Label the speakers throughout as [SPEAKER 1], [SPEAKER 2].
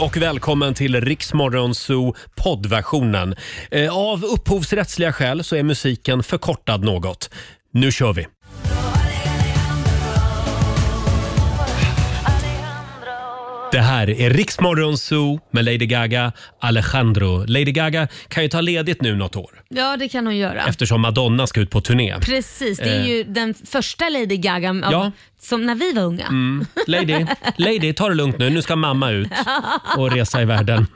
[SPEAKER 1] och välkommen till Riksmorgon Zoo poddversionen. Eh, Av upphovsrättsliga skäl så är musiken förkortad något. Nu kör vi! Det här är Riksmorgon Zoo med Lady Gaga, Alejandro. Lady Gaga kan ju ta ledigt nu något år
[SPEAKER 2] Ja, det kan hon göra.
[SPEAKER 1] eftersom Madonna ska ut på turné.
[SPEAKER 2] Precis, det är
[SPEAKER 1] Eh.
[SPEAKER 2] ju den första Lady Gaga av,
[SPEAKER 1] Ja.
[SPEAKER 2] som när vi var unga.
[SPEAKER 1] Mm. Lady, lady, ta det lugnt nu. Nu ska mamma ut och resa i världen.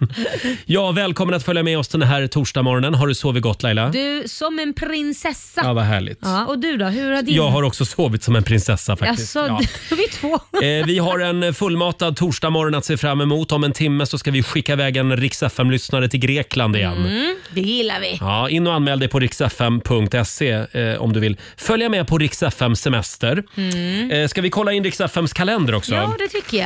[SPEAKER 1] Ja, välkommen att följa med oss den här torsdagsmorgonen. Har du sovit gott Laila?
[SPEAKER 2] Du som en prinsessa.
[SPEAKER 1] Ja, vad härligt.
[SPEAKER 2] Ja, och du då? Hur har din...
[SPEAKER 1] Jag har också sovit som en prinsessa faktiskt.
[SPEAKER 2] Alltså,
[SPEAKER 1] Ja.
[SPEAKER 2] vi är två.
[SPEAKER 1] Eh, vi har en fullmatad torsdagsmorgon att se fram emot. Om en timme så ska vi skicka iväg en Rix lyssnare till Grekland igen.
[SPEAKER 2] Mm, det gillar vi.
[SPEAKER 1] Ja, in och anmäl dig på riksfm.se eh, om du vill följa med på Rix FM semester. Eh, ska vi kolla in Rix FMs kalender också?
[SPEAKER 2] Mm. Ja, det tycker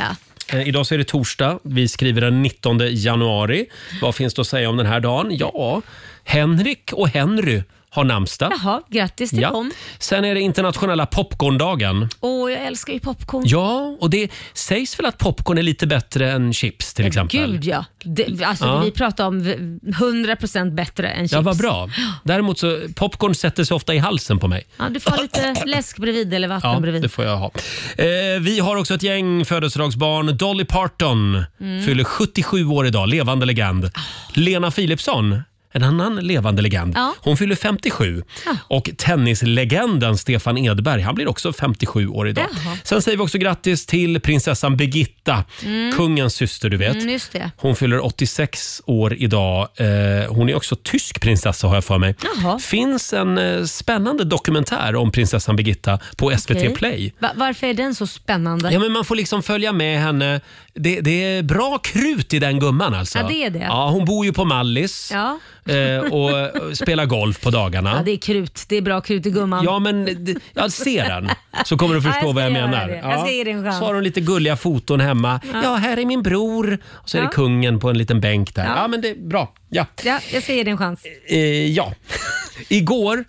[SPEAKER 2] jag.
[SPEAKER 1] Eh, Idag så är det torsdag. Vi skriver den 19 januari. Vad finns det att säga om den här dagen? Ja, Henrik och Henry har namnsdag.
[SPEAKER 2] Jaha, grattis till
[SPEAKER 1] Ja.
[SPEAKER 2] dem.
[SPEAKER 1] Sen är det internationella popcorndagen.
[SPEAKER 2] Åh, jag älskar ju popcorn.
[SPEAKER 1] Ja, och det sägs väl att popcorn är lite bättre än chips till exempel?
[SPEAKER 2] Gud ja. Det, alltså,
[SPEAKER 1] Ja.
[SPEAKER 2] Vi pratar om v- 100% bättre än chips.
[SPEAKER 1] Ja, vad bra. Däremot så popcorn sätter sig ofta i halsen på mig.
[SPEAKER 2] Ja, du får ha lite läsk bredvid eller vatten
[SPEAKER 1] Ja,
[SPEAKER 2] bredvid.
[SPEAKER 1] det får jag ha. Eh, vi har också ett gäng födelsedagsbarn. Dolly Parton
[SPEAKER 2] Mm.
[SPEAKER 1] fyller 77 år idag, levande legend.
[SPEAKER 2] Ah.
[SPEAKER 1] Lena Philipsson, en annan levande legend.
[SPEAKER 2] Ja.
[SPEAKER 1] Hon fyller 57.
[SPEAKER 2] Ja.
[SPEAKER 1] Och tennislegenden Stefan Edberg, han blir också 57 år idag.
[SPEAKER 2] Jaha.
[SPEAKER 1] Sen säger vi också grattis till prinsessan Birgitta, kungens syster du vet.
[SPEAKER 2] Mm, just det.
[SPEAKER 1] Hon fyller 86 år idag. Eh, hon är också tysk prinsessa har jag för mig.
[SPEAKER 2] Jaha.
[SPEAKER 1] Finns en eh, spännande dokumentär om prinsessan Birgitta på SVT
[SPEAKER 2] Okej.
[SPEAKER 1] Play.
[SPEAKER 2] Va- varför är den så spännande?
[SPEAKER 1] Ja, men man får liksom följa med henne. Det, det är bra krut i den gumman alltså.
[SPEAKER 2] Ja, det är det.
[SPEAKER 1] Ja, hon bor ju på Mallis
[SPEAKER 2] Ja.
[SPEAKER 1] eh, och eh, spelar golf på dagarna.
[SPEAKER 2] Ja, det är krut. Det är bra krut i gumman.
[SPEAKER 1] Ja, men d- ja, se den så kommer du
[SPEAKER 2] Ja, jag
[SPEAKER 1] förstå
[SPEAKER 2] ska
[SPEAKER 1] vad jag
[SPEAKER 2] göra
[SPEAKER 1] menar.
[SPEAKER 2] det. Jag ska ge det en chans.
[SPEAKER 1] Så har hon lite gulliga foton hemma. Ja, här är min bror. Och så är det
[SPEAKER 2] Ja.
[SPEAKER 1] kungen på en liten bänk där. Ja,
[SPEAKER 2] Ja.
[SPEAKER 1] men det är bra. Ja.
[SPEAKER 2] Ja, jag ska ge dig en chans.
[SPEAKER 1] Eh, ja. Igår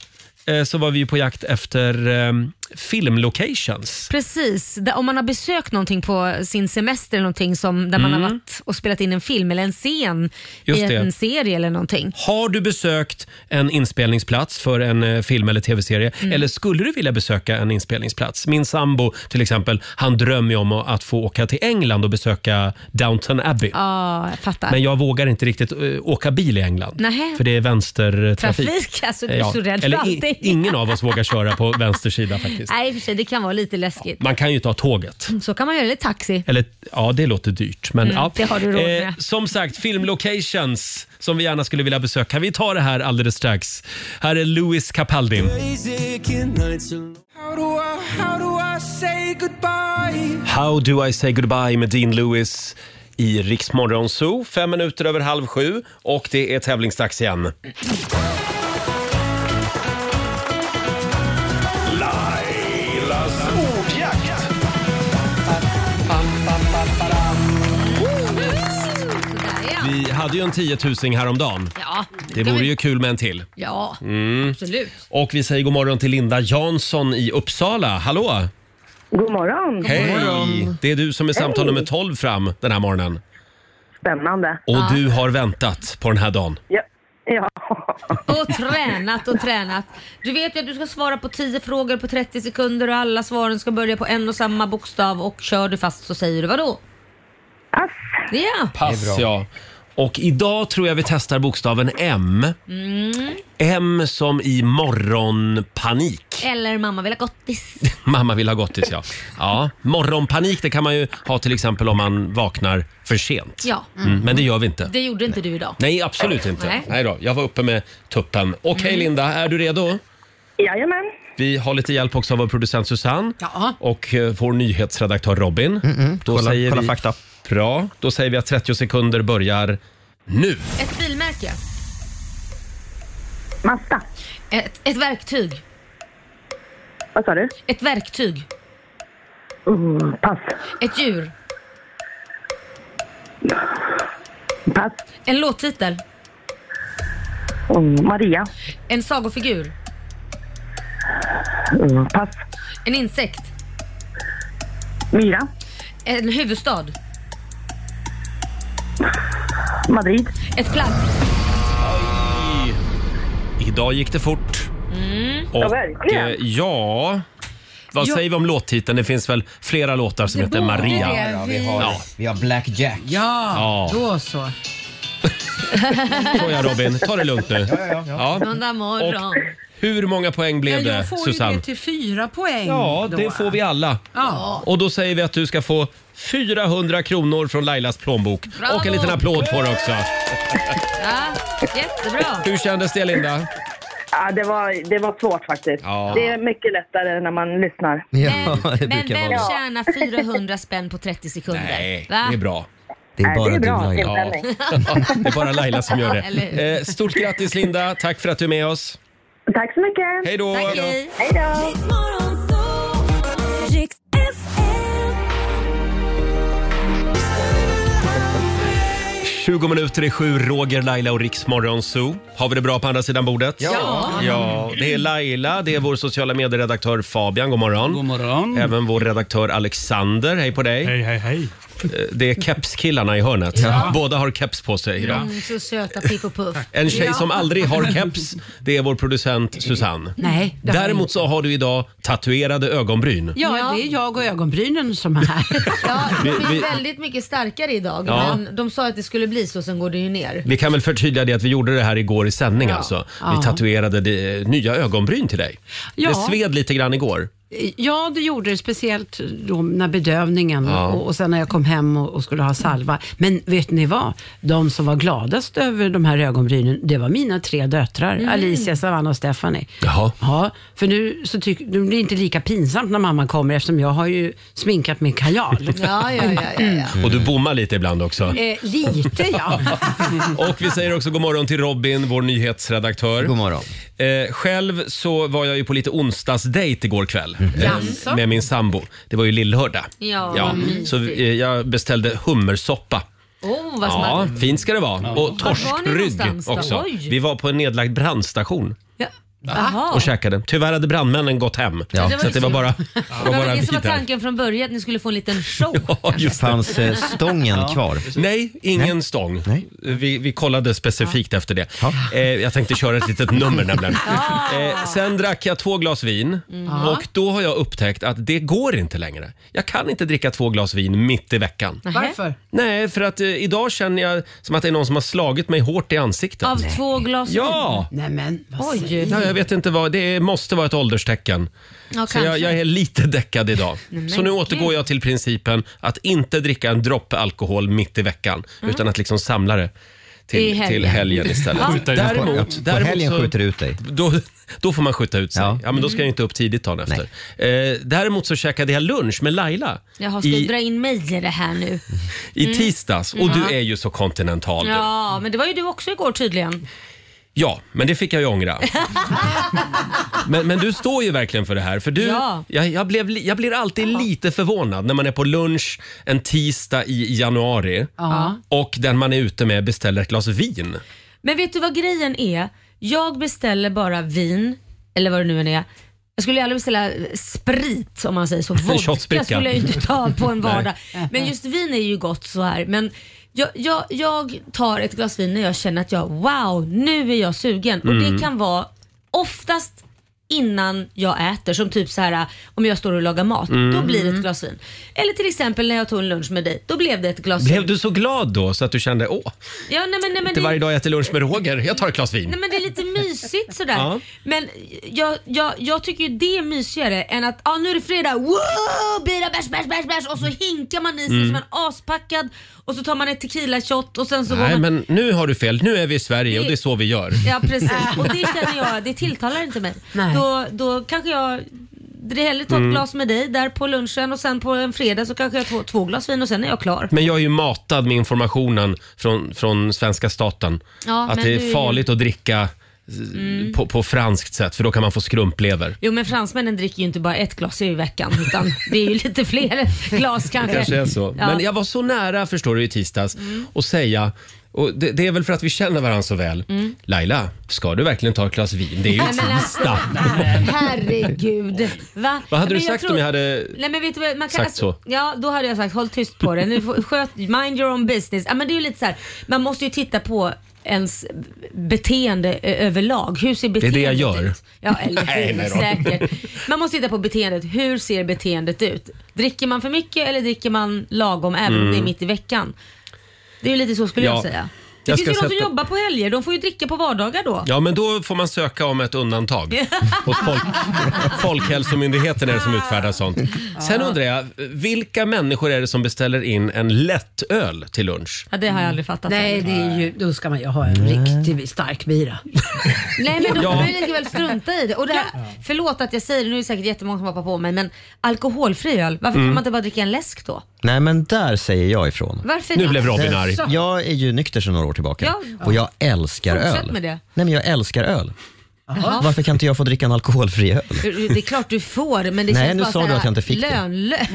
[SPEAKER 1] eh, så var vi på jakt efter eh, filmlocations.
[SPEAKER 2] Precis. Där- Om man har besökt någonting på sin semester eller någonting som, där man har varit och spelat in en film eller en scen
[SPEAKER 1] Mm. Just
[SPEAKER 2] i
[SPEAKER 1] det.
[SPEAKER 2] en serie eller någonting.
[SPEAKER 1] Har du besökt en inspelningsplats för en eh, film eller tv-serie?
[SPEAKER 2] Mm.
[SPEAKER 1] Eller skulle du vilja besöka en inspelningsplats? Min sambo till exempel, han drömmer ju om att få åka till England och besöka Downton Abbey.
[SPEAKER 2] Ja, jag fattar.
[SPEAKER 1] Men jag vågar inte riktigt eh, åka bil i England.
[SPEAKER 2] Nähä.
[SPEAKER 1] För det är vänstertrafik.
[SPEAKER 2] Trafik, alltså du är
[SPEAKER 1] Ja,
[SPEAKER 2] så rädd
[SPEAKER 1] Eller
[SPEAKER 2] för
[SPEAKER 1] i-
[SPEAKER 2] allting.
[SPEAKER 1] Ingen av oss vågar köra på vänster sida faktiskt.
[SPEAKER 2] Nej, i och för sig, det kan vara lite läskigt.
[SPEAKER 1] Man kan ju ta tåget.
[SPEAKER 2] Så kan man göra, eller taxi.
[SPEAKER 1] Eller, ja, det låter dyrt. Men, ja.
[SPEAKER 2] Mm,
[SPEAKER 1] Eh,
[SPEAKER 2] det har du råd med.
[SPEAKER 1] som sagt, filmlocations som vi gärna skulle vilja besöka. Vi tar det här alldeles strax. Här är Louis Capaldi. How do I say goodbye med Dean Lewis i Riksmorgon Zoo. Fem minuter över halv sju och det är tävlingsdags igen.
[SPEAKER 3] Lailas ordjakt.
[SPEAKER 2] Sådär, ja.
[SPEAKER 1] Vi hade ju en tiotusing häromdagen.
[SPEAKER 2] Ja,
[SPEAKER 1] Det Mm.
[SPEAKER 2] kan
[SPEAKER 1] vore
[SPEAKER 2] vi-
[SPEAKER 1] ju kul med en till.
[SPEAKER 2] Ja, absolut.
[SPEAKER 1] Och vi säger god morgon till Linda Jansson i Uppsala. Hallå!
[SPEAKER 4] God morgon.
[SPEAKER 1] Hej! Det är du som är samtal
[SPEAKER 4] Hej.
[SPEAKER 1] nummer 12 fram den här morgonen.
[SPEAKER 4] Spännande.
[SPEAKER 1] Och du har väntat på den här dagen.
[SPEAKER 4] Ja. ja.
[SPEAKER 2] Och tränat och tränat. Du vet ju att du ska svara på 10 frågor på 30 sekunder och alla svaren ska börja på en och samma bokstav och kör du fast så säger du vadå?
[SPEAKER 4] Ass.
[SPEAKER 2] Ja,
[SPEAKER 1] Pass, ja. Och idag tror jag vi testar bokstaven M. Mm. M som i morgonpanik.
[SPEAKER 2] eller mamma vill ha gottis.
[SPEAKER 1] Mamma vill ha gottis, ja. ja. Morgonpanik det kan man ju ha till exempel om man vaknar för sent.
[SPEAKER 2] Ja,
[SPEAKER 1] Mm, men det gör vi inte.
[SPEAKER 2] det gjorde inte du idag.
[SPEAKER 1] Nej, absolut inte. Nej. Mm.
[SPEAKER 2] Nej.
[SPEAKER 1] då, jag var uppe med tuppen. Okej, Linda, är du redo?
[SPEAKER 4] Jajamän.
[SPEAKER 1] Vi har lite hjälp också av vår producent Susanne
[SPEAKER 2] Ja.
[SPEAKER 1] och eh, vår nyhetsredaktör Robin.
[SPEAKER 5] Mm,
[SPEAKER 1] Då
[SPEAKER 6] Kolla-
[SPEAKER 1] säger
[SPEAKER 6] kolla
[SPEAKER 1] vi,
[SPEAKER 6] fakta.
[SPEAKER 1] Bra. Då säger vi att 30 sekunder börjar nu.
[SPEAKER 2] Ett bilmärke.
[SPEAKER 4] Masta.
[SPEAKER 2] Ett, ett verktyg.
[SPEAKER 4] Vad sa du?
[SPEAKER 2] Ett verktyg.
[SPEAKER 4] Uh, pass.
[SPEAKER 2] Ett djur.
[SPEAKER 4] Pass.
[SPEAKER 2] En låttitel.
[SPEAKER 4] Uh, Maria.
[SPEAKER 2] En sagofigur.
[SPEAKER 4] Uh, pass.
[SPEAKER 2] En insekt.
[SPEAKER 4] Myra.
[SPEAKER 2] En huvudstad.
[SPEAKER 4] Madrid.
[SPEAKER 2] Ett plagg.
[SPEAKER 1] Idag gick det fort. Och,
[SPEAKER 6] Mm.
[SPEAKER 4] Ja, verkligen.
[SPEAKER 1] eh, ja, vad
[SPEAKER 6] Jo.
[SPEAKER 1] säger vi om låttiteln? Det finns väl flera låtar som heter Maria?
[SPEAKER 6] det.
[SPEAKER 5] Ja, vi har,
[SPEAKER 1] Ja.
[SPEAKER 5] vi har Black Jack.
[SPEAKER 6] Ja,
[SPEAKER 1] Ja.
[SPEAKER 6] då så.
[SPEAKER 1] Såja Robin, ta det lugnt nu.
[SPEAKER 5] ja, ja.
[SPEAKER 2] Måndag morgon.
[SPEAKER 1] Och hur många poäng blev
[SPEAKER 6] jag
[SPEAKER 1] det,
[SPEAKER 6] får ju
[SPEAKER 1] Susanne?
[SPEAKER 6] det till fyra poäng.
[SPEAKER 1] Ja,
[SPEAKER 6] då.
[SPEAKER 1] det får vi alla.
[SPEAKER 6] Ja.
[SPEAKER 1] Och då säger vi att du ska få 400 kronor från Lailas plånbok.
[SPEAKER 2] Bravo!
[SPEAKER 1] Och en liten applåd får du också.
[SPEAKER 2] Ja, jättebra.
[SPEAKER 1] Hur kändes det Linda?
[SPEAKER 4] Ja, det, var, det var svårt faktiskt.
[SPEAKER 1] Ja.
[SPEAKER 4] Det är mycket lättare när man lyssnar.
[SPEAKER 5] Ja,
[SPEAKER 2] Men,
[SPEAKER 5] det
[SPEAKER 2] men
[SPEAKER 5] brukar
[SPEAKER 2] vem
[SPEAKER 5] vara så.
[SPEAKER 2] tjänar 400 spänn på 30 sekunder?
[SPEAKER 1] Nej, det
[SPEAKER 2] Va?
[SPEAKER 1] är bra.
[SPEAKER 5] Det är
[SPEAKER 4] Nej,
[SPEAKER 5] bara
[SPEAKER 4] det är
[SPEAKER 5] du
[SPEAKER 4] bra
[SPEAKER 5] Laila.
[SPEAKER 1] Ja.
[SPEAKER 4] inställning.
[SPEAKER 1] Det är bara Laila som gör
[SPEAKER 2] Eller
[SPEAKER 1] det.
[SPEAKER 2] hur?
[SPEAKER 1] Eh, Stort grattis Linda, tack för att du är med oss.
[SPEAKER 4] Tack så mycket.
[SPEAKER 1] Hej då!
[SPEAKER 2] Tack, hej.
[SPEAKER 4] Hej då.
[SPEAKER 7] Riks FM.
[SPEAKER 1] 20 minuter i sju, Roger, Laila och Riksmorgon Zoo. Har vi det bra på andra sidan bordet?
[SPEAKER 5] Ja.
[SPEAKER 1] Ja, det är Laila, det är vår sociala medieredaktör Fabian, god morgon.
[SPEAKER 8] God morgon.
[SPEAKER 9] Mm.
[SPEAKER 1] Även vår redaktör Alexander, hej på dig.
[SPEAKER 8] Hej, hej, hej.
[SPEAKER 1] Eh, Det är kepskillarna i hörnet. Båda har keps på sig idag.
[SPEAKER 2] Mm, så söta Piff och Puff.
[SPEAKER 1] En tjej som aldrig har keps, det är vår producent Susanne.
[SPEAKER 6] Nej, det har jag
[SPEAKER 1] Däremot så har du idag tatuerade ögonbryn.
[SPEAKER 6] Ja,
[SPEAKER 2] Ja.
[SPEAKER 6] det är jag och ögonbrynen som är här.
[SPEAKER 2] Ja, det
[SPEAKER 1] Vi- vi-
[SPEAKER 2] blir väldigt mycket starkare idag.
[SPEAKER 1] Ja.
[SPEAKER 2] Men de sa att det skulle bli så, sen går det ju ner.
[SPEAKER 1] Vi kan väl förtydliga det att vi gjorde det här igår i sändning alltså. Vi
[SPEAKER 6] Ja.
[SPEAKER 1] tatuerade det, nya ögonbryn till dig.
[SPEAKER 6] Ja.
[SPEAKER 1] Det sved lite grann igår.
[SPEAKER 6] Ja, det gjorde det. Speciellt då när bedövningen
[SPEAKER 1] Ja.
[SPEAKER 6] och, och sen när jag kom hem och, och skulle ha salva. Men vet ni vad? De som var gladast över de här ögonbrynen, det var mina tre döttrar. Alicia, Savannah och Stephanie.
[SPEAKER 1] Jaha.
[SPEAKER 6] Ja, för nu så tyck, nu blir det inte lika pinsamt när mamma kommer eftersom jag har ju sminkat min kajal.
[SPEAKER 2] Ja, ja, ja. ja, ja.
[SPEAKER 1] Och du bommar lite ibland också.
[SPEAKER 6] Eh, lite ja.
[SPEAKER 1] Och vi säger också god morgon till Robin, vår nyhetsredaktör.
[SPEAKER 5] God morgon.
[SPEAKER 1] Eh, själv så var jag ju på lite onsdagsdejt igår kväll
[SPEAKER 5] Mhm.
[SPEAKER 1] eh,
[SPEAKER 6] Jaså?
[SPEAKER 1] med min sambo. Det var ju lillhördag.
[SPEAKER 2] Ja, vad mysigt.
[SPEAKER 1] Så eh, jag beställde hummersoppa.
[SPEAKER 2] Oh, vad
[SPEAKER 1] Ja,
[SPEAKER 2] smart.
[SPEAKER 1] fint ska det vara. Och
[SPEAKER 2] Vart var ni
[SPEAKER 1] torskrygg
[SPEAKER 2] någonstans då?
[SPEAKER 1] också.
[SPEAKER 2] Oj.
[SPEAKER 1] Vi var på en nedlagd brandstation
[SPEAKER 6] ja.
[SPEAKER 2] Jaha.
[SPEAKER 1] och käkade. Tyvärr hade brandmännen gått hem.
[SPEAKER 2] det var
[SPEAKER 1] Så att det var
[SPEAKER 2] synd.
[SPEAKER 1] bara,
[SPEAKER 2] Det
[SPEAKER 1] var
[SPEAKER 2] var
[SPEAKER 1] bara
[SPEAKER 2] väl det som var
[SPEAKER 1] vi där.
[SPEAKER 2] tanken från början, att ni skulle få en liten show.
[SPEAKER 1] Ja, just det.
[SPEAKER 5] Fanns eh, stången kvar?
[SPEAKER 1] Nej, ingen stång.
[SPEAKER 5] Nej.
[SPEAKER 1] Vi, vi kollade specifikt efter det. Eh, jag tänkte köra ett litet nummer nämligen. Eh, sen drack jag två glas vin och då har jag upptäckt att det går inte längre. Jag kan inte dricka två glas vin mitt i veckan.
[SPEAKER 6] Varför?
[SPEAKER 1] Nej, för att eh, idag känner jag som att det är någon som har slagit mig hårt i ansiktet.
[SPEAKER 2] Av två glas
[SPEAKER 1] Ja!
[SPEAKER 6] Nej men, vad säger
[SPEAKER 2] Oj.
[SPEAKER 1] Ja, jag vet inte vad, det måste vara ett ålderstecken.
[SPEAKER 2] Ja,
[SPEAKER 1] Så jag,
[SPEAKER 2] kanske.
[SPEAKER 1] jag är lite däckad idag. Så nu återgår jag till principen att inte dricka en droppe alkohol mitt i veckan. Utan att liksom samla det
[SPEAKER 2] Mm. I
[SPEAKER 1] till,
[SPEAKER 2] helgen.
[SPEAKER 1] till helgen istället.
[SPEAKER 2] Ja.
[SPEAKER 8] ut dig.
[SPEAKER 5] På
[SPEAKER 1] Däremot, däremot
[SPEAKER 5] helgen
[SPEAKER 1] så-
[SPEAKER 5] skjuter du ut dig.
[SPEAKER 1] Då, då får man skjuta ut sig. Ja.
[SPEAKER 5] Ja.
[SPEAKER 1] men då ska jag inte upp tidigt dagen efter. Eh, däremot så käkade jag lunch med Laila
[SPEAKER 2] Jaha, ska du
[SPEAKER 1] i,
[SPEAKER 2] dra in mig i det här nu?
[SPEAKER 1] i tisdags. Och du är ju så kontinental. du.
[SPEAKER 2] Mm. Ja, men det var ju du också igår tydligen.
[SPEAKER 1] Ja, men det fick jag ju ångra. men, men du står ju verkligen för det här. För du,
[SPEAKER 2] Ja.
[SPEAKER 1] jag, jag, blev, li- jag blir alltid lite förvånad när man är på lunch en tisdag i januari
[SPEAKER 6] Ja.
[SPEAKER 1] och den man är ute med beställer ett glas vin.
[SPEAKER 2] Men vet du vad grejen är? Jag beställer bara vin, eller vad det nu än är. Jag skulle ju aldrig beställa sprit om man säger så. Vodka
[SPEAKER 1] shotsbricka.
[SPEAKER 2] skulle jag ju inte ta på en vardag. men just vin är ju gott så här. Men jag, jag, jag tar ett glas vin när jag känner att jag, wow, nu är jag sugen.
[SPEAKER 1] Mm.
[SPEAKER 2] Och det kan vara oftast innan jag äter. Som typ så här om jag står och lagar mat, då blir det
[SPEAKER 1] Mm.
[SPEAKER 2] ett glas vin. Eller till exempel när jag tog en lunch med dig, då blev det ett glas
[SPEAKER 1] Blev
[SPEAKER 2] vin.
[SPEAKER 1] du så glad då så att du kände åh,
[SPEAKER 2] Ja, nej, men, nej, men
[SPEAKER 1] inte
[SPEAKER 2] det-
[SPEAKER 1] varje dag jag äter lunch med Roger, jag tar ett glas vin.
[SPEAKER 2] Nej men det är lite mysigt sådär.
[SPEAKER 1] Ja.
[SPEAKER 2] Men jag, jag, jag tycker ju det är mysigare än att ah, nu är det fredag, wow, bira, bärs, bärs, bärs, bärs och så
[SPEAKER 1] Mm.
[SPEAKER 2] hinkar man i sig som en aspackad och så tar man ett tequila shot och sen så går
[SPEAKER 1] Nej,
[SPEAKER 2] man...
[SPEAKER 1] men nu har du fel. Nu är vi i Sverige och
[SPEAKER 2] Det-
[SPEAKER 1] det är så vi gör.
[SPEAKER 2] Ja precis och det känner jag, det tilltalar inte mig.
[SPEAKER 6] Nej.
[SPEAKER 2] Då, då kanske jag det är hellre ta ett
[SPEAKER 1] Mm.
[SPEAKER 2] glas med dig där på lunchen och sen på en fredag så kanske jag tar två glas vin och sen är jag klar.
[SPEAKER 1] Men jag är ju matad med informationen från, från svenska staten.
[SPEAKER 2] Ja,
[SPEAKER 1] att
[SPEAKER 2] men
[SPEAKER 1] det
[SPEAKER 2] du är
[SPEAKER 1] är
[SPEAKER 2] ju- Mm.
[SPEAKER 1] farligt att dricka eh, på, på franskt sätt för då kan man få skrumplever.
[SPEAKER 2] Jo men fransmännen dricker ju inte bara ett glas i veckan utan det är ju lite fler glas kanske.
[SPEAKER 1] kanske är så.
[SPEAKER 2] Ja. Mm.
[SPEAKER 1] Men jag var så nära förstår du i tisdags att säga Och det, det är väl för att vi känner varandra så väl. Laila, ska du verkligen ta ett glas vin? Det är ju
[SPEAKER 2] Mm. Nej, men alltså,
[SPEAKER 1] tisdag.
[SPEAKER 2] Herregud. Va?
[SPEAKER 1] Vad hade
[SPEAKER 2] Men
[SPEAKER 1] du
[SPEAKER 2] jag
[SPEAKER 1] sagt
[SPEAKER 2] tror-
[SPEAKER 1] om jag hade...
[SPEAKER 2] Nej, men vet du, vad, man kan, alltså-
[SPEAKER 1] Sagt så.
[SPEAKER 2] Ja, då hade jag sagt håll tyst på det. Nu får, sköt, mind your own business. Ja, men det är ju lite så här, man måste ju titta på ens beteende ö- överlag. Hur ser
[SPEAKER 1] är
[SPEAKER 2] beteendet
[SPEAKER 1] det jag gör.
[SPEAKER 2] ut? Ja, eller
[SPEAKER 1] Nej,
[SPEAKER 2] hur,
[SPEAKER 1] nej då.
[SPEAKER 2] säkert. Man måste titta på beteendet. Hur ser beteendet ut? Dricker man för mycket eller dricker man lagom även om det är mitt i veckan? Det är ju lite så skulle
[SPEAKER 1] Mm. Ja.
[SPEAKER 2] jag säga. Det
[SPEAKER 1] Jag
[SPEAKER 2] finns ju
[SPEAKER 1] ska
[SPEAKER 2] de som
[SPEAKER 1] sätta-
[SPEAKER 2] jobbar på helger. De får ju dricka på vardagar då.
[SPEAKER 1] Ja, men då får man söka om ett undantag. Hos folk, Folkhälsomyndigheten är det som utfärdar sånt. Sen undrar jag, vilka människor är det som beställer in en lättöl till lunch?
[SPEAKER 2] Ja, det har jag aldrig fattat.
[SPEAKER 6] Nej, det är ju, då ska man ju ha en riktigt stark bira.
[SPEAKER 2] Nej men då
[SPEAKER 1] Ja.
[SPEAKER 2] kan man ju lika väl strunta i det. Och det här, Förlåt att jag säger det, nu är det säkert jättemånga som hoppar på mig men alkoholfri öl, varför
[SPEAKER 1] Mm.
[SPEAKER 2] kan man inte bara dricka en läsk då?
[SPEAKER 5] Nej, men där säger jag ifrån.
[SPEAKER 2] Varför
[SPEAKER 1] Nu
[SPEAKER 2] det?
[SPEAKER 1] blev Robin arg.
[SPEAKER 5] Jag är ju nykter sedan några år tillbaka
[SPEAKER 2] Ja.
[SPEAKER 5] och jag älskar
[SPEAKER 2] Fortsätt
[SPEAKER 5] öl.
[SPEAKER 2] med det.
[SPEAKER 5] Nej, men jag älskar öl.
[SPEAKER 2] Jaha.
[SPEAKER 5] Varför kan inte jag få dricka en alkoholfri öl?
[SPEAKER 2] Det är klart du får men det
[SPEAKER 5] Nej,
[SPEAKER 2] känns
[SPEAKER 5] nu
[SPEAKER 2] bara
[SPEAKER 5] sa
[SPEAKER 2] så här
[SPEAKER 5] du att jag inte fick det.
[SPEAKER 2] lönlöst.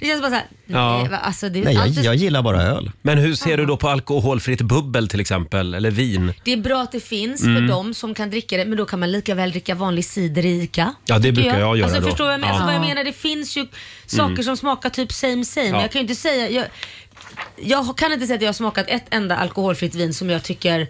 [SPEAKER 2] Det känns bara såhär,
[SPEAKER 1] Ja.
[SPEAKER 2] nej, va, alltså det,
[SPEAKER 5] Nej, jag,
[SPEAKER 2] allt är-
[SPEAKER 5] jag gillar bara öl.
[SPEAKER 1] Men hur ser du då på alkoholfritt bubbel till exempel, eller vin?
[SPEAKER 2] det är bra att det finns
[SPEAKER 1] Mm.
[SPEAKER 2] för de som kan dricka det men då kan man lika väl dricka vanlig cider i ICA.
[SPEAKER 1] Ja, det
[SPEAKER 2] tycker
[SPEAKER 1] brukar jag göra
[SPEAKER 2] alltså,
[SPEAKER 1] då.
[SPEAKER 2] Förstår jag, men, alltså,
[SPEAKER 1] Ja. Mm.
[SPEAKER 2] vad jag menar? Det finns ju saker som smakar typ same same.
[SPEAKER 1] Ja.
[SPEAKER 2] Jag kan ju inte säga... Jag, jag kan inte säga att jag har smakat ett enda alkoholfritt vin som jag tycker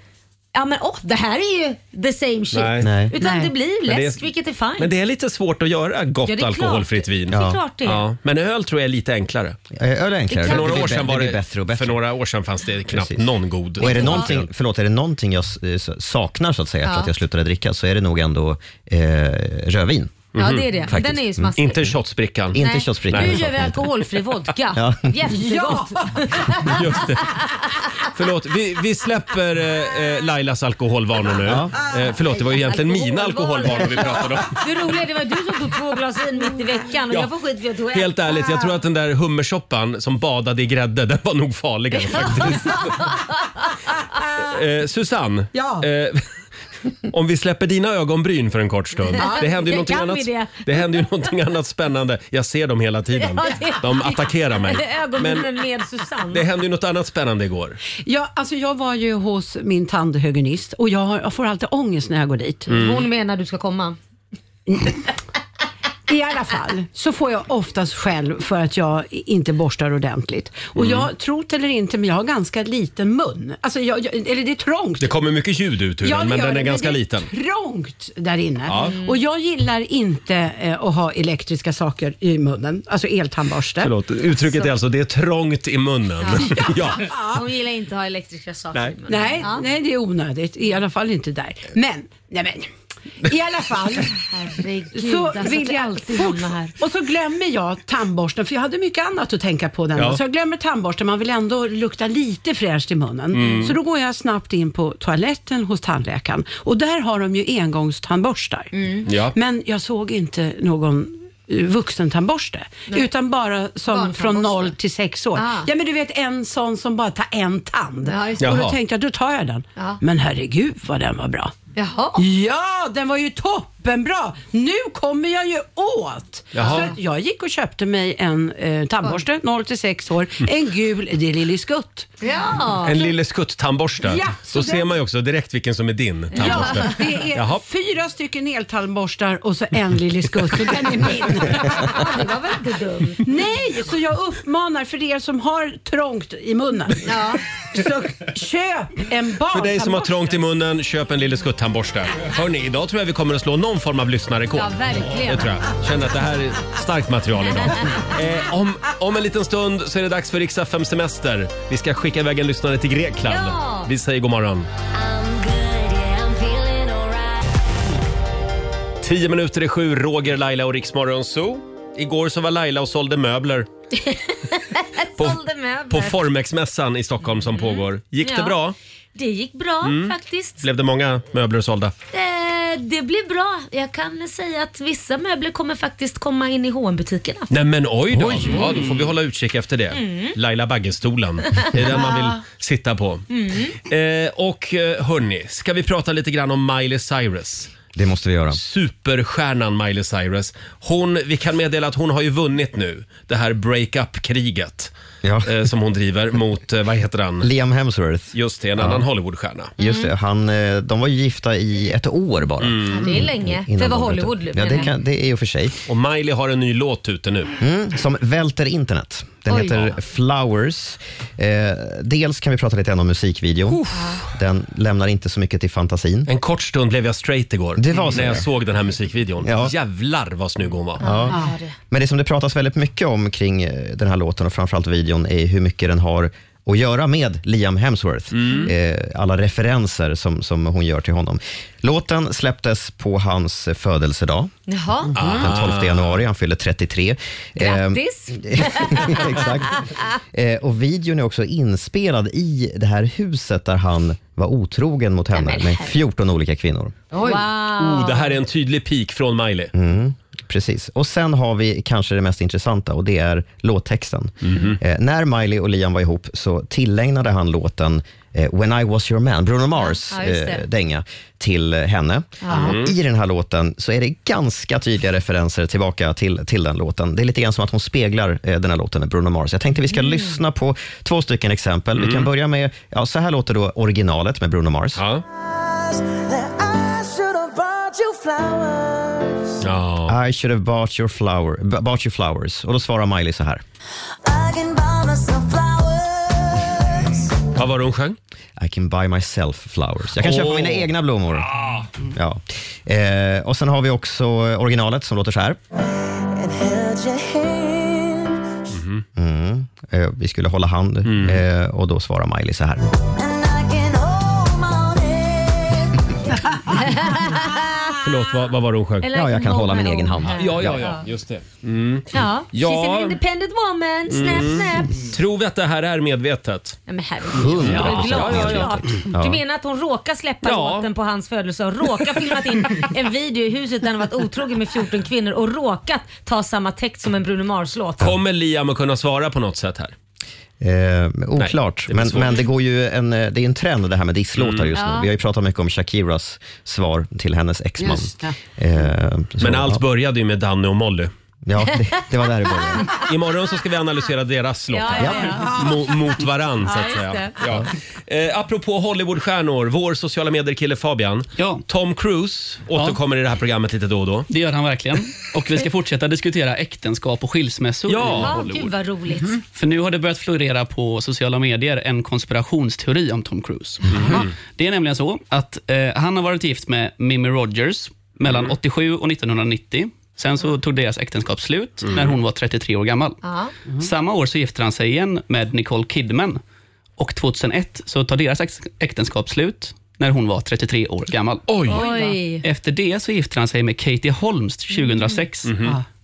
[SPEAKER 2] Ja men åh, det här är ju the same shit.
[SPEAKER 1] Nej.
[SPEAKER 5] Nej.
[SPEAKER 2] Utan
[SPEAKER 6] Nej.
[SPEAKER 2] det blir
[SPEAKER 1] Men det är-
[SPEAKER 2] läsk, vilket är fine.
[SPEAKER 1] Men det är lite svårt att göra gott
[SPEAKER 2] Ja, det är klart.
[SPEAKER 1] alkoholfritt vin.
[SPEAKER 2] Det är klart det är.
[SPEAKER 1] Ja, men öl tror jag är lite enklare.
[SPEAKER 5] Eh, Öl är enklare.
[SPEAKER 1] För
[SPEAKER 5] Det
[SPEAKER 1] några
[SPEAKER 5] blir
[SPEAKER 1] år
[SPEAKER 5] bä-
[SPEAKER 1] sedan, var
[SPEAKER 5] blir
[SPEAKER 1] det,
[SPEAKER 5] bättre och bättre.
[SPEAKER 1] För några år sedan fanns det knappt
[SPEAKER 5] Precis.
[SPEAKER 1] någon god.
[SPEAKER 5] Och är det,
[SPEAKER 2] Ja.
[SPEAKER 5] någonting, förlåt, är det någonting jag s- saknar så att säga efter att jag slutade dricka så är det nog ändå eh, rödvin.
[SPEAKER 1] Mm.
[SPEAKER 2] ja det är det.
[SPEAKER 5] faktiskt.
[SPEAKER 2] Den är ju smaskig.
[SPEAKER 1] Inte shotsbrickan.
[SPEAKER 5] Inte
[SPEAKER 2] Nej.
[SPEAKER 5] köttsprickan.
[SPEAKER 2] Nu
[SPEAKER 5] Nej.
[SPEAKER 2] gör vi alkoholfri vodka.
[SPEAKER 5] Ja.
[SPEAKER 2] Jättegott.
[SPEAKER 1] Just det. Förlåt, vi, vi släpper eh, eh, Lailas alkoholvanor nu. Eh, förlåt, det var ju egentligen mina alkoholvanor vi pratade om.
[SPEAKER 2] Det roliga det var ju du som tog två glas vin mitt i veckan och
[SPEAKER 1] Ja.
[SPEAKER 2] jag får skit för jag tog ett.
[SPEAKER 1] Helt ärligt, jag tror att den där hummersoppan som badade i grädde, den var nog farligare faktiskt. eh, Susanne,
[SPEAKER 6] Ja.
[SPEAKER 1] eh, om vi släpper dina ögonbryn för en kort stund. Det händer ju
[SPEAKER 2] det
[SPEAKER 1] någonting
[SPEAKER 2] kan vi
[SPEAKER 1] annat,
[SPEAKER 2] det.
[SPEAKER 1] det händer ju någonting annat spännande. Jag ser dem hela tiden.
[SPEAKER 2] Ja, det-
[SPEAKER 1] De attackerar mig. Men
[SPEAKER 2] Ögonbrynen med Susanne.
[SPEAKER 1] det hände ju något annat spännande igår.
[SPEAKER 6] Ja, alltså jag var ju hos min tandhygienist och jag, har, jag får alltid ångest när jag går dit.
[SPEAKER 1] Mm.
[SPEAKER 2] Hon menar du ska komma.
[SPEAKER 6] I alla fall så får jag oftast själv för att jag inte borstar ordentligt. Och
[SPEAKER 1] Mm.
[SPEAKER 6] jag tror det eller inte, men jag har ganska liten mun. Alltså jag, jag, eller det är trångt.
[SPEAKER 1] Det kommer mycket ljud ut ur
[SPEAKER 6] Ja,
[SPEAKER 1] den,
[SPEAKER 6] det
[SPEAKER 1] men
[SPEAKER 6] gör
[SPEAKER 1] den
[SPEAKER 6] det,
[SPEAKER 1] är ganska
[SPEAKER 6] det
[SPEAKER 1] liten.
[SPEAKER 6] trångt där inne. Mm.
[SPEAKER 1] Ja.
[SPEAKER 6] Och jag gillar inte eh, att ha elektriska saker i munnen, alltså eltandborste.
[SPEAKER 1] Förlåt, uttrycket är alltså det är trångt i munnen. Ja.
[SPEAKER 2] Hon gillar inte att ha elektriska saker
[SPEAKER 1] Nej.
[SPEAKER 2] i munnen.
[SPEAKER 6] Nej,
[SPEAKER 2] Ja.
[SPEAKER 6] nej, det är onödigt. I alla fall inte där. Men, nej men. I alla fall
[SPEAKER 2] Herregud,
[SPEAKER 6] så
[SPEAKER 2] alltså,
[SPEAKER 6] vill jag
[SPEAKER 2] alltid
[SPEAKER 6] fort,
[SPEAKER 2] hamna här.
[SPEAKER 6] Och så glömmer jag tandborsten, för jag hade mycket annat att tänka på den
[SPEAKER 1] Ja.
[SPEAKER 6] Så jag glömmer tandborsten, man vill ändå lukta lite fräscht i munnen.
[SPEAKER 1] Mm.
[SPEAKER 6] Så då går jag snabbt in på toaletten hos tandläkaren och där har de ju engångstandborstar.
[SPEAKER 2] Mm.
[SPEAKER 1] Ja.
[SPEAKER 6] Men jag såg inte någon eh, vuxentandborste, utan bara som från
[SPEAKER 2] Barntandborste.
[SPEAKER 6] 0 till 6 år.
[SPEAKER 2] Ah.
[SPEAKER 6] Ja men du vet en sån som bara tar en tand.
[SPEAKER 2] Ja, just
[SPEAKER 1] det.
[SPEAKER 6] och då
[SPEAKER 1] Jaha.
[SPEAKER 6] tänkte jag, då tar jag den.
[SPEAKER 2] Ja.
[SPEAKER 6] Men herregud vad den var bra.
[SPEAKER 2] Jaha.
[SPEAKER 6] Ja, den var ju toppenbra. Nu kommer jag ju åt.
[SPEAKER 1] Jaha.
[SPEAKER 6] Så att jag gick och köpte mig en eh, tandborste, 0 till 6 år, en gul, det är Lilly Skutt.
[SPEAKER 2] Ja.
[SPEAKER 1] En lille skutt-tandborste.
[SPEAKER 6] Ja, så
[SPEAKER 1] Då
[SPEAKER 6] den-
[SPEAKER 1] ser man ju också direkt vilken som är din
[SPEAKER 6] Ja,
[SPEAKER 1] tandborste.
[SPEAKER 6] det är
[SPEAKER 1] Jaha.
[SPEAKER 6] fyra stycken eltandborstar och så en Lilly Skutt och den är min.
[SPEAKER 2] Ja, det var väl inte dumt.
[SPEAKER 6] Nej, så jag uppmanar för er som har trångt i munnen. Så köp en barn.
[SPEAKER 1] För dig som har trångt i munnen, köp en lille skutt-tandborste. Hörni, idag tror jag vi kommer att slå någon form av lyssnarrekord.
[SPEAKER 2] Ja, verkligen.
[SPEAKER 1] Det tror jag. Känner att det här är starkt material idag. Eh, om, om en liten stund så är det dags för Riksdag 5 Semester. Vi ska skicka iväg en lyssnare till Grekland.
[SPEAKER 2] Ja.
[SPEAKER 1] Vi säger god morgon.
[SPEAKER 7] I'm good, yeah, I'm feeling alright.
[SPEAKER 1] Tio minuter i sju, Roger, Laila och Riksmorgon Zoo. Igår så var Laila och sålde möbler på,
[SPEAKER 2] Sålde möbler.
[SPEAKER 1] på Formexmässan i Stockholm som pågår. Gick det
[SPEAKER 2] Ja.
[SPEAKER 1] bra? Mm.
[SPEAKER 2] Det gick bra faktiskt.
[SPEAKER 1] Blev det många möbler sålda?
[SPEAKER 2] Eh, det blir bra. Jag kan säga att vissa möbler kommer faktiskt komma in i hm butikerna
[SPEAKER 1] Nej men oj då! Ja, då får vi hålla utkik efter det. Laila Baggestolen, det är den man vill sitta på. Eh, och eh, hörni, ska vi prata lite grann om Miley Cyrus?
[SPEAKER 5] Det måste vi göra.
[SPEAKER 1] Superstjärnan Miley Cyrus. Hon, vi kan meddela att hon har ju vunnit nu det här breakup-kriget
[SPEAKER 5] Ja.
[SPEAKER 1] eh, som hon driver mot, eh, vad heter han?
[SPEAKER 5] Liam Hemsworth.
[SPEAKER 1] Just det, en annan Hollywoodstjärna.
[SPEAKER 5] Just det, han, eh, de var ju gifta i ett år bara.
[SPEAKER 1] Mm.
[SPEAKER 2] Ja, det är länge.
[SPEAKER 5] Mm. Innan
[SPEAKER 2] För vad
[SPEAKER 5] de bröt
[SPEAKER 2] Hollywood
[SPEAKER 5] upp.
[SPEAKER 2] nu
[SPEAKER 5] Ja, det,
[SPEAKER 2] menar
[SPEAKER 5] kan, det är ju för sig.
[SPEAKER 1] Och Miley har en ny låt ute nu.
[SPEAKER 5] Mm, som välter internet. Den
[SPEAKER 2] Oj.
[SPEAKER 5] heter Flowers. Eh, dels kan vi prata lite grann om musikvideon. Den lämnar inte så mycket till fantasin.
[SPEAKER 1] En kort stund blev jag straight igår
[SPEAKER 5] Det var så
[SPEAKER 1] när jag
[SPEAKER 5] det.
[SPEAKER 1] såg den här musikvideon.
[SPEAKER 5] Ja.
[SPEAKER 1] Jävlar vad snygg hon var.
[SPEAKER 2] jag. Ja. det-
[SPEAKER 5] Men det som det pratas väldigt mycket om kring eh, den här låten och framförallt videon är hur mycket den har att göra med Liam Hemsworth.
[SPEAKER 2] Mm.
[SPEAKER 5] Eh, alla referenser som, som hon gör till honom. Låten släpptes på hans eh, födelsedag.
[SPEAKER 2] Jaha.
[SPEAKER 5] Den 12 januari, han fyller 33. Eh,
[SPEAKER 2] Ah. Grattis!
[SPEAKER 5] Exakt. Eh, och videon är också inspelad i det här huset där han var otrogen mot henne
[SPEAKER 2] men
[SPEAKER 5] med
[SPEAKER 2] herre-
[SPEAKER 5] 14 olika kvinnor.
[SPEAKER 2] Wow.
[SPEAKER 1] Oh, det här är en tydlig pik från Miley.
[SPEAKER 5] Mm. Precis. Och sen har vi kanske det mest intressanta och det är låttexten. Eh, när Miley och Liam var ihop så tillägnade han låten eh, When I was your man, Bruno Mars
[SPEAKER 2] Ja, just det. Mhm.
[SPEAKER 5] eh, dänga till eh, henne. Och I den här låten så är det ganska tydliga referenser tillbaka till, till den låten. Det är lite grann som att hon speglar eh, den här låten med Bruno Mars. Jag tänkte vi ska
[SPEAKER 2] Mm.
[SPEAKER 5] lyssna på två stycken exempel. Vi kan börja med, ja, så här låter då originalet med Bruno Mars.
[SPEAKER 1] Ja.
[SPEAKER 8] that I should have bought you flowers.
[SPEAKER 1] Ja.
[SPEAKER 5] I should have bought your, flower, b- bought you flowers. Och då svarar Miley så här.
[SPEAKER 8] I can buy myself flowers.
[SPEAKER 1] Vad var det hon sjöng?
[SPEAKER 5] I can buy myself flowers. Jag kan
[SPEAKER 1] Åh. Ah.
[SPEAKER 5] köpa mina egna blommor. Mm. Ja. Eh, och sen har vi också originalet som låter så här.
[SPEAKER 8] And held your hand.
[SPEAKER 5] Eh, vi skulle hålla hand
[SPEAKER 1] Mm.
[SPEAKER 5] eh, och då svarar Miley så här.
[SPEAKER 8] And I can hold my head.
[SPEAKER 1] Förlåt, vad, vad var det hon sjöng?
[SPEAKER 2] Eller
[SPEAKER 5] Ja, jag kan hålla min
[SPEAKER 2] my
[SPEAKER 5] egen
[SPEAKER 2] own
[SPEAKER 5] hand.
[SPEAKER 2] hand.
[SPEAKER 1] Ja, ja, ja, just det. Mm.
[SPEAKER 2] Ja. She's
[SPEAKER 1] Ja.
[SPEAKER 2] an independent woman. Snap, snap.
[SPEAKER 1] Tror vi att det här är medvetet?
[SPEAKER 2] Nej, men herregud.
[SPEAKER 5] Hundra
[SPEAKER 2] Ja,
[SPEAKER 5] procent
[SPEAKER 2] ja, ja, ja.
[SPEAKER 5] Ja.
[SPEAKER 2] Du menar att hon råkar släppa
[SPEAKER 1] Ja.
[SPEAKER 2] låten på hans födelsedag, råkar filmat in en video i huset där han varit otrogen med 14 kvinnor och råkat ta samma text som en Bruno Mars-låt.
[SPEAKER 1] Kommer Liam att kunna svara på något sätt här?
[SPEAKER 5] Eh, oklart,
[SPEAKER 1] det blir
[SPEAKER 5] men,
[SPEAKER 1] svårt. Mm.
[SPEAKER 5] men det, går ju en, eh, det är en trend det här med disslåtar just nu.
[SPEAKER 2] Ja.
[SPEAKER 5] Vi har ju pratat mycket om Shakiras svar till hennes exman.
[SPEAKER 6] Just
[SPEAKER 5] Eh, så,
[SPEAKER 1] Men allt
[SPEAKER 5] ja,
[SPEAKER 1] började ju med Danny och Molly.
[SPEAKER 5] ja, det, det var där det började.
[SPEAKER 1] Imorgon så ska vi analysera deras låtar.
[SPEAKER 2] Ja, ja, ja.
[SPEAKER 1] Mo- Mot varann så
[SPEAKER 2] Ja,
[SPEAKER 1] att
[SPEAKER 2] just
[SPEAKER 1] säga.
[SPEAKER 2] det.
[SPEAKER 1] Ja. Eh, apropå Hollywoodstjärnor, vår sociala medier-kille Fabian.
[SPEAKER 10] Ja.
[SPEAKER 1] Tom Cruise återkommer i det här programmet lite då och då.
[SPEAKER 10] Det gör han verkligen. Och vi ska fortsätta diskutera äktenskap och skilsmässor
[SPEAKER 1] Ja.
[SPEAKER 10] i
[SPEAKER 2] Ja,
[SPEAKER 10] Hollywood. Mm.
[SPEAKER 2] gud vad roligt.
[SPEAKER 10] För nu har det börjat florera på sociala medier en konspirationsteori om Tom Cruise. Det är nämligen så att eh, han har varit gift med Mimi Rogers mellan 87 och 1990. Sen så tog deras äktenskap slut när hon var 33 år gammal. Mhm.
[SPEAKER 2] Ja.
[SPEAKER 10] Samma år så gifter han sig igen med Nicole Kidman. Och 2001 så tar deras äkt- äktenskap slut när hon var 33 år gammal.
[SPEAKER 2] Oj.
[SPEAKER 10] Efter det så gifter han sig med Katie Holmes 2006.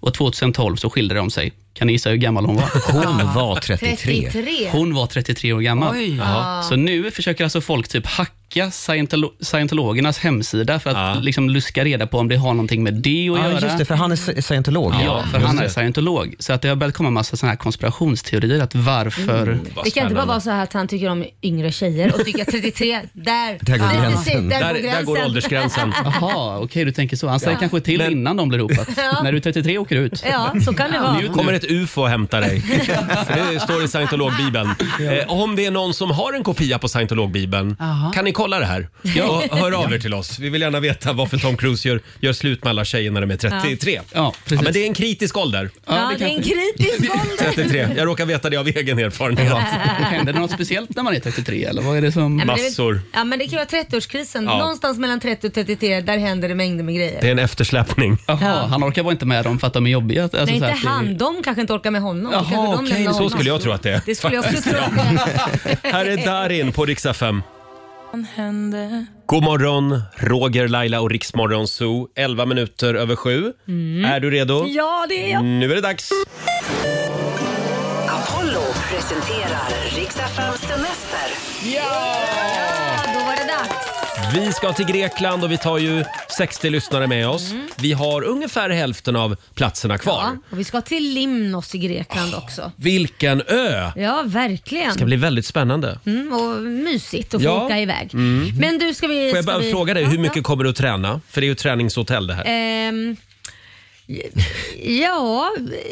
[SPEAKER 10] Och 2012 så skilde de sig. Kan ni gissa hur gammal hon var?
[SPEAKER 5] Hon var 33.
[SPEAKER 2] 33.
[SPEAKER 10] Hon var 33 år gammal. Ah.
[SPEAKER 6] Oj.
[SPEAKER 10] Så nu försöker alltså folk typ hacka scientolo- scientologernas hemsida för att liksom luska reda på om det har någonting med det att
[SPEAKER 5] Ja,
[SPEAKER 10] göra.
[SPEAKER 5] Ah, just det, för han är sci- scientolog.
[SPEAKER 10] Ja, för han är scientolog. Så att det har börjat komma massa såna här konspirationsteorier att varför...
[SPEAKER 1] Vad
[SPEAKER 2] Det kan inte bara
[SPEAKER 1] spännande.
[SPEAKER 2] vara så här att han tycker om yngre tjejer och tycker att 33, där,
[SPEAKER 5] Där går gränsen.
[SPEAKER 2] Där,
[SPEAKER 1] Där, där går åldersgränsen.
[SPEAKER 10] Jaha, okej du tänker så. Han säger kanske till innan de blir ihop. att
[SPEAKER 2] Ja.
[SPEAKER 10] När du är 33 åker du ut.
[SPEAKER 2] Ja, så kan det vara.
[SPEAKER 1] kommer ett ufo och hämtar dig. För det står i scientologbibeln. Eh, om det är någon som har en kopia på scientologbibeln, kan ni kolla det här? Och hör av er till oss. Vi vill gärna veta varför Tom Cruise gör, gör slut med alla tjejer när de är 33.
[SPEAKER 10] Ja, precis.
[SPEAKER 1] men det är en kritisk ålder.
[SPEAKER 2] Ja, det är en kritisk ålder.
[SPEAKER 1] 33. Jag råkar veta det av egen erfarenhet.
[SPEAKER 10] Händer det något speciellt när man är 33 eller vad är det som...
[SPEAKER 2] Nej, men det är väl-
[SPEAKER 1] Massor.
[SPEAKER 2] Ja, men det kan vara 30-årskrisen.
[SPEAKER 1] Ja.
[SPEAKER 2] Någonstans mellan 30 och 33, där händer det mängder med grejer.
[SPEAKER 1] Det är en eftersläpning.
[SPEAKER 10] Jaha, han orkar bara inte med dem för att de är jobbiga. Alltså,
[SPEAKER 2] Nej,
[SPEAKER 10] så
[SPEAKER 2] inte
[SPEAKER 10] här att det-
[SPEAKER 2] han. De kanske inte orkar med honom.
[SPEAKER 10] Jaha,
[SPEAKER 2] Då kanske de
[SPEAKER 10] okej,
[SPEAKER 2] lämnar
[SPEAKER 10] så
[SPEAKER 2] honom.
[SPEAKER 1] Så skulle jag tro att det är.
[SPEAKER 2] Det skulle jag också tro.
[SPEAKER 1] Här är Darin på riksdag 5. God morgon, Roger, Laila och Riksmorgon Zoo. 11 minuter över sju. Är du redo?
[SPEAKER 2] Mm. Ja, det är jag.
[SPEAKER 1] Nu är det dags.
[SPEAKER 9] Apollo presenterar Riks-FMs semester.
[SPEAKER 1] Ja!
[SPEAKER 2] Då var det dags.
[SPEAKER 1] Vi ska till Grekland och vi tar ju 60 lyssnare med oss. Vi har ungefär hälften av platserna kvar.
[SPEAKER 2] Mm. Ja, och vi ska till Limnos i Grekland också.
[SPEAKER 1] Vilken ö!
[SPEAKER 2] Ja, verkligen.
[SPEAKER 1] Det ska bli väldigt spännande.
[SPEAKER 2] Mm, och mysigt att få
[SPEAKER 1] Ja. Mm.
[SPEAKER 2] åka iväg. Men du, ska vi...
[SPEAKER 1] Får jag
[SPEAKER 2] ska
[SPEAKER 1] bara
[SPEAKER 2] vi...
[SPEAKER 1] fråga dig,
[SPEAKER 2] Ja,
[SPEAKER 1] hur
[SPEAKER 2] ja.
[SPEAKER 1] mycket kommer du att träna? För det är ju ett träningshotell det här.
[SPEAKER 2] Ehm, ja,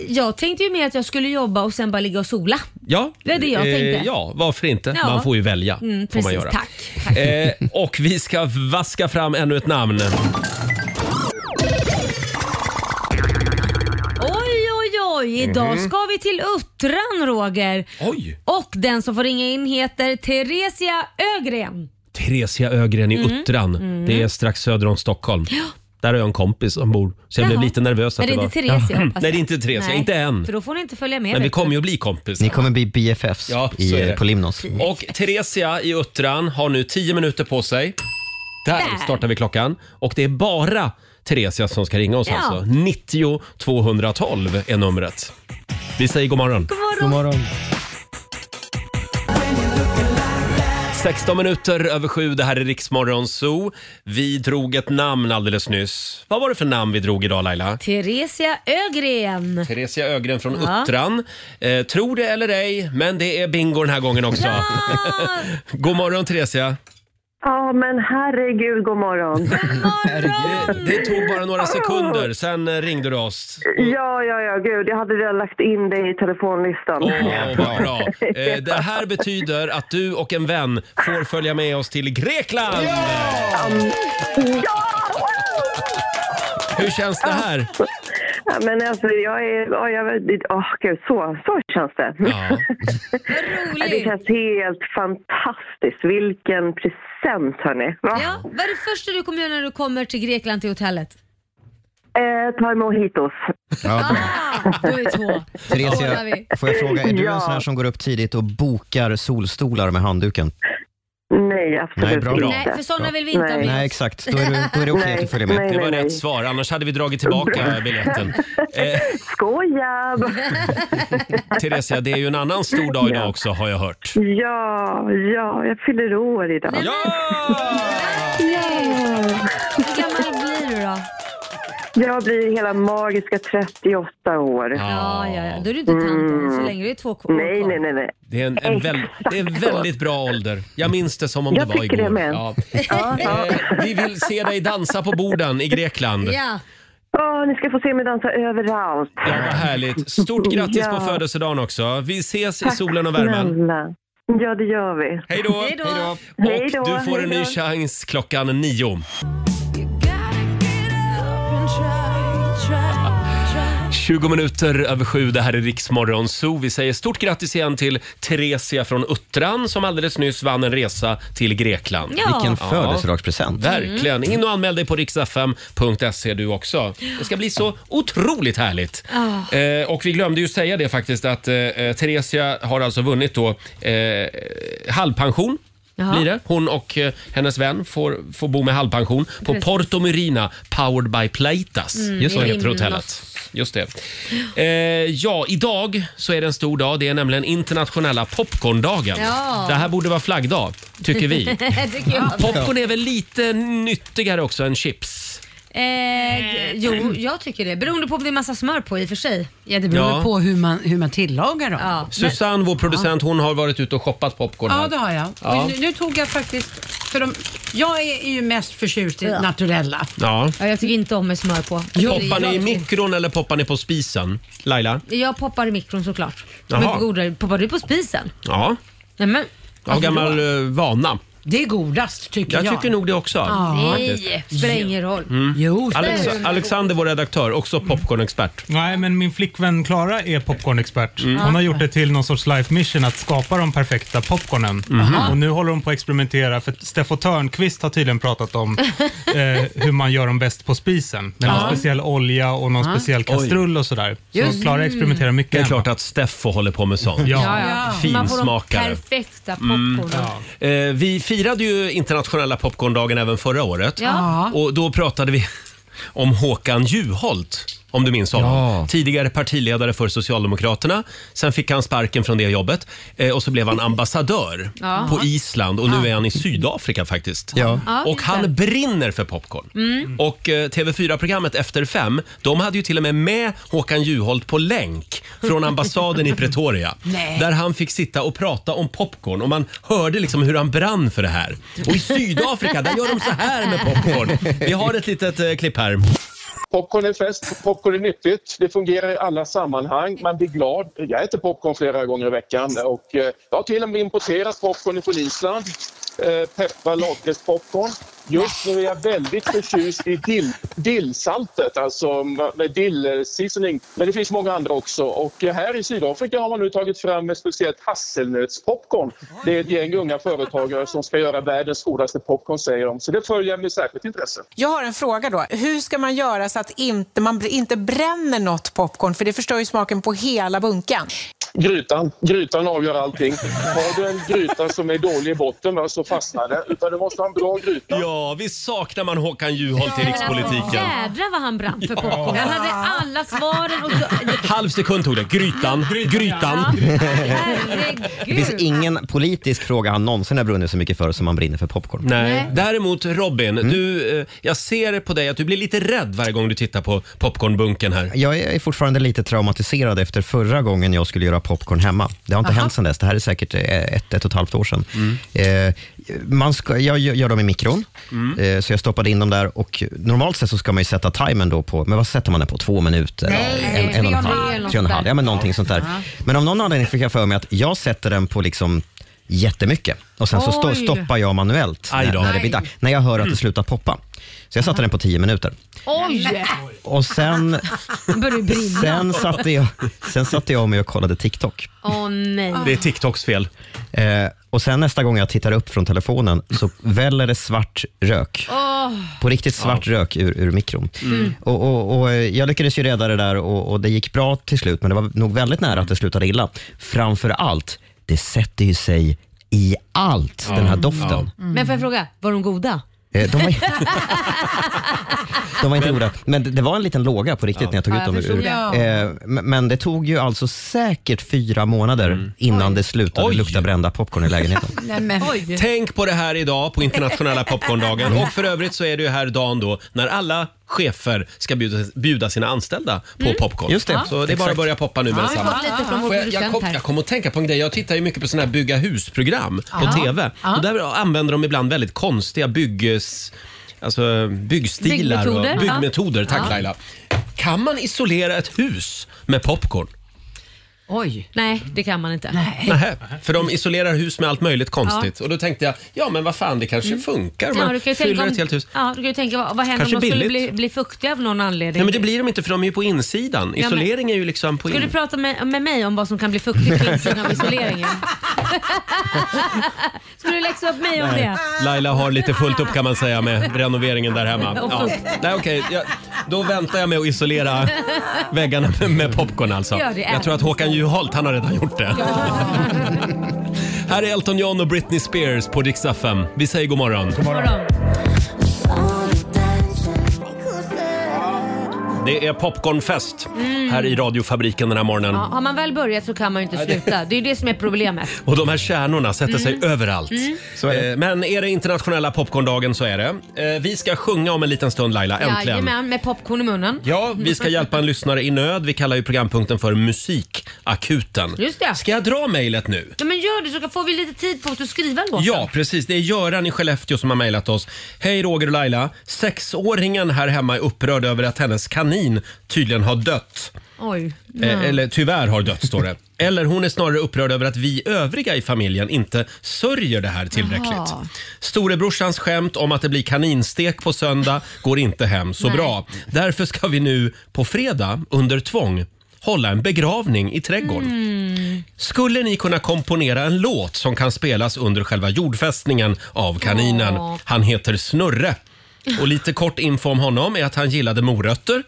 [SPEAKER 2] jag tänkte ju mer att jag skulle jobba och sen bara ligga och sola.
[SPEAKER 1] Ja, Eh,
[SPEAKER 2] det är det jag tänkte.
[SPEAKER 1] ja varför inte?
[SPEAKER 2] Ja.
[SPEAKER 1] Man får ju välja.
[SPEAKER 2] Mm,
[SPEAKER 1] får man
[SPEAKER 2] precis,
[SPEAKER 1] göra.
[SPEAKER 2] tack. tack.
[SPEAKER 1] Eh, och vi ska vaska fram ännu ett namn.
[SPEAKER 2] Oj, oj, oj. Idag
[SPEAKER 1] Mhm.
[SPEAKER 2] ska vi till Uttran, Roger.
[SPEAKER 1] Oj!
[SPEAKER 2] Och den som får ringa in heter Theresia Ögren.
[SPEAKER 1] Theresia Ögren i
[SPEAKER 2] Mm.
[SPEAKER 1] Uttran. Det är strax söder om Stockholm. Där har jag en kompis som bor, så jag blev
[SPEAKER 2] Jaha.
[SPEAKER 1] lite nervös.
[SPEAKER 2] Är
[SPEAKER 1] Att
[SPEAKER 2] det
[SPEAKER 1] var...
[SPEAKER 2] inte Theresia? hoppas
[SPEAKER 1] Nej,
[SPEAKER 2] jag.
[SPEAKER 1] det är inte Theresia. Inte än.
[SPEAKER 2] För då får ni inte följa med.
[SPEAKER 1] Men vi
[SPEAKER 2] vet du.
[SPEAKER 1] kommer ju att bli kompisar.
[SPEAKER 5] Ni kommer bli BFFs
[SPEAKER 1] Ja, så är
[SPEAKER 5] i, eh,
[SPEAKER 1] det.
[SPEAKER 5] på Limnos.
[SPEAKER 2] Mm.
[SPEAKER 1] Och Theresia i Uttran har nu 10 minuter på sig. Där,
[SPEAKER 2] Där.
[SPEAKER 1] startar vi klockan. Och det är bara Theresia som ska ringa oss
[SPEAKER 2] Ja.
[SPEAKER 1] alltså. 90 212 är numret. Vi säger god morgon.
[SPEAKER 2] God morgon.
[SPEAKER 1] 16 minuter över sju, det här är Riksmorgon Zoo. Vi drog ett namn alldeles nyss. Vad var det för namn vi drog idag Laila?
[SPEAKER 2] Theresia Ögren.
[SPEAKER 1] Theresia Ögren från
[SPEAKER 2] Ja.
[SPEAKER 1] Uttran. Eh, tror det eller ej, men det är bingo den här gången också.
[SPEAKER 2] Ah,
[SPEAKER 1] God morgon Theresia.
[SPEAKER 4] Ja, men herregud, god morgon.
[SPEAKER 1] Det, det tog bara
[SPEAKER 4] Ah.
[SPEAKER 1] några sekunder, sen eh, ringde du oss.
[SPEAKER 4] Ja, ja, ja, gud. Jag hade redan lagt in dig i telefonlistan.
[SPEAKER 1] Åh, vad bra. Eh, Det här betyder att du och en vän får följa med oss till Grekland! Hur känns det här?
[SPEAKER 4] Ja, men alltså, jag är... Ja, jag, vet- åh, gud, så, så känns det.
[SPEAKER 1] Ja.
[SPEAKER 4] Ja, Det
[SPEAKER 2] roligt.
[SPEAKER 4] känns helt fantastiskt. Vilken present, hörni. Va?
[SPEAKER 2] Ja, vad är det första du kommer göra när du kommer till Grekland till hotellet?
[SPEAKER 4] Eh, ta mojitos.
[SPEAKER 5] Ja,
[SPEAKER 2] Ah, då är vi två. Då ordnar
[SPEAKER 5] Theresia,
[SPEAKER 2] vi.
[SPEAKER 5] får jag fråga, är du en
[SPEAKER 4] Ja.
[SPEAKER 5] sån här som går upp tidigt och bokar solstolar med handduken?
[SPEAKER 4] Nej, absolut
[SPEAKER 5] Nej, bra.
[SPEAKER 4] inte.
[SPEAKER 2] Nej, för sådana vill vi inte ha
[SPEAKER 4] Nej.
[SPEAKER 5] Nej,
[SPEAKER 2] med.
[SPEAKER 5] exakt. Då är det, då är det okej att du följer med.
[SPEAKER 4] Nej,
[SPEAKER 1] Det var
[SPEAKER 4] nej, nej.
[SPEAKER 1] rätt svar, annars hade vi dragit tillbaka biljetten. Eh,
[SPEAKER 4] Skoja!
[SPEAKER 1] Theresia, det är ju en annan stor dag idag också har jag hört.
[SPEAKER 4] Ja, ja, jag fyller år idag.
[SPEAKER 2] Nej,
[SPEAKER 1] Ja!
[SPEAKER 2] Hur gammal blir du då?
[SPEAKER 4] Jag blir hela magiska 38 år.
[SPEAKER 2] Ja, ja, ja. Då är du inte tant än så länge. Det är två kvar.
[SPEAKER 4] Nej, nej, nej. nej.
[SPEAKER 1] Det är en, en, väl, det är en väldigt bra ålder. Jag minns det som om
[SPEAKER 4] Jag
[SPEAKER 1] det var
[SPEAKER 4] tycker det
[SPEAKER 1] igår.
[SPEAKER 4] med.
[SPEAKER 1] Ja. Eh, vi vill se dig dansa på borden i Grekland.
[SPEAKER 2] Ja,
[SPEAKER 4] Åh, ni ska få se mig dansa överallt.
[SPEAKER 1] Ja, vad härligt. Stort grattis
[SPEAKER 4] Ja.
[SPEAKER 1] på födelsedagen också. Vi ses i solen och värmen.
[SPEAKER 4] Snälla. Ja, det gör vi.
[SPEAKER 1] Hej då!
[SPEAKER 2] Hej då. Hej då.
[SPEAKER 1] Och
[SPEAKER 4] Hej då,
[SPEAKER 1] du får en
[SPEAKER 4] hej
[SPEAKER 1] ny
[SPEAKER 4] då.
[SPEAKER 1] chans klockan nio. 20 minuter över sju, det här är Riksmorgon Zoo. Vi säger stort grattis igen till Theresia från Uttran som alldeles nyss vann en resa till Grekland.
[SPEAKER 2] ja.
[SPEAKER 5] Vilken födelsedagspresent.
[SPEAKER 1] Mm. Verkligen. In och anmäl dig på riksfm.se du också. Det ska bli så otroligt härligt.
[SPEAKER 2] Ah.
[SPEAKER 1] Eh, och vi glömde ju säga det faktiskt att eh, eh, Theresia har alltså vunnit då eh, halvpension.
[SPEAKER 2] Jaha.
[SPEAKER 1] Blir det. Hon och eh, hennes vän får, får bo med halvpension på Porto Murina Powered by Playtas. Just så
[SPEAKER 2] Mm, i
[SPEAKER 1] heter
[SPEAKER 2] Rimnos.
[SPEAKER 1] hotellet. Just det. Eh, ja, idag så är det en stor dag. Det är nämligen internationella popcorndagen.
[SPEAKER 2] Ja.
[SPEAKER 1] Det här borde vara flaggdag, tycker vi.
[SPEAKER 2] Det tycker jag.
[SPEAKER 1] Popcorn är väl lite nyttigare också än chips?
[SPEAKER 2] Eh, jo, jag tycker det. Beroende på om det är massa smör på i och för sig.
[SPEAKER 6] Ja, det beror
[SPEAKER 1] Ja.
[SPEAKER 6] på hur man, hur man tillagar dem.
[SPEAKER 2] Ja.
[SPEAKER 1] Susanne, vår producent, hon har varit ute och shoppat popcorn
[SPEAKER 6] Ja,
[SPEAKER 1] här.
[SPEAKER 6] det har jag.
[SPEAKER 1] Ja.
[SPEAKER 6] Och nu, nu tog jag faktiskt, för de, jag är ju mest förtjust i naturella.
[SPEAKER 1] Ja.
[SPEAKER 2] Ja, jag tycker inte om med smör på.
[SPEAKER 1] Poppar ni i mikron eller poppar ni på spisen? Laila?
[SPEAKER 2] Jag poppar i mikron såklart.
[SPEAKER 1] Jaha.
[SPEAKER 2] Men på godare. Poppar du på spisen?
[SPEAKER 1] Ja,
[SPEAKER 2] Nej men.
[SPEAKER 1] av gammal eh, vana.
[SPEAKER 6] Det är godast tycker jag.
[SPEAKER 1] Jag tycker nog det också. faktiskt.
[SPEAKER 2] Nej, spelar ingen roll.
[SPEAKER 1] Mm.
[SPEAKER 6] Jo,
[SPEAKER 1] Alex Alexander, vår redaktör, också popcornexpert.
[SPEAKER 9] Nej, men min flickvän Klara är popcornexpert. Hon har gjort det till någon sorts life mission att skapa de perfekta popcornen. Mm. Och nu håller hon på att experimentera för Steffo Törnqvist har tydligen pratat om eh, hur man gör dem bäst på spisen. Med någon speciell olja och någon speciell kastrull och sådär. Så Klara experimenterar mycket.
[SPEAKER 1] Det är
[SPEAKER 9] hemma.
[SPEAKER 1] klart att Steffo håller på med sånt.
[SPEAKER 9] Ja.
[SPEAKER 2] Man får de
[SPEAKER 1] Finsmakare. Mm.
[SPEAKER 2] perfekta popcornen.
[SPEAKER 1] Eh, vi firade ju internationella popcorndagen även förra året.
[SPEAKER 2] Ja.
[SPEAKER 1] Och då pratade vi om Håkan Juholt. om du minns honom.
[SPEAKER 11] Ja.
[SPEAKER 1] Tidigare partiledare för Socialdemokraterna. Sen fick han sparken från det jobbet eh, och så blev han ambassadör
[SPEAKER 2] Ja.
[SPEAKER 1] på Island och nu är han i Sydafrika faktiskt.
[SPEAKER 2] Ja,
[SPEAKER 1] Och
[SPEAKER 2] just det.
[SPEAKER 1] han brinner för popcorn.
[SPEAKER 2] Mm.
[SPEAKER 1] Och eh, TV4-programmet Efter fem, de hade ju till och med med Håkan Juholt på länk från ambassaden i Pretoria.
[SPEAKER 3] Nej.
[SPEAKER 1] Där han fick sitta och prata om popcorn och man hörde liksom hur han brann för det här. Och i Sydafrika, där gör de så här med popcorn. Vi har ett litet eh, klipp här.
[SPEAKER 12] Popcorn är fest, popcorn är nyttigt, det fungerar i alla sammanhang, man blir glad. Jag äter popcorn flera gånger i veckan och eh, jag har till och med importerat popcorn från Island. Eh, Peppar lakritspopcorn. Just nu är jag väldigt förtjust i dill, dillsaltet, alltså med dillseasoning. Men det finns många andra också och eh, här i Sydafrika har man nu tagit fram ett speciellt hasselnötspopcorn. Det är ett gäng unga företagare som ska göra världens godaste popcorn säger de, så det följer jag med särskilt intresse.
[SPEAKER 13] Jag har en fråga då. Hur ska man göra så att inte, man br- inte bränner något popcorn? För det förstör ju smaken på hela bunken.
[SPEAKER 12] Grytan. Grytan avgör allting. Har du en gryta som är dålig i botten va, så fastnar det. Utan du måste ha en bra gryta.
[SPEAKER 1] Ja, vi saknar man Håkan Juholt i
[SPEAKER 2] Men alltså,
[SPEAKER 1] rikspolitiken.
[SPEAKER 2] Jädrar vad han brann för popcorn. Han hade alla svaren och
[SPEAKER 1] Halv sekund tog det. Grytan, grytan.
[SPEAKER 5] Det finns ingen politisk fråga han någonsin har brunnit så mycket för som han brinner för popcorn.
[SPEAKER 1] Nej. Däremot Robin,
[SPEAKER 5] Mm.
[SPEAKER 1] du, eh, jag ser på dig att du blir lite rädd varje gång du tittar på popcornbunken här.
[SPEAKER 5] Jag är fortfarande lite traumatiserad efter förra gången jag skulle göra popcorn hemma. Det har inte hänt sedan dess. Det här är säkert eh, ett, ett och ett halvt år sedan. Eh, man ska, jag gör gör dem i mikron, eh, så jag stoppade in dem där. Och normalt sett så ska man ju sätta timern då på, men vad sätter man den på? Två minuter?
[SPEAKER 3] Nej,
[SPEAKER 5] en, en,
[SPEAKER 3] tre
[SPEAKER 5] och en
[SPEAKER 3] och en halv eller
[SPEAKER 5] halv?
[SPEAKER 3] något
[SPEAKER 5] Tre och en halv, ja men
[SPEAKER 3] där.
[SPEAKER 5] någonting sånt där.
[SPEAKER 3] Ja.
[SPEAKER 5] Men av någon anledning fick jag för mig att jag sätter den på liksom jättemycket och sen så stå,
[SPEAKER 3] Oj.
[SPEAKER 5] stoppar jag manuellt
[SPEAKER 3] Aj
[SPEAKER 5] när,
[SPEAKER 3] då.
[SPEAKER 5] när det blir dags. När jag hör att det slutar poppa. Så jag satte den på tio minuter.
[SPEAKER 2] Oj!
[SPEAKER 5] Och sen
[SPEAKER 2] Han började brinna.
[SPEAKER 5] Sen satte, jag, sen satte jag mig och kollade TikTok.
[SPEAKER 2] Åh nej.
[SPEAKER 1] TikToks fel.
[SPEAKER 5] Eh, och sen nästa gång jag tittar upp från telefonen så väller det svart rök.
[SPEAKER 2] Åh.
[SPEAKER 5] På riktigt svart rök ur, ur mikron.
[SPEAKER 3] Mm.
[SPEAKER 5] Och, och, och eh, jag lyckades ju rädda det där och, och det gick bra till slut, men det var nog väldigt nära att det slutade illa. Framför allt, det sätter ju sig i allt, den här doften.
[SPEAKER 1] Mm.
[SPEAKER 2] Men får jag fråga, var de goda?
[SPEAKER 5] Eh, de, var, de var inte goda, men det- det var en liten låga på riktigt när jag tog
[SPEAKER 2] Ja,
[SPEAKER 5] ut
[SPEAKER 2] jag
[SPEAKER 5] dem.
[SPEAKER 2] förstod
[SPEAKER 5] Ur,
[SPEAKER 2] det.
[SPEAKER 5] eh, men- men det tog ju alltså säkert fyra månader innan det slutade lukta brända popcorn i lägenheten.
[SPEAKER 6] Nej, men.
[SPEAKER 1] Tänk på det här idag på internationella popcorndagen.
[SPEAKER 5] Mm.
[SPEAKER 1] Och för övrigt så är det ju här dagen då när alla chefer ska bjuda, bjuda sina anställda på
[SPEAKER 5] Mm.
[SPEAKER 1] popcorn.
[SPEAKER 5] Just det.
[SPEAKER 1] Så det är bara att
[SPEAKER 5] Exakt.
[SPEAKER 1] börja poppa nu med
[SPEAKER 5] Ja, vi har
[SPEAKER 1] detsamma.
[SPEAKER 5] fått lite från vår
[SPEAKER 1] Får jag, jag,
[SPEAKER 5] producent
[SPEAKER 1] kom,
[SPEAKER 5] här.
[SPEAKER 1] jag kom att tänka på en grej. Jag tittar ju mycket på såna här bygga hus-program
[SPEAKER 2] Ja.
[SPEAKER 1] på TV.
[SPEAKER 2] Ja.
[SPEAKER 1] Och där använder de ibland väldigt konstiga bygges... Alltså byggstilar
[SPEAKER 2] Byggmetoder,
[SPEAKER 1] och
[SPEAKER 2] ja.
[SPEAKER 1] byggmetoder. Tack
[SPEAKER 2] Ja.
[SPEAKER 1] Laila. Kan man isolera ett hus med popcorn?
[SPEAKER 6] Oj.
[SPEAKER 2] Nej, det kan man inte.
[SPEAKER 1] Nähä, för de isolerar hus med allt möjligt konstigt. Och då tänkte jag, ja men vad fan det kanske funkar.
[SPEAKER 2] Mm. Ja,
[SPEAKER 1] Man
[SPEAKER 2] du kan ju
[SPEAKER 1] fyller
[SPEAKER 2] tänka om,
[SPEAKER 1] ett helt hus.
[SPEAKER 2] Ja, du kan ju tänka vad, vad händer
[SPEAKER 1] Kanske
[SPEAKER 2] om de skulle
[SPEAKER 1] billigt.
[SPEAKER 2] bli, bli fuktiga av någon anledning?
[SPEAKER 1] Nej men det blir de inte för de är ju på insidan.
[SPEAKER 2] Ja, men-
[SPEAKER 1] Isolering är ju liksom på
[SPEAKER 2] Ska du
[SPEAKER 1] in...
[SPEAKER 2] prata med, med mig om vad som kan bli fuktigt på insidan av isoleringen? Ska du läxa upp mig om
[SPEAKER 1] Nej,
[SPEAKER 2] det?
[SPEAKER 1] Laila har lite fullt upp kan man säga med renoveringen där hemma.
[SPEAKER 2] Och
[SPEAKER 1] Ja.
[SPEAKER 2] fukt.
[SPEAKER 1] Nej okej, jag- då väntar jag med att isolera väggarna med- med popcorn alltså.
[SPEAKER 2] Gör det,
[SPEAKER 1] Jag tror att Håkan Juholt, han har redan gjort det. Här är Elton John och Britney Spears på Dix FM. Vi säger god morgon. God
[SPEAKER 2] morgon.
[SPEAKER 1] Det är popcornfest
[SPEAKER 2] Mm.
[SPEAKER 1] här i radiofabriken den här morgonen.
[SPEAKER 2] Ja, har man väl börjat så kan man ju inte sluta. Det är ju det som är problemet.
[SPEAKER 1] Och de här kärnorna sätter sig
[SPEAKER 2] Mm.
[SPEAKER 1] överallt.
[SPEAKER 2] Mm.
[SPEAKER 1] Eh, Men är det internationella popcorndagen så är det. Eh, Vi ska sjunga om en liten stund Laila, äntligen.
[SPEAKER 2] Jajamän, med popcorn i munnen.
[SPEAKER 1] Ja, vi ska hjälpa en lyssnare i nöd. Vi kallar ju programpunkten för Musikakuten.
[SPEAKER 2] Just det.
[SPEAKER 1] Ska jag dra mejlet nu?
[SPEAKER 2] Ja, men gör det så får vi lite tid på oss att skriva låten.
[SPEAKER 1] Ja, precis. Det är Göran i Skellefteå som har mejlat oss. Hej Roger och Laila. Sexåringen här hemma är upprörd över att hennes kanin tydligen har dött.
[SPEAKER 2] Oj.
[SPEAKER 1] Eh, eller tyvärr har dött, står det. Eller hon är snarare upprörd över att vi övriga i familjen inte sörjer det här tillräckligt.
[SPEAKER 3] Jaha.
[SPEAKER 1] Storebrorsans skämt om att det blir kaninstek på söndag går inte hem så
[SPEAKER 3] Nej.
[SPEAKER 1] bra. Därför ska vi nu på fredag, under tvång, hålla en begravning i trädgården. Skulle ni kunna komponera en låt som kan spelas under själva jordfästningen av kaninen?
[SPEAKER 3] Åh.
[SPEAKER 1] Han heter Snurre. Och lite kort info om honom är att han gillade morötter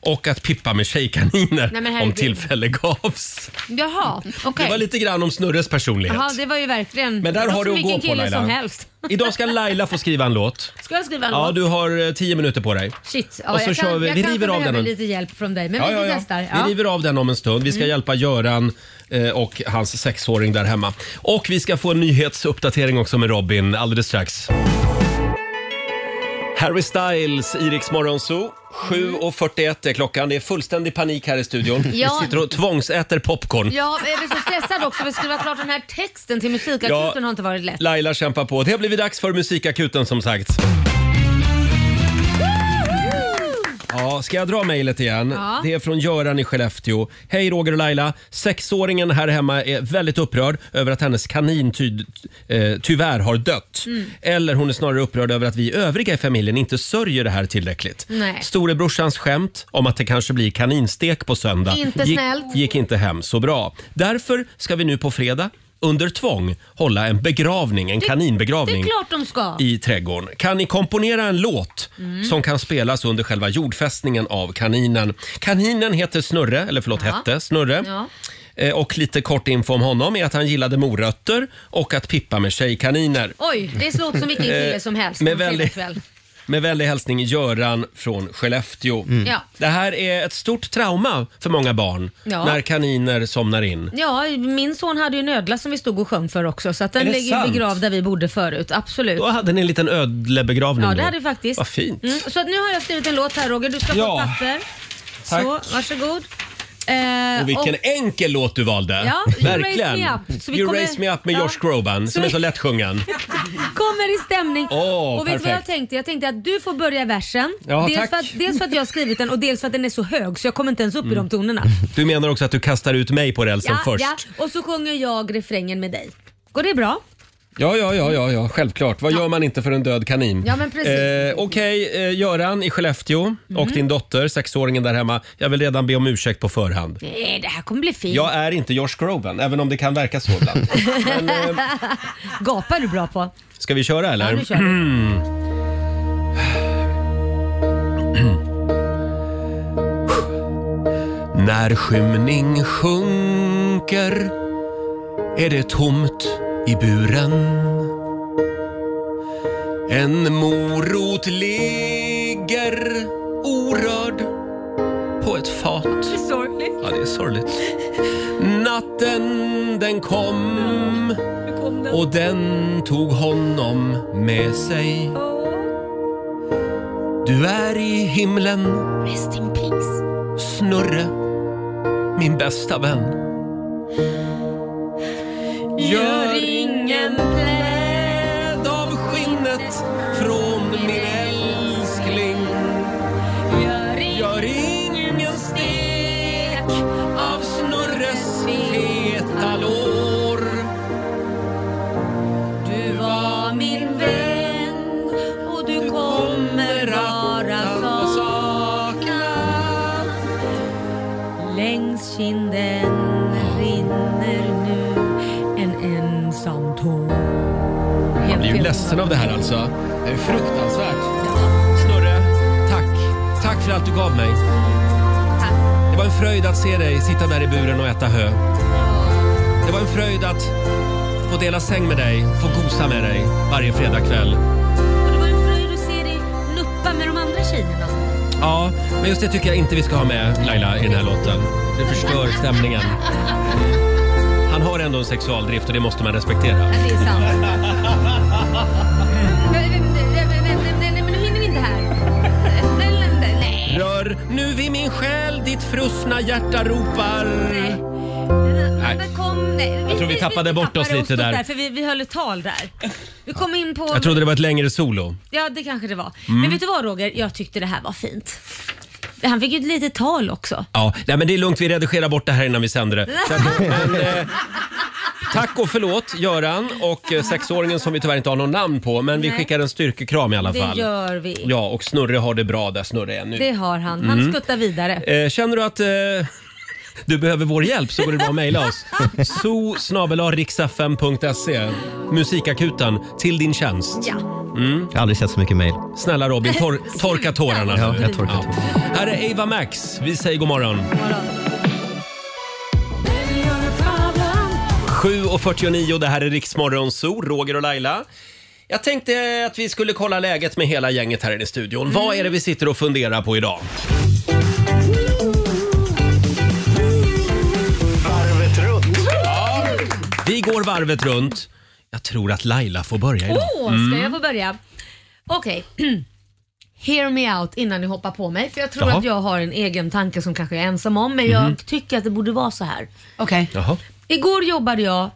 [SPEAKER 1] och att pippa med tjejkaniner
[SPEAKER 2] Nej, men
[SPEAKER 1] om
[SPEAKER 2] herregud.
[SPEAKER 1] tillfälle gavs.
[SPEAKER 2] Jaha, okej.
[SPEAKER 1] Det var lite grann om Snurres personlighet.
[SPEAKER 2] Jaha, det var ju verkligen...
[SPEAKER 1] Men där
[SPEAKER 2] det
[SPEAKER 1] har
[SPEAKER 2] låter
[SPEAKER 1] du att
[SPEAKER 2] som
[SPEAKER 1] gå på
[SPEAKER 2] vilken kille
[SPEAKER 1] Laila.
[SPEAKER 2] som helst.
[SPEAKER 1] Idag ska Laila få skriva en låt.
[SPEAKER 2] Ska jag skriva en
[SPEAKER 1] Ja,
[SPEAKER 2] låt?
[SPEAKER 1] du har eh, tio minuter på dig.
[SPEAKER 2] Shit, ja,
[SPEAKER 1] Och så
[SPEAKER 2] jag
[SPEAKER 1] kör
[SPEAKER 2] kan,
[SPEAKER 1] vi-
[SPEAKER 2] jag
[SPEAKER 1] vi
[SPEAKER 2] kanske
[SPEAKER 1] river av
[SPEAKER 2] behöver
[SPEAKER 1] den.
[SPEAKER 2] lite hjälp från dig. Men vi testar. Ja.
[SPEAKER 1] Vi river av den om en stund. Vi ska
[SPEAKER 2] Mm.
[SPEAKER 1] hjälpa Göran eh, och hans sexåring där hemma. Och vi ska få en nyhetsuppdatering också med Robin alldeles strax. Harry Styles i Rix Morgon Zoo. 7.41 är klockan. Det är fullständig panik här i studion.
[SPEAKER 2] Ja.
[SPEAKER 1] Vi sitter och tvångsäter popcorn.
[SPEAKER 2] Ja, jag blir så stressad också för att skriva klart den här texten till musikakuten
[SPEAKER 1] Ja.
[SPEAKER 2] har inte varit lätt.
[SPEAKER 1] Laila kämpar på. Det har blivit dags för musikakuten som sagt. Ja, ska jag dra mejlet igen?
[SPEAKER 2] Ja.
[SPEAKER 1] Det är från Göran i Skellefteå. Hej Roger och Laila. Sexåringen här hemma är väldigt upprörd över att hennes kanin ty- eh, tyvärr har dött.
[SPEAKER 3] Mm.
[SPEAKER 1] Eller hon är snarare upprörd över att vi övriga i familjen inte sörjer det här tillräckligt.
[SPEAKER 3] Nej.
[SPEAKER 1] Storebrorsans skämt om att det kanske blir kaninstek på söndag
[SPEAKER 3] Inte
[SPEAKER 1] gick,
[SPEAKER 3] snällt.
[SPEAKER 1] gick inte hem så bra. Därför ska vi nu på fredag under tvång hålla en begravning, en
[SPEAKER 2] Det- Det
[SPEAKER 1] kaninbegravning
[SPEAKER 2] är klart de ska.
[SPEAKER 1] i trädgården. Kan ni komponera en låt
[SPEAKER 2] Mm.
[SPEAKER 1] som kan spelas under själva jordfästningen av kaninen? Kaninen heter Snurre, eller förlåt
[SPEAKER 2] Ja.
[SPEAKER 1] hette Snurre.
[SPEAKER 2] Ja.
[SPEAKER 1] Eh, Och lite kort info om honom är att han gillade morötter och att pippa med tjejkaniner.
[SPEAKER 2] Oj, det låter som vilken kille
[SPEAKER 1] Eh,
[SPEAKER 2] som helst.
[SPEAKER 1] med
[SPEAKER 2] på fredag
[SPEAKER 1] väldigt-
[SPEAKER 2] kväll.
[SPEAKER 1] Med vänlig hälsning Göran från Skellefteå.
[SPEAKER 2] Mm. Ja.
[SPEAKER 1] Det här är ett stort trauma för många barn
[SPEAKER 2] Ja.
[SPEAKER 1] när kaniner somnar in.
[SPEAKER 2] Ja, min son hade ju en ödla som vi stod och sjöng för också så att den
[SPEAKER 1] Är det
[SPEAKER 2] ligger
[SPEAKER 1] sant?
[SPEAKER 2] ju begravd där vi bodde förut. Absolut.
[SPEAKER 1] Då hade ni en liten ödlebegravning
[SPEAKER 2] Ja,
[SPEAKER 1] då.
[SPEAKER 2] det hade vi faktiskt.
[SPEAKER 1] Vad fint.
[SPEAKER 2] Mm, så att nu har jag skrivit en låt här Roger, du ska
[SPEAKER 1] Ja.
[SPEAKER 2] få ett papper.
[SPEAKER 1] Tack.
[SPEAKER 2] Så, varsågod. Eh,
[SPEAKER 1] Och vilken enkel låt du valde.
[SPEAKER 2] Ja, You
[SPEAKER 1] Verkligen.
[SPEAKER 2] Raise Me Up. Så vi
[SPEAKER 1] you
[SPEAKER 2] kommer-
[SPEAKER 1] Raise Me Up med
[SPEAKER 2] Ja.
[SPEAKER 1] Josh Groban
[SPEAKER 2] Så
[SPEAKER 1] som är
[SPEAKER 2] vi-
[SPEAKER 1] så lättsjungen.
[SPEAKER 2] Kommer i stämning.
[SPEAKER 1] Åh,
[SPEAKER 2] och vet du vad jag
[SPEAKER 1] perfekt.
[SPEAKER 2] tänkte? Jag tänkte att du får börja versen.
[SPEAKER 1] Ja,
[SPEAKER 2] dels,
[SPEAKER 1] tack.
[SPEAKER 2] för att, dels för att jag har skrivit den och dels för att den är så hög så jag kommer inte ens upp i
[SPEAKER 1] Mm.
[SPEAKER 2] de tonerna.
[SPEAKER 1] Du menar också att du kastar ut mig på rälsen
[SPEAKER 2] Ja,
[SPEAKER 1] först?
[SPEAKER 2] ja. Och så sjunger jag refrängen med dig. Går det bra?
[SPEAKER 1] Ja, ja, ja, ja, ja, självklart. Vad gör man inte för en död kanin?
[SPEAKER 2] Ja, men precis.
[SPEAKER 1] Eh, Okej, eh, Göran i Skellefteå och
[SPEAKER 2] Mhm.
[SPEAKER 1] din dotter, sexåringen där hemma. Jag vill redan be om ursäkt på förhand.
[SPEAKER 2] Nej, Eh, det här kommer bli fint.
[SPEAKER 1] Jag är inte Josh Groban, även om det kan verka så ibland. eh,
[SPEAKER 2] Gapar du bra på?
[SPEAKER 1] Ska vi köra eller?
[SPEAKER 2] Ja, nu kör vi.
[SPEAKER 1] Mm. När skymning sjunker är det tomt i buren. En morot ligger orörd på ett fat. Det är
[SPEAKER 2] sorgligt.
[SPEAKER 1] Ja, det är sorgligt. Natten den kom och den tog honom med sig. Du är i himlen.
[SPEAKER 2] Rest in peace.
[SPEAKER 1] Snurre, min bästa vän.
[SPEAKER 3] Gör
[SPEAKER 2] ingen pläd
[SPEAKER 1] av skinnet från min älskling.
[SPEAKER 3] Gör ingen stek av Snurres feta lår.
[SPEAKER 2] Du var min vän och du kommer vara saknad. Längs kinden rinner nu en ensam tår.
[SPEAKER 1] Jag blir ju
[SPEAKER 2] fel.
[SPEAKER 1] ledsen av det här alltså. Det är fruktansvärt. Snurre, tack. Tack för allt du gav mig. Det var en fröjd att se dig sitta där i buren och äta hö. Det var en fröjd att få dela säng med dig, få gosa med dig varje fredagkväll.
[SPEAKER 2] Och det var en fröjd att se dig nuppa med de andra tjejerna.
[SPEAKER 1] Ja, men just det tycker jag inte vi ska ha med Laila i den här låten. Det förstör stämningen. Han har ändå en sexualdrift och det måste man respektera.
[SPEAKER 2] Ja, det är sant. Men- men- men- men- men- men- men Nu hinner vi inte här. Nej, nej, nej, nej.
[SPEAKER 1] Rör nu vid min själ, ditt frusna hjärta ropar. Nej.
[SPEAKER 2] Där kom, nej.
[SPEAKER 1] Jag tror vi tappade bort oss lite där.
[SPEAKER 2] För vi, vi höll ett tal där. Vi kom in på...
[SPEAKER 1] Jag trodde det var ett längre solo.
[SPEAKER 2] Ja, det kanske det var.
[SPEAKER 1] Mm.
[SPEAKER 2] Men vet du vad Roger? Jag tyckte det här var fint. Han fick ju ett litet tal också.
[SPEAKER 1] Ja, nej men det är lugnt, vi redigerar bort det här innan vi sänder det. Så att, men, eh, tack och förlåt Göran och eh, sexåringen som vi tyvärr inte har någon namn på, men vi
[SPEAKER 2] Nej.
[SPEAKER 1] skickar en styrkekram i alla
[SPEAKER 2] Det
[SPEAKER 1] fall.
[SPEAKER 2] gör vi.
[SPEAKER 1] Ja, och Snurre har det bra där Snurre är nu.
[SPEAKER 2] Det har han. Han
[SPEAKER 1] Mm.
[SPEAKER 2] skuttar vidare.
[SPEAKER 1] Eh, känner du att eh, du behöver vår hjälp så går det bra att mejla oss. so musikakuten till din tjänst.
[SPEAKER 2] Ja.
[SPEAKER 5] Jag har aldrig sett så mycket mejl.
[SPEAKER 1] Snälla Robin, tor torka tårarna
[SPEAKER 5] Ja,
[SPEAKER 1] nu.
[SPEAKER 5] jag torkar
[SPEAKER 1] Ja. Här är Ava Max. Vi säger god morgon. 7.49, det här är Riksmorgon Zoo, Roger och Laila. Jag tänkte att vi skulle kolla läget med hela gänget här inne i studion. Vad är det vi sitter och funderar på idag?
[SPEAKER 3] Varvet runt.
[SPEAKER 1] Vi går varvet runt. Jag tror att Laila får börja idag.
[SPEAKER 2] Åh, ska jag få börja? Okej. Hear me out innan ni hoppar på mig. För jag tror
[SPEAKER 1] Jaha.
[SPEAKER 2] att jag har en egen tanke som kanske jag är ensam om. Men jag
[SPEAKER 1] Mhm.
[SPEAKER 2] tycker att det borde vara så här.
[SPEAKER 6] Okej.
[SPEAKER 1] Jaha.
[SPEAKER 2] Igår jobbade jag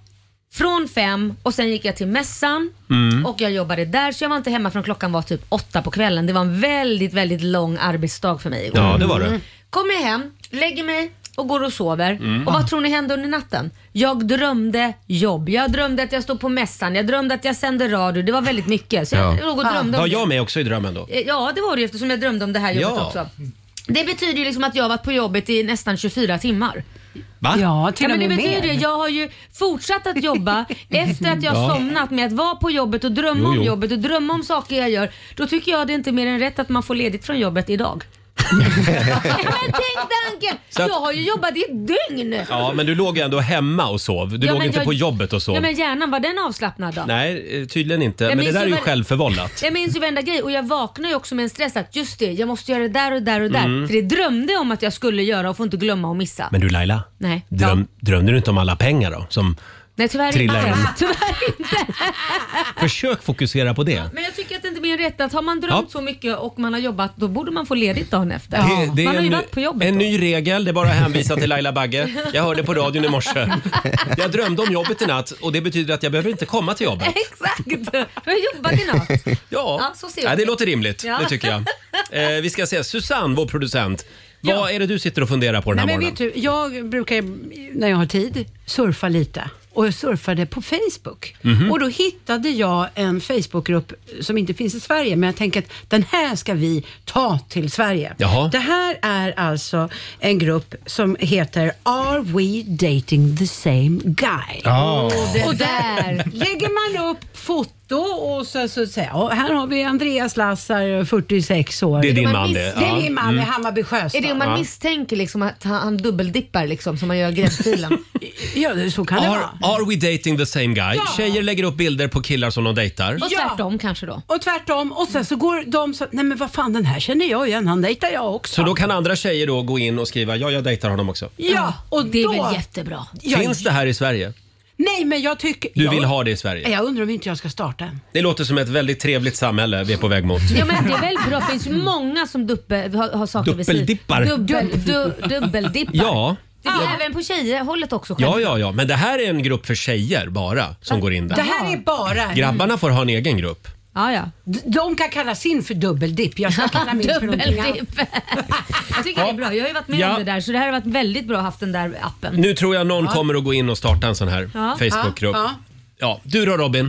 [SPEAKER 2] från fem och sen gick jag till mässan
[SPEAKER 3] Mm.
[SPEAKER 2] och jag jobbade där så jag var inte hemma från klockan var typ åtta på kvällen. Det var en väldigt, väldigt lång arbetsdag för mig igår.
[SPEAKER 3] Ja, det var det.
[SPEAKER 2] Kommer jag hem, lägger mig och går och sover.
[SPEAKER 3] Mm.
[SPEAKER 2] Och vad tror ni hände under natten? Jag drömde jobb. Jag drömde att jag stod på mässan. Jag drömde att jag sände radio. Det var väldigt mycket. Så jag låg och drömde
[SPEAKER 1] Var
[SPEAKER 2] om
[SPEAKER 1] jag med också i drömmen då?
[SPEAKER 2] det. Eh, Ja, det var det ju eftersom jag drömde om det här jobbet
[SPEAKER 1] Ja.
[SPEAKER 2] också. Det betyder ju liksom att jag har varit på jobbet i nästan 24 timmar.
[SPEAKER 1] Va?
[SPEAKER 6] Ja,
[SPEAKER 2] Ja, men det betyder det. Jag har ju fortsatt att jobba efter att jag
[SPEAKER 6] Ja.
[SPEAKER 2] somnat med att vara på jobbet och drömma
[SPEAKER 6] Jo,
[SPEAKER 2] om
[SPEAKER 6] jo.
[SPEAKER 2] jobbet och drömma om saker jag gör. Då tycker jag det är inte mer än rätt att man får ledigt från jobbet idag. Men tänk tanken!
[SPEAKER 1] Så att-
[SPEAKER 2] Jag har ju jobbat i ett dygn.
[SPEAKER 1] Ja, men du låg ju ändå hemma och sov. Du
[SPEAKER 2] Ja,
[SPEAKER 1] låg
[SPEAKER 2] men
[SPEAKER 1] inte
[SPEAKER 2] jag-
[SPEAKER 1] på jobbet och sov.
[SPEAKER 2] Ja, men hjärnan, var den avslappnad då?
[SPEAKER 1] Nej, eh, tydligen inte.
[SPEAKER 2] Jag
[SPEAKER 1] Men det
[SPEAKER 2] minns
[SPEAKER 1] där är
[SPEAKER 2] ju
[SPEAKER 1] ju
[SPEAKER 2] väl-
[SPEAKER 1] självförvållat.
[SPEAKER 2] Jag minns ju varenda grej och jag vaknar ju också med en stress att just det, jag måste göra det där och där och där.
[SPEAKER 1] Mm.
[SPEAKER 2] För det drömde jag om att jag skulle göra och får inte glömma och missa.
[SPEAKER 1] Men du Laila,
[SPEAKER 2] Nej.
[SPEAKER 1] dröm, drömde du inte om alla pengar då? Som...
[SPEAKER 2] Nej tyvärr
[SPEAKER 1] Trilla
[SPEAKER 2] inte.
[SPEAKER 1] in.
[SPEAKER 2] Tyvärr inte. Ah.
[SPEAKER 1] Försök fokusera på det.
[SPEAKER 2] Men jag tycker att det inte är mer rätt att har man drömt
[SPEAKER 1] Ja.
[SPEAKER 2] så mycket och man har jobbat då borde man få ledigt dagen efter.
[SPEAKER 1] Det, det är
[SPEAKER 2] man har ju
[SPEAKER 1] en,
[SPEAKER 2] varit på jobbet
[SPEAKER 1] en
[SPEAKER 2] då.
[SPEAKER 1] ny regel, det är bara att hänvisa till Laila Bagge. Jag hörde på radion i morse. Jag drömde om jobbet i natt och det betyder att jag behöver inte komma till jobbet.
[SPEAKER 2] Exakt! Du har jobbat i natt.
[SPEAKER 1] Ja,
[SPEAKER 2] så ser
[SPEAKER 1] Nej,
[SPEAKER 2] jag
[SPEAKER 1] det låter rimligt.
[SPEAKER 2] Ja.
[SPEAKER 1] Det tycker jag. Eh, vi ska se, Susanne, vår producent. Vad är det du sitter och funderar på den här
[SPEAKER 6] Nej, men
[SPEAKER 1] morgonen?
[SPEAKER 6] vet du, jag brukar när jag har tid surfa lite och jag surfade på Facebook.
[SPEAKER 1] Mhm.
[SPEAKER 6] Och då hittade jag en Facebookgrupp som inte finns i Sverige, men jag tänker att den här ska vi ta till Sverige.
[SPEAKER 3] Jaha.
[SPEAKER 6] Det här är alltså en grupp som heter Are We Dating the Same Guy?
[SPEAKER 3] Ja. Åh, det
[SPEAKER 6] Och där lägger man upp foto och så, så säger jag, "Ja, här har vi Andreas Lassar, 46 år.
[SPEAKER 1] Det är din man, det.
[SPEAKER 6] Det
[SPEAKER 1] Ja.
[SPEAKER 6] är min man i
[SPEAKER 1] Mm.
[SPEAKER 6] Hammarby Sjöstad.
[SPEAKER 2] Är det om man
[SPEAKER 1] Ja.
[SPEAKER 2] misstänker liksom att han, han dubbeldippar liksom som man gör gräddfilen?
[SPEAKER 6] ja, så kan
[SPEAKER 1] Are, are we dating the same guy? Tjejer lägger upp bilder på killar som de dejtar.
[SPEAKER 6] Och tvärtom
[SPEAKER 2] kanske då?
[SPEAKER 6] Och tvärtom. Och sen så går de så, nej men vad fan den här känner jag igen, han dejtar jag också.
[SPEAKER 1] Så då kan andra tjejer då gå in och skriva ja, jag dejtar honom också.
[SPEAKER 6] Ja, och
[SPEAKER 2] det är
[SPEAKER 6] då,
[SPEAKER 2] väl jättebra.
[SPEAKER 6] Jag,
[SPEAKER 1] Finns det här i Sverige?
[SPEAKER 6] Nej men jag tycker...
[SPEAKER 1] Du
[SPEAKER 6] jag,
[SPEAKER 1] vill ha det i Sverige?
[SPEAKER 6] Jag undrar om inte jag ska starta en.
[SPEAKER 1] Det låter som ett väldigt trevligt samhälle vi är på väg mot.
[SPEAKER 2] Ja men det är väl bra, det finns ju många som duppe, har, har saker
[SPEAKER 1] Dubbeldippar.
[SPEAKER 2] vid sidan. Dubbel, du, dubbeldippar.
[SPEAKER 1] Ja.
[SPEAKER 2] Det är även på tjejhållet också
[SPEAKER 1] Ja, ja, ja. Men det här är en grupp för tjejer bara som går in där.
[SPEAKER 6] Det här är bara...
[SPEAKER 1] Grabbarna får ha en egen grupp.
[SPEAKER 2] Ja, ja.
[SPEAKER 6] De kan kalla sin för dubbeldipp. Jag ska kalla min för någonting annat.
[SPEAKER 2] Jag tycker det är bra. Jag har ju varit med
[SPEAKER 1] Ja.
[SPEAKER 2] om det där så det här har varit väldigt bra att haft den där appen.
[SPEAKER 1] Nu tror jag någon
[SPEAKER 2] Ja.
[SPEAKER 1] kommer att gå in och starta en sån här
[SPEAKER 2] Ja.
[SPEAKER 1] Facebookgrupp.
[SPEAKER 2] Ja.
[SPEAKER 1] Ja. du då Robin?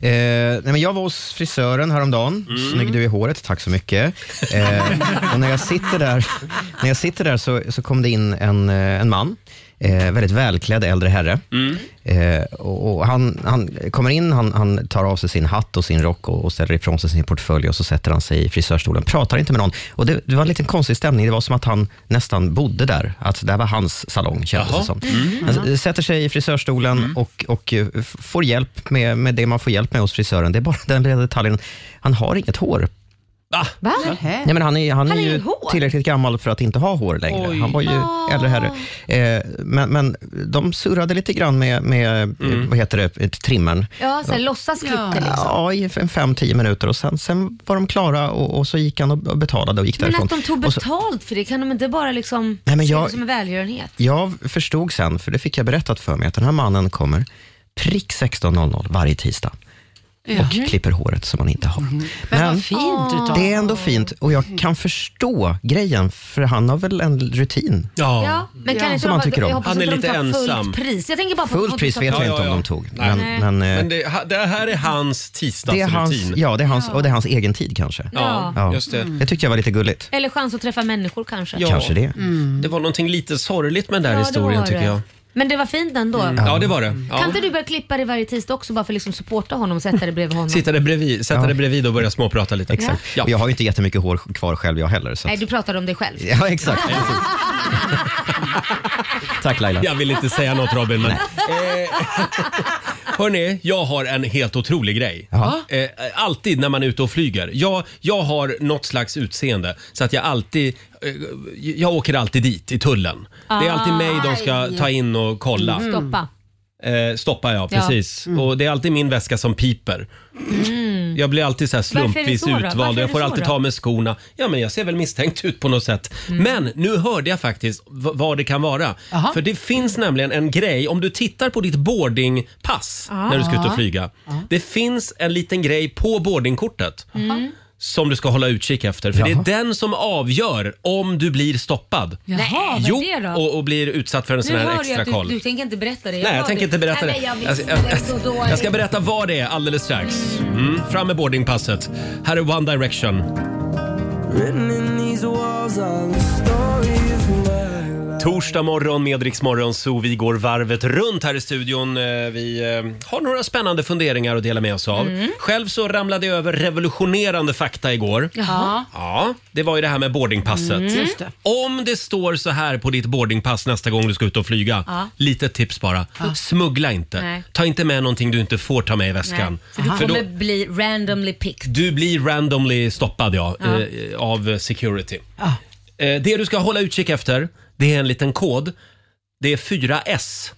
[SPEAKER 5] Eh, nej men jag var hos frisören häromdagen. Snygg du är i håret, tack så mycket. Eh, och när jag sitter där, när jag sitter där så, så kom det in en, eh, en man, eh, väldigt välklädd äldre herre. Eh, och, och han, han kommer in, han, han tar av sig sin hatt och sin rock och, och ställer ifrån sig sin portfölj och så sätter han sig i frisörstolen, pratar inte med någon. Och det, det var en liten konstig stämning, det var som att han nästan bodde där, att det här var hans salong kändes
[SPEAKER 1] Jaha.
[SPEAKER 5] det som.
[SPEAKER 1] Mm.
[SPEAKER 5] Han s- sätter sig i frisörstolen och, och eh, f- får hjälp med, med det man får hjälp med hos frisören. Det är bara den lilla detaljen, han har inget hår.
[SPEAKER 2] Va?
[SPEAKER 5] Nej, men han är, han är
[SPEAKER 2] Han har
[SPEAKER 5] ju
[SPEAKER 2] inget hår.
[SPEAKER 5] tillräckligt gammal för att inte ha hår längre.
[SPEAKER 2] Oj.
[SPEAKER 5] Han var ju
[SPEAKER 2] Ah.
[SPEAKER 5] äldre herre. Eh, men, men de surrade lite grann med, med eh,
[SPEAKER 1] Mm.
[SPEAKER 5] vad heter det, ett trimmern.
[SPEAKER 2] Ja, så här, låtsas klippa liksom.
[SPEAKER 5] Ja, i en fem, tio minuter och sen, sen var de klara och, och så gick han och och betalade och gick
[SPEAKER 2] Men
[SPEAKER 5] därifrån.
[SPEAKER 2] att de tog
[SPEAKER 5] Och så-
[SPEAKER 2] betalt för det, kan de inte bara liksom
[SPEAKER 5] Nej, men
[SPEAKER 2] se
[SPEAKER 5] jag-
[SPEAKER 2] det som en välgörenhet?
[SPEAKER 5] Jag förstod sen, för det fick jag berättat för mig, att den här mannen kommer prick 16.00 varje tisdag och
[SPEAKER 6] Jaha.
[SPEAKER 5] klipper håret som han inte har. Men,
[SPEAKER 6] vad fint utav
[SPEAKER 5] Det är ändå fint och jag kan förstå grejen, för han har väl en rutin.
[SPEAKER 1] Ja,
[SPEAKER 2] men kan inte
[SPEAKER 5] som
[SPEAKER 2] de
[SPEAKER 5] han
[SPEAKER 2] bara-
[SPEAKER 5] tycker
[SPEAKER 2] jag
[SPEAKER 5] om.
[SPEAKER 2] hoppas inte de tar Fullt pris, jag tänker bara på
[SPEAKER 5] Fullt pris vet jag inte om de tog.
[SPEAKER 1] Nej. alltså
[SPEAKER 5] Men, men, eh,
[SPEAKER 1] det, ha- det här är hans
[SPEAKER 5] det är
[SPEAKER 1] tisdagsrutin.
[SPEAKER 5] hans, ja, det är hans, och det är hans egen tid kanske.
[SPEAKER 1] Ja, just det.
[SPEAKER 5] det tyckte jag var lite gulligt.
[SPEAKER 2] Eller chans att träffa människor kanske.
[SPEAKER 1] Ja. Mm.
[SPEAKER 5] Kanske det.
[SPEAKER 1] Det var någonting lite sorgligt med den där
[SPEAKER 2] Mm. Ja, det
[SPEAKER 1] historien
[SPEAKER 2] var
[SPEAKER 1] tycker
[SPEAKER 2] det.
[SPEAKER 1] jag.
[SPEAKER 2] Men det var fint ändå.
[SPEAKER 1] Mm. Ja, det var det. Ja.
[SPEAKER 2] Kan inte du börja klippa det varje tisdag också bara för att liksom supporta honom och sätta dig bredvid honom?
[SPEAKER 1] Sitta där bredvid, sätta dig bredvid och börja småprata lite.
[SPEAKER 2] Exakt.
[SPEAKER 1] Ja.
[SPEAKER 5] Jag har ju inte jättemycket hår kvar själv jag heller. Så.
[SPEAKER 2] Nej, du pratar om dig själv.
[SPEAKER 5] Ja, exakt. Tack Laila.
[SPEAKER 1] Jag vill inte säga något Robin, men... eh, Hörni, jag har en helt otrolig grej.
[SPEAKER 5] Jaha.
[SPEAKER 1] Eh, alltid när man är ute och flyger. Jag, jag har något slags utseende så att jag alltid eh, jag åker alltid dit i tullen. Det är alltid mig de ska
[SPEAKER 2] Aj. Mm.
[SPEAKER 1] ta in och kolla.
[SPEAKER 2] Stoppa.
[SPEAKER 1] Eh, stoppa ja,
[SPEAKER 2] Ja.
[SPEAKER 1] precis. Och det är alltid min väska som piper.
[SPEAKER 2] Mm.
[SPEAKER 1] Jag blir alltid så här
[SPEAKER 2] Varför är det
[SPEAKER 1] slumpvis
[SPEAKER 2] så då?
[SPEAKER 1] utvald
[SPEAKER 2] Varför är det
[SPEAKER 1] och jag får
[SPEAKER 2] så
[SPEAKER 1] alltid
[SPEAKER 2] då? Mm.
[SPEAKER 1] ta med skorna. Ja, men jag ser väl misstänkt ut på något sätt. Men nu hörde jag faktiskt v- vad det kan vara.
[SPEAKER 11] Jaha.
[SPEAKER 1] För det finns nämligen en grej, om du tittar på ditt boardingpass
[SPEAKER 11] Ja.
[SPEAKER 1] när du ska ut
[SPEAKER 2] Ah.
[SPEAKER 1] och
[SPEAKER 11] Ja.
[SPEAKER 1] flyga. Det finns en liten grej på boardingkortet.
[SPEAKER 11] Mm.
[SPEAKER 1] Som du ska hålla utkik efter. För
[SPEAKER 11] Jaha.
[SPEAKER 1] det är den som avgör om du blir stoppad.
[SPEAKER 2] Jaha, vad
[SPEAKER 1] jo,
[SPEAKER 2] är det då?
[SPEAKER 1] och, och blir utsatt för en sån
[SPEAKER 2] nu
[SPEAKER 1] här
[SPEAKER 2] hörde jag
[SPEAKER 1] extra
[SPEAKER 2] att du,
[SPEAKER 1] koll.
[SPEAKER 2] du tänker inte berätta det.
[SPEAKER 1] Nej, jag
[SPEAKER 2] hör
[SPEAKER 1] tänker
[SPEAKER 2] det.
[SPEAKER 1] inte berätta det.
[SPEAKER 2] Nej, men
[SPEAKER 1] Jag,
[SPEAKER 2] Jag,
[SPEAKER 1] jag,
[SPEAKER 2] jag, så dålig.
[SPEAKER 1] jag ska berätta vad det är alldeles strax. Mm, fram med boardingpasset. Här är One Direction. Torsdag morgon med Rix Morgon, så vi går varvet runt här i studion. Eh, Vi eh, har några spännande funderingar att dela med oss av.
[SPEAKER 11] Mm.
[SPEAKER 1] Själv så ramlade jag över revolutionerande fakta igår.
[SPEAKER 11] Jaha.
[SPEAKER 1] Ja, det var ju det här med boardingpasset.
[SPEAKER 11] Mm. Just det.
[SPEAKER 1] Om det står så här på ditt boardingpass nästa gång du ska ut och flyga,
[SPEAKER 11] Ja.
[SPEAKER 1] litet tips bara.
[SPEAKER 2] Ja.
[SPEAKER 1] Smuggla inte.
[SPEAKER 2] Nej.
[SPEAKER 1] Ta inte med någonting du inte får ta med i väskan.
[SPEAKER 2] Nej, för du
[SPEAKER 1] För då-
[SPEAKER 2] kommer bli randomly picked.
[SPEAKER 1] du blir randomly stoppad ja,
[SPEAKER 2] Ja.
[SPEAKER 1] Eh, av security. Eh, det du ska hålla utkik efter, det är en liten kod. Det är 4S.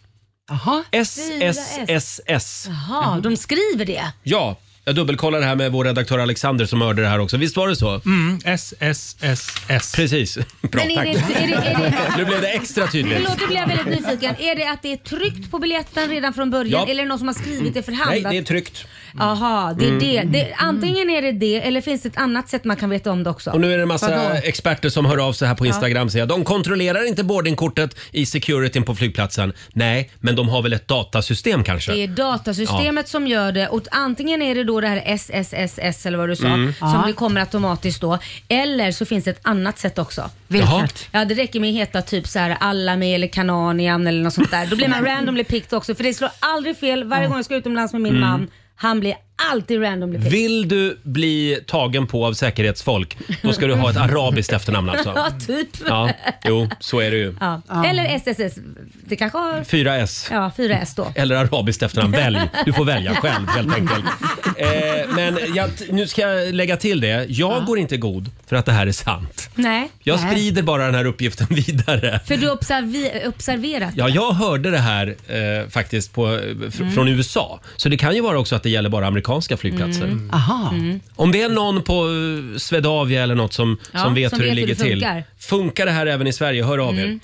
[SPEAKER 6] Jaha.
[SPEAKER 1] SSSS.
[SPEAKER 2] Jaha, de skriver det.
[SPEAKER 1] Mm. Ja, jag dubbelkollar det här med vår redaktör Alexander som hörde det här också. Visst var det så?
[SPEAKER 9] Mm, SSSS.
[SPEAKER 1] Precis. Bra,
[SPEAKER 2] Men är
[SPEAKER 1] tack.
[SPEAKER 2] det, är det, är det,
[SPEAKER 1] Nu blev det extra tydligt.
[SPEAKER 2] Förlåt, nu blir jag väldigt nyfiken. Är det att det är tryckt på biljetten redan från början
[SPEAKER 1] Ja.
[SPEAKER 2] eller är det någon som har skrivit det för hand?
[SPEAKER 1] Nej, det är
[SPEAKER 2] Att-
[SPEAKER 1] tryckt.
[SPEAKER 2] Jaha, det är
[SPEAKER 1] Mm.
[SPEAKER 2] det. det. Antingen är det det eller finns det ett annat sätt man kan veta om det också?
[SPEAKER 1] Och nu är det en massa
[SPEAKER 2] Vadå?
[SPEAKER 1] experter som hör av sig här på
[SPEAKER 2] Ja.
[SPEAKER 1] Instagram säger att de kontrollerar inte boardingkortet i securityn på flygplatsen. Nej, men de har väl ett datasystem kanske?
[SPEAKER 2] Det är datasystemet som gör det och antingen är det då det här SSSS eller vad du sa
[SPEAKER 1] Mm.
[SPEAKER 2] som
[SPEAKER 1] Ja.
[SPEAKER 2] det kommer automatiskt då eller så finns det ett annat sätt också.
[SPEAKER 1] Vilket? Jaha.
[SPEAKER 2] Ja det räcker med att heta typ så här Alami eller Kananian eller något sånt där. Då blir man randomly picked också för det slår aldrig fel varje gång jag ska utomlands med min
[SPEAKER 1] Mm.
[SPEAKER 2] man. Han blir alltid randomly picked.
[SPEAKER 1] Vill du bli tagen på av säkerhetsfolk, då ska du ha ett arabiskt efternamn
[SPEAKER 2] ja
[SPEAKER 1] alltså.
[SPEAKER 2] typ.
[SPEAKER 1] Ja, jo, så är det ju.
[SPEAKER 2] Ja. Eller SSS. Det kanske har
[SPEAKER 1] 4S.
[SPEAKER 2] ja, 4S då.
[SPEAKER 1] Eller arabiskt efternamn. Välj. Du får välja själv helt enkelt. Eh, men jag, nu ska jag lägga till det. Jag går inte god för att det här är sant.
[SPEAKER 2] Nej.
[SPEAKER 1] Jag
[SPEAKER 2] Nej.
[SPEAKER 1] sprider bara den här uppgiften vidare.
[SPEAKER 2] För du har observi- observerat
[SPEAKER 1] Ja, jag hörde det här eh, faktiskt på, fr-
[SPEAKER 2] Mm.
[SPEAKER 1] från USA. Så det kan ju vara också att det gäller bara amerikanska flygplatser.
[SPEAKER 2] Mm.
[SPEAKER 6] Aha.
[SPEAKER 1] Om det är någon på eh, Swedavia eller något som,
[SPEAKER 11] Ja,
[SPEAKER 1] som vet
[SPEAKER 11] som
[SPEAKER 1] hur det
[SPEAKER 11] vet hur
[SPEAKER 1] ligger
[SPEAKER 11] det funkar. Mm.
[SPEAKER 1] till. Funkar det här även i Sverige? Hör av er.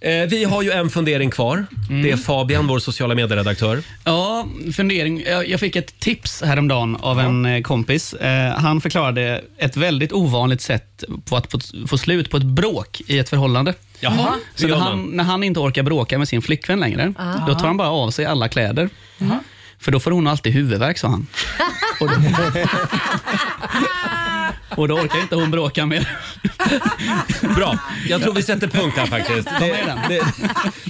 [SPEAKER 1] Eh, vi har ju en fundering kvar. Det är Fabian, vår sociala medieredaktör.
[SPEAKER 10] Ja, fundering. Jag jag fick ett tips häromdagen av en eh, kompis. Eh, Han förklarade ett väldigt ovanligt sätt på att få- få slut på ett bråk i ett förhållande.
[SPEAKER 11] Jaha,
[SPEAKER 10] Så
[SPEAKER 11] hur
[SPEAKER 10] när
[SPEAKER 11] gör
[SPEAKER 10] han,
[SPEAKER 11] man?
[SPEAKER 10] när han inte orkar bråka med sin flickvän längre,
[SPEAKER 11] Ah.
[SPEAKER 10] då tar han bara av sig alla kläder.
[SPEAKER 11] Jaha.
[SPEAKER 10] För då får hon alltid huvudvärk, sa han. Och då, och då orkar inte hon bråka mer.
[SPEAKER 1] Bra. Jag tror vi sätter punkt här faktiskt. Det, det,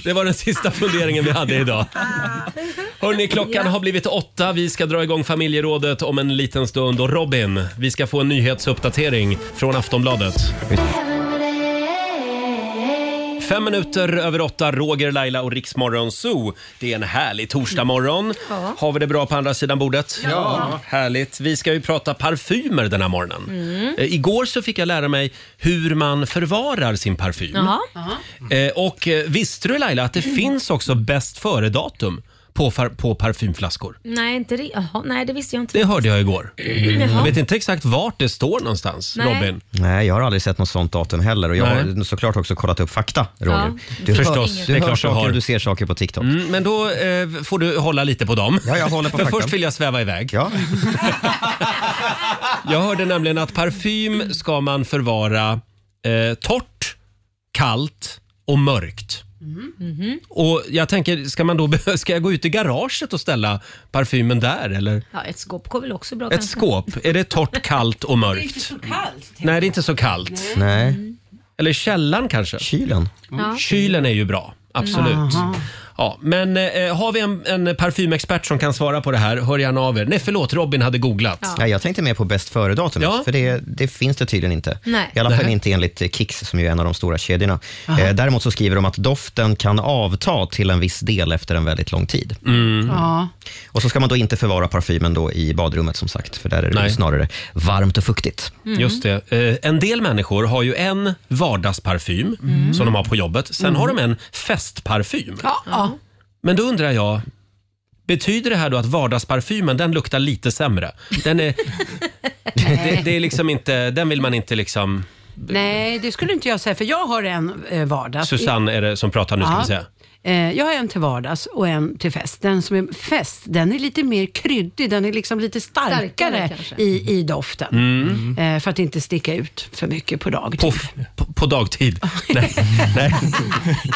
[SPEAKER 1] det var den sista funderingen vi hade idag. Hörrni, klockan har blivit åtta. Vi ska dra igång familjerådet om en liten stund. Och Robin, vi ska få en nyhetsuppdatering från Aftonbladet. Fem minuter över åtta, Roger, Laila och Riksmorgon Zoo. Det är en härlig torsdagmorgon.
[SPEAKER 11] Ja.
[SPEAKER 1] Har vi det bra på andra sidan bordet?
[SPEAKER 11] Ja.
[SPEAKER 1] Härligt. Vi ska ju prata parfymer den här morgonen.
[SPEAKER 11] Mm.
[SPEAKER 1] Eh, Igår så fick jag lära mig hur man förvarar sin parfym.
[SPEAKER 11] Jaha.
[SPEAKER 1] Eh, och eh, visste du Laila att det
[SPEAKER 6] Mm.
[SPEAKER 1] finns också bäst före-datum på, far- på parfymflaskor?
[SPEAKER 2] Nej, inte det. Jaha, nej, det visste jag inte.
[SPEAKER 1] Det hörde jag igår.
[SPEAKER 6] Mm.
[SPEAKER 2] Jaha.
[SPEAKER 1] Jag vet inte exakt vart det står någonstans,
[SPEAKER 2] Nej.
[SPEAKER 1] Robin.
[SPEAKER 5] Nej, jag har aldrig sett något sånt datum heller. Och jag har såklart också kollat upp fakta, Roger.
[SPEAKER 1] Ja,
[SPEAKER 5] Du,
[SPEAKER 1] förstås.
[SPEAKER 5] hör,
[SPEAKER 1] Det
[SPEAKER 5] du
[SPEAKER 1] är
[SPEAKER 5] hör
[SPEAKER 1] klart du
[SPEAKER 5] saker
[SPEAKER 1] har.
[SPEAKER 5] och du ser saker på TikTok.
[SPEAKER 1] Mm, men då eh, får du hålla lite på dem.
[SPEAKER 5] Ja, jag håller på
[SPEAKER 1] Men
[SPEAKER 5] fakta.
[SPEAKER 1] först vill jag sväva iväg.
[SPEAKER 5] Ja.
[SPEAKER 1] jag hörde nämligen att parfym ska man förvara eh, torrt, kallt och mörkt.
[SPEAKER 6] Mm. Mm-hmm.
[SPEAKER 1] Och jag tänker, ska, man då, be- ska jag gå ut i garaget och ställa parfymen där eller?
[SPEAKER 2] Ja, ett skåp går väl också bra
[SPEAKER 1] Ett
[SPEAKER 2] kanske?
[SPEAKER 1] skåp, är det torrt, kallt och
[SPEAKER 6] Det är
[SPEAKER 1] mörkt?
[SPEAKER 6] inte så kallt.
[SPEAKER 1] Nej, det är inte så kallt.
[SPEAKER 5] Nej.
[SPEAKER 1] Eller källan kanske?
[SPEAKER 5] Kylen.
[SPEAKER 2] Ja.
[SPEAKER 1] Kylen är ju bra, absolut.
[SPEAKER 2] Aha.
[SPEAKER 1] Ja, men eh, har vi en, en parfymexpert som kan svara på det här, hör gärna av er. Nej, förlåt, Robin hade googlat.
[SPEAKER 2] Ja.
[SPEAKER 5] Ja, jag tänkte mer på bäst före-datumet, för det, det finns det tydligen inte.
[SPEAKER 2] Nej.
[SPEAKER 5] I alla fall
[SPEAKER 2] Nej.
[SPEAKER 5] inte enligt eh, Kicks, som ju är en av de stora kedjorna.
[SPEAKER 2] Aha.
[SPEAKER 5] Eh, däremot så skriver de att doften kan avta till en viss del efter en väldigt lång tid.
[SPEAKER 6] Ja.
[SPEAKER 5] Och så ska man då inte förvara parfymen då i badrummet, som sagt, för där är det
[SPEAKER 1] Nej.
[SPEAKER 5] ju snarare varmt och fuktigt.
[SPEAKER 1] Mm. Just det. Eh, En del människor har ju en vardagsparfym
[SPEAKER 5] Mm.
[SPEAKER 1] som de har på jobbet. Sen
[SPEAKER 5] Mm.
[SPEAKER 1] har de en festparfym.
[SPEAKER 6] Ja, ja.
[SPEAKER 1] Men då undrar jag, betyder det här då att vardagsparfymen den luktar lite sämre? Den är, det, det är liksom inte, den vill man inte liksom...
[SPEAKER 6] Nej, det skulle inte jag säga, för jag har en eh, vardag.
[SPEAKER 1] Susanne är det som pratar nu ska vi säga.
[SPEAKER 6] Eh, Jag har en till vardags och en till fest. Den som är fest, den är lite mer kryddig, den är liksom lite starkare,
[SPEAKER 2] Starkare kanske.
[SPEAKER 6] i, i doften.
[SPEAKER 1] Mm.
[SPEAKER 6] Eh, För att inte sticka ut för mycket på dagtid.
[SPEAKER 1] På, på, på dagtid. Nej, nej.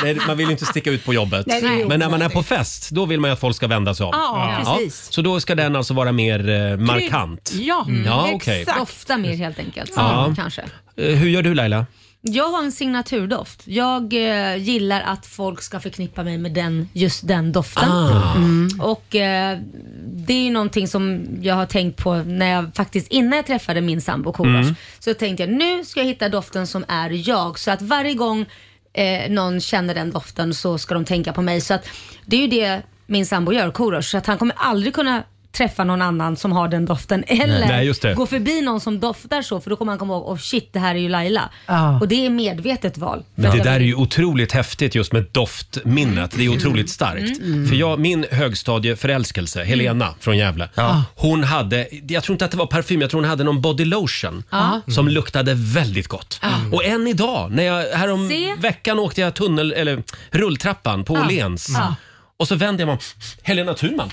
[SPEAKER 1] nej, man vill ju inte sticka ut på jobbet.
[SPEAKER 6] Nej, det är ju
[SPEAKER 1] Men när man är på fest, då vill man ju att folk ska vända sig om.
[SPEAKER 2] Ja, precis.
[SPEAKER 1] Så då ska den alltså vara mer eh, markant?
[SPEAKER 6] Ja,
[SPEAKER 1] Mm. Ja, okej.
[SPEAKER 2] Dofta mer helt enkelt.
[SPEAKER 1] Ja.
[SPEAKER 2] Kanske.
[SPEAKER 1] Eh, Hur gör du Laila?
[SPEAKER 2] Jag har en signaturdoft. Jag eh, gillar att folk ska förknippa mig med den, just den doften.
[SPEAKER 7] Ah. Mm.
[SPEAKER 2] Och eh, Det är ju någonting som jag har tänkt på när jag faktiskt innan jag träffade min sambo Korosh.
[SPEAKER 7] Mm.
[SPEAKER 2] Så tänkte jag nu ska jag hitta doften som är jag. Så att varje gång eh, någon känner den doften så ska de tänka på mig. Så att Det är ju det min sambo gör, Korosh. Så att han kommer aldrig kunna träffa någon annan som har den doften eller
[SPEAKER 1] Nej, just det.
[SPEAKER 2] gå förbi någon som doftar så för då kommer han komma ihåg, oh shit det här är ju Laila.
[SPEAKER 1] Ja.
[SPEAKER 2] Och det är medvetet val.
[SPEAKER 1] Men det där är ju otroligt häftigt just med doftminnet. Det är otroligt starkt.
[SPEAKER 2] Mm.
[SPEAKER 1] För jag, min högstadieförälskelse, Helena från Gävle,
[SPEAKER 2] Ah.
[SPEAKER 1] hon hade, jag tror inte att det var parfym, jag tror hon hade någon body lotion
[SPEAKER 2] Ja.
[SPEAKER 1] som luktade väldigt gott. Och än idag, när jag, härom
[SPEAKER 2] Ah. Mm. Se. Ah.
[SPEAKER 1] veckan åkte jag tunnel, eller rulltrappan på
[SPEAKER 2] Ja.
[SPEAKER 1] Åhléns.
[SPEAKER 2] Ja.
[SPEAKER 1] Och så vände jag mig om. Helena Thurman!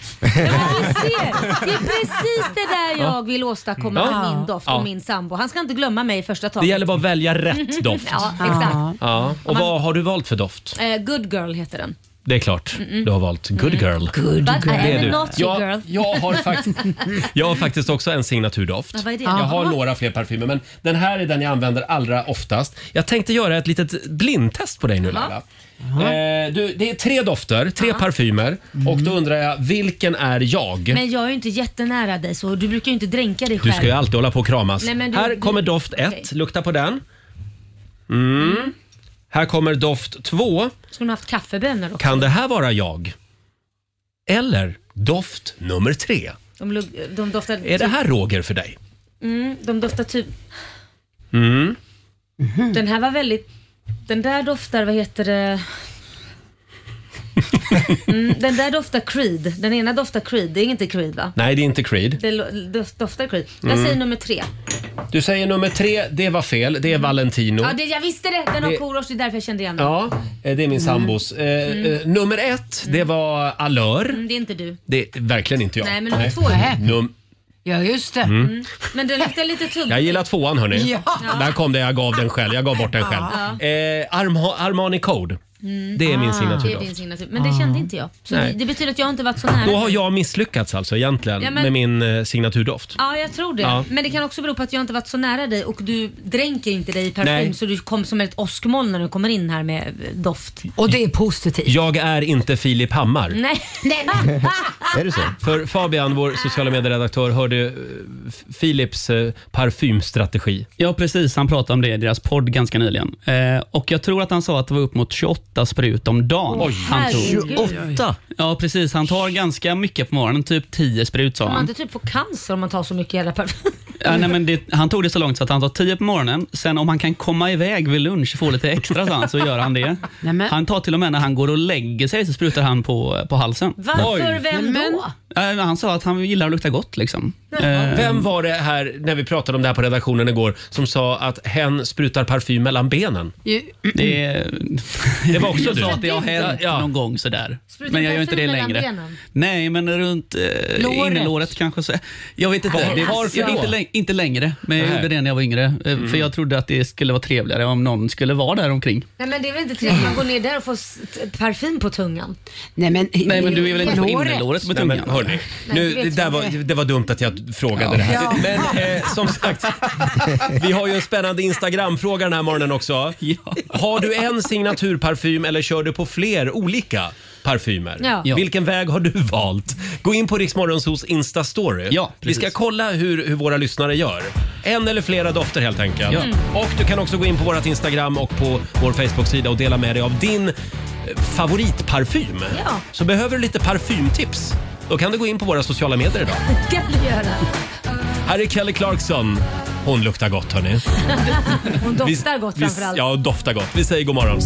[SPEAKER 2] Det är precis det där
[SPEAKER 1] Ja.
[SPEAKER 2] jag vill åstadkomma
[SPEAKER 1] Ja.
[SPEAKER 2] med min doft
[SPEAKER 1] Ja.
[SPEAKER 2] och min sambo. Han ska inte glömma mig i första taget.
[SPEAKER 1] Det gäller bara att välja rätt doft.
[SPEAKER 2] Ja, exakt.
[SPEAKER 1] Ja. Och vad har du valt för doft?
[SPEAKER 2] Eh, good girl heter den.
[SPEAKER 1] Det är klart
[SPEAKER 2] Mm-mm. Mm.
[SPEAKER 1] du har valt Good Girl.
[SPEAKER 2] Good But I
[SPEAKER 1] Det
[SPEAKER 2] am
[SPEAKER 1] är
[SPEAKER 2] a
[SPEAKER 1] du.
[SPEAKER 2] naughty
[SPEAKER 1] Jag-
[SPEAKER 2] girl.
[SPEAKER 1] Jag har faktiskt... Jag har faktiskt också en signaturdoft.
[SPEAKER 2] Ja, vad är det?
[SPEAKER 1] Jag har
[SPEAKER 2] Jaha.
[SPEAKER 1] några fler parfymer, men den här är den jag använder allra oftast. Jag tänkte göra ett litet blindtest på dig nu,
[SPEAKER 2] Jaha.
[SPEAKER 1] Laila.
[SPEAKER 2] Jaha.
[SPEAKER 1] Eh, du, det är tre dofter, tre parfymer och då undrar jag, vilken är jag?
[SPEAKER 2] Men jag är ju inte jättenära dig så du brukar ju inte dränka dig själv.
[SPEAKER 1] Du ska ju alltid hålla på och kramas.
[SPEAKER 2] Nej, men du-
[SPEAKER 1] här
[SPEAKER 2] du-
[SPEAKER 1] kommer doft ett, lukta på den. Mm. Här kommer doft två.
[SPEAKER 2] Skulle du haft kaffebönor också?
[SPEAKER 1] Kan det här vara jag? Eller doft nummer tre?
[SPEAKER 2] De, luk- de doftar...
[SPEAKER 1] Är det här Roger för dig?
[SPEAKER 2] Mm, de doftar typ...
[SPEAKER 1] Mm.
[SPEAKER 2] Den här var väldigt... Den där doftar, vad heter det? Mm, den där doftar Creed. Den ena doftar Creed. Det är inte Creed va?
[SPEAKER 1] Nej, det är inte Creed.
[SPEAKER 2] Det lo- doft- doftar Creed. Jag
[SPEAKER 1] Mm.
[SPEAKER 2] säger nummer tre.
[SPEAKER 1] Du säger nummer tre, det var fel. Det är Valentino.
[SPEAKER 2] Mm. Ja, det, jag visste det! Den har
[SPEAKER 1] Det-
[SPEAKER 2] Korosh, det är därför jag kände igen den.
[SPEAKER 1] Ja, eh, det är min sambos. Eh,
[SPEAKER 2] Mm.
[SPEAKER 1] eh, nummer ett, det var Allure.
[SPEAKER 2] Mm, det är inte du.
[SPEAKER 1] Det är verkligen inte jag.
[SPEAKER 2] Nej, men nummer två är det.
[SPEAKER 1] Num-
[SPEAKER 6] Ja, just det.
[SPEAKER 1] Mm.
[SPEAKER 2] Men den luktar lite tugg.
[SPEAKER 1] Jag gillar tvåan hörni.
[SPEAKER 2] Ja.
[SPEAKER 1] Där kom det, jag gav den själv. Jag gav bort den själv.
[SPEAKER 2] Ja.
[SPEAKER 1] Eh, Arma- Armani Code.
[SPEAKER 2] Mm.
[SPEAKER 1] Det är min
[SPEAKER 2] Det är din
[SPEAKER 1] signaturdoft.
[SPEAKER 2] signatur. Men det kände inte jag. Så
[SPEAKER 1] Ah. Nej.
[SPEAKER 2] det, det betyder att jag inte varit så nära.
[SPEAKER 1] Då har jag misslyckats alltså egentligen
[SPEAKER 2] Ja, men-
[SPEAKER 1] med min eh, signaturdoft.
[SPEAKER 2] Ja, jag tror det.
[SPEAKER 1] Ja.
[SPEAKER 2] Men det kan också bero på att jag inte varit så nära dig och du dränker inte dig i parfym
[SPEAKER 1] Nej.
[SPEAKER 2] så du kom som ett åskmoln när du kommer in här med eh, doft.
[SPEAKER 6] Och det är positivt.
[SPEAKER 1] Jag är inte Filip Hammar.
[SPEAKER 2] Nej. Nej.
[SPEAKER 1] Är det så? För Fabian, vår sociala medieredaktör, hörde eh, F- Philips eh, parfymstrategi.
[SPEAKER 10] Ja, precis. Han pratade om det i deras podd ganska nyligen. Eh, och jag tror att han sa att det var upp mot 28 sprut om dagen.
[SPEAKER 1] Oj.
[SPEAKER 10] han
[SPEAKER 2] Herregud. 28?
[SPEAKER 10] Ja, precis. Han tar ganska mycket på morgonen, typ 10 sprut sa
[SPEAKER 2] Om man
[SPEAKER 10] han.
[SPEAKER 2] inte typ får cancer om man tar så mycket jävla parfym.
[SPEAKER 10] Ja, nej, men det, han tog det så långt så att han tar 10 på morgonen. Sen om han kan komma iväg vid lunch och få lite extra så, han, så gör han det.
[SPEAKER 6] Nej, men-
[SPEAKER 10] Han tar till och med när han går och lägger sig så sprutar han på, på halsen.
[SPEAKER 2] Varför? Vem då?
[SPEAKER 10] Eh, Han sa att han gillar att lukta gott. Liksom. Eh,
[SPEAKER 1] Vem var det här, när vi pratade om det här på redaktionen igår, som sa att hen sprutar parfym mellan benen?
[SPEAKER 10] Det,
[SPEAKER 1] Det var också
[SPEAKER 10] jag
[SPEAKER 1] du.
[SPEAKER 10] sa att det har hänt
[SPEAKER 1] Ja, ja.
[SPEAKER 10] någon gång sådär.
[SPEAKER 2] Sprutar
[SPEAKER 10] men jag gör
[SPEAKER 2] parfym
[SPEAKER 10] inte det
[SPEAKER 2] mellan
[SPEAKER 10] längre.
[SPEAKER 2] benen?
[SPEAKER 10] Nej, men runt eh,
[SPEAKER 2] Låret.
[SPEAKER 10] innerlåret kanske. Så, jag vet inte.
[SPEAKER 1] Var-
[SPEAKER 10] det,
[SPEAKER 1] varför
[SPEAKER 10] jag,
[SPEAKER 1] då?
[SPEAKER 10] inte, läng- inte längre, men
[SPEAKER 1] Nej.
[SPEAKER 10] jag
[SPEAKER 1] Mm.
[SPEAKER 10] gjorde det när jag var yngre. eh, För jag trodde att det skulle vara trevligare om någon skulle vara där omkring.
[SPEAKER 2] Nej men det är väl inte trevligt att man går ner där och får s- t- parfym på tungan?
[SPEAKER 6] Nej men,
[SPEAKER 10] Nej, men du är väl inte på innerlåret med tungan?
[SPEAKER 1] hörni.
[SPEAKER 2] Nej,
[SPEAKER 1] Nu,
[SPEAKER 2] det vet
[SPEAKER 1] det, där
[SPEAKER 2] jag
[SPEAKER 1] var,
[SPEAKER 2] inte.
[SPEAKER 1] det var dumt att jag frågade det här.
[SPEAKER 2] Ja.
[SPEAKER 1] Men eh, som sagt, vi har ju en spännande Instagram-fråga den här morgonen också. Har du en signaturparfym eller kör du på fler olika parfymer?
[SPEAKER 10] Ja. Ja.
[SPEAKER 1] Vilken väg har du valt? Gå in på Riksmorgonsos Insta-story.
[SPEAKER 10] Ja,
[SPEAKER 1] vi ska kolla hur, hur våra lyssnare gör. En eller flera dofter helt enkelt.
[SPEAKER 10] Ja.
[SPEAKER 1] Mm. Och du kan också gå in på vårt Instagram och på vår Facebook-sida och dela med dig av din eh, favoritparfym.
[SPEAKER 2] Ja.
[SPEAKER 1] Så behöver du lite parfymtips, då kan du gå in på våra sociala medier idag.
[SPEAKER 2] kan du göra.
[SPEAKER 1] Här är Kelly Clarkson. Hon luktar gott hörni.
[SPEAKER 2] Hon
[SPEAKER 1] Vi-
[SPEAKER 2] doftar gott
[SPEAKER 1] vi-
[SPEAKER 2] framförallt.
[SPEAKER 1] Ja, doftar gott. Vi säger god morgon.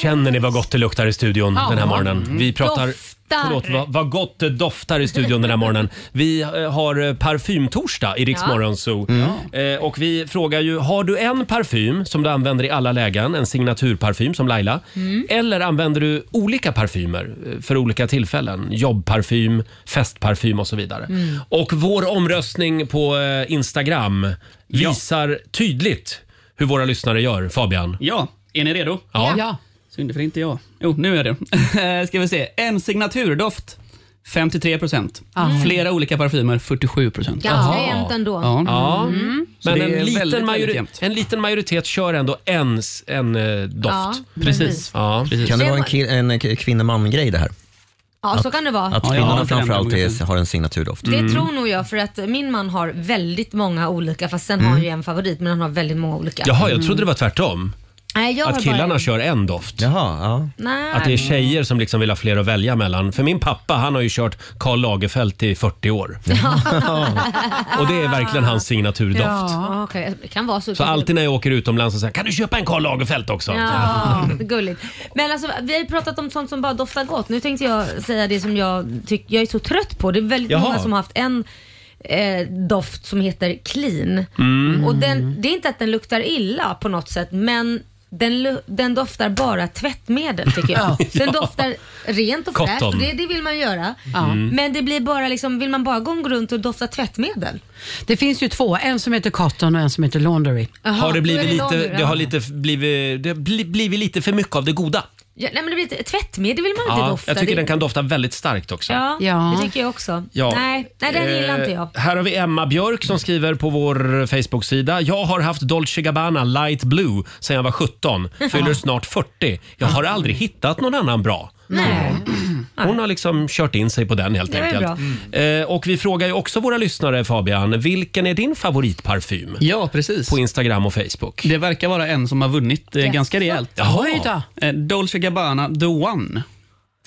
[SPEAKER 1] Känner ni vad gott det luktar i studion
[SPEAKER 2] Ja.
[SPEAKER 1] den här morgonen?
[SPEAKER 2] Mm.
[SPEAKER 1] Vi pratar...
[SPEAKER 2] Doftar.
[SPEAKER 1] Förlåt, vad, vad gott det doftar i studion den här morgonen. Vi eh, har eh, parfymtorsdag i Rix
[SPEAKER 2] Ja.
[SPEAKER 1] Morgon Zoo. Eh, och vi frågar ju, har du en parfym som du använder i alla lägen? En signaturparfym som Laila.
[SPEAKER 2] Mm.
[SPEAKER 1] Eller använder du olika parfymer eh, för olika tillfällen? Jobbparfym, festparfym och så vidare.
[SPEAKER 2] Mm.
[SPEAKER 1] Och vår omröstning på eh, Instagram visar tydligt hur våra lyssnare gör, Fabian.
[SPEAKER 10] Ja, är ni redo?
[SPEAKER 1] Ja.
[SPEAKER 10] Synd för inte jag. Jo, nu är jag det. Ska vi se. En signaturdoft, 53 procent.
[SPEAKER 2] Mm.
[SPEAKER 10] Flera olika parfymer, 47 procent.
[SPEAKER 2] Ganska jämnt ändå.
[SPEAKER 10] Ja.
[SPEAKER 1] Ja.
[SPEAKER 2] Mm.
[SPEAKER 10] Så
[SPEAKER 1] Men
[SPEAKER 10] det
[SPEAKER 1] en
[SPEAKER 10] är
[SPEAKER 1] liten,
[SPEAKER 10] väldigt, väldigt
[SPEAKER 1] majori-
[SPEAKER 10] jämnt.
[SPEAKER 1] en liten majoritet kör ändå en, s- en eh, doft.
[SPEAKER 2] Ja, precis.
[SPEAKER 1] Ja.
[SPEAKER 5] Kan det vara en, ki- en ki- kvinna-man-grej det här?
[SPEAKER 2] Ja, så
[SPEAKER 5] Att-
[SPEAKER 2] kan det vara.
[SPEAKER 5] Att kvinnorna framförallt är, har en signaturdoft.
[SPEAKER 2] Det tror nog jag för att min man har väldigt många olika fast sen har han ju en favorit men han har väldigt många olika.
[SPEAKER 1] Jaha, jag trodde det var tvärtom.
[SPEAKER 2] Nej, jag
[SPEAKER 1] Att
[SPEAKER 2] har
[SPEAKER 1] killarna
[SPEAKER 2] bara...
[SPEAKER 1] kör en doft.
[SPEAKER 2] Nej.
[SPEAKER 1] Att det är tjejer som liksom vill ha fler att välja mellan. För min pappa, han har ju kört Karl Lagerfeld i 40 år. Och det är verkligen hans signaturdoft.
[SPEAKER 2] Ja, okej. Det kan vara så.
[SPEAKER 1] Så alltid när jag åker utomlands så säger jag, kan du köpa en Karl Lagerfeld också?
[SPEAKER 2] Ja, gulligt. Men alltså, vi har ju pratat om sånt som bara doftar gott. Nu tänkte jag säga det som jag tycker jag är så trött på. Det är väldigt
[SPEAKER 1] Jaha.
[SPEAKER 2] många som har haft en eh, doft som heter clean.
[SPEAKER 1] Mm.
[SPEAKER 2] Och den, det är inte att den luktar illa på något sätt men den, lu- den doftar bara tvättmedel tycker jag.
[SPEAKER 1] Ja.
[SPEAKER 2] Den doftar rent och fräscht och
[SPEAKER 6] Cotton.
[SPEAKER 2] det, det vill man göra.
[SPEAKER 6] Mm.
[SPEAKER 2] Men det blir bara liksom, vill man bara gå runt och dofta tvättmedel?
[SPEAKER 6] Det finns ju två, en som heter Cotton och en som heter Laundry.
[SPEAKER 1] har det, blivit
[SPEAKER 2] då är
[SPEAKER 1] lite,
[SPEAKER 2] det lager,
[SPEAKER 1] det
[SPEAKER 2] ja.
[SPEAKER 1] har lite f- blivit, det har bli- blivit lite för mycket av det goda.
[SPEAKER 2] Ja, nej men det blir lite, tvättmedel vill man
[SPEAKER 1] Ja,
[SPEAKER 2] inte dofta.
[SPEAKER 1] jag tycker
[SPEAKER 2] Det-
[SPEAKER 1] den kan dofta väldigt starkt också.
[SPEAKER 2] Ja, det tycker jag också.
[SPEAKER 1] Ja.
[SPEAKER 2] Nej, nej, den gillar inte jag.
[SPEAKER 1] Eh, Här har vi Emma Björk som skriver på vår Facebook-sida. Jag har haft Dolce Gabbana Light Blue sedan jag var 17. Fyller
[SPEAKER 2] Ja.
[SPEAKER 1] snart 40. Jag har aldrig hittat någon annan bra.
[SPEAKER 2] Nej.
[SPEAKER 1] Hon har liksom kört in sig på den helt
[SPEAKER 2] Det är
[SPEAKER 1] enkelt.
[SPEAKER 2] bra. Mm.
[SPEAKER 1] Eh, och vi frågar ju också våra lyssnare Fabian, vilken är din favoritparfym?
[SPEAKER 10] Ja, precis.
[SPEAKER 1] På Instagram och Facebook.
[SPEAKER 10] Det verkar vara en som har vunnit eh, ganska rejält.
[SPEAKER 1] Jaha. Oj då.
[SPEAKER 10] Eh, Dolce Gabbana, The One.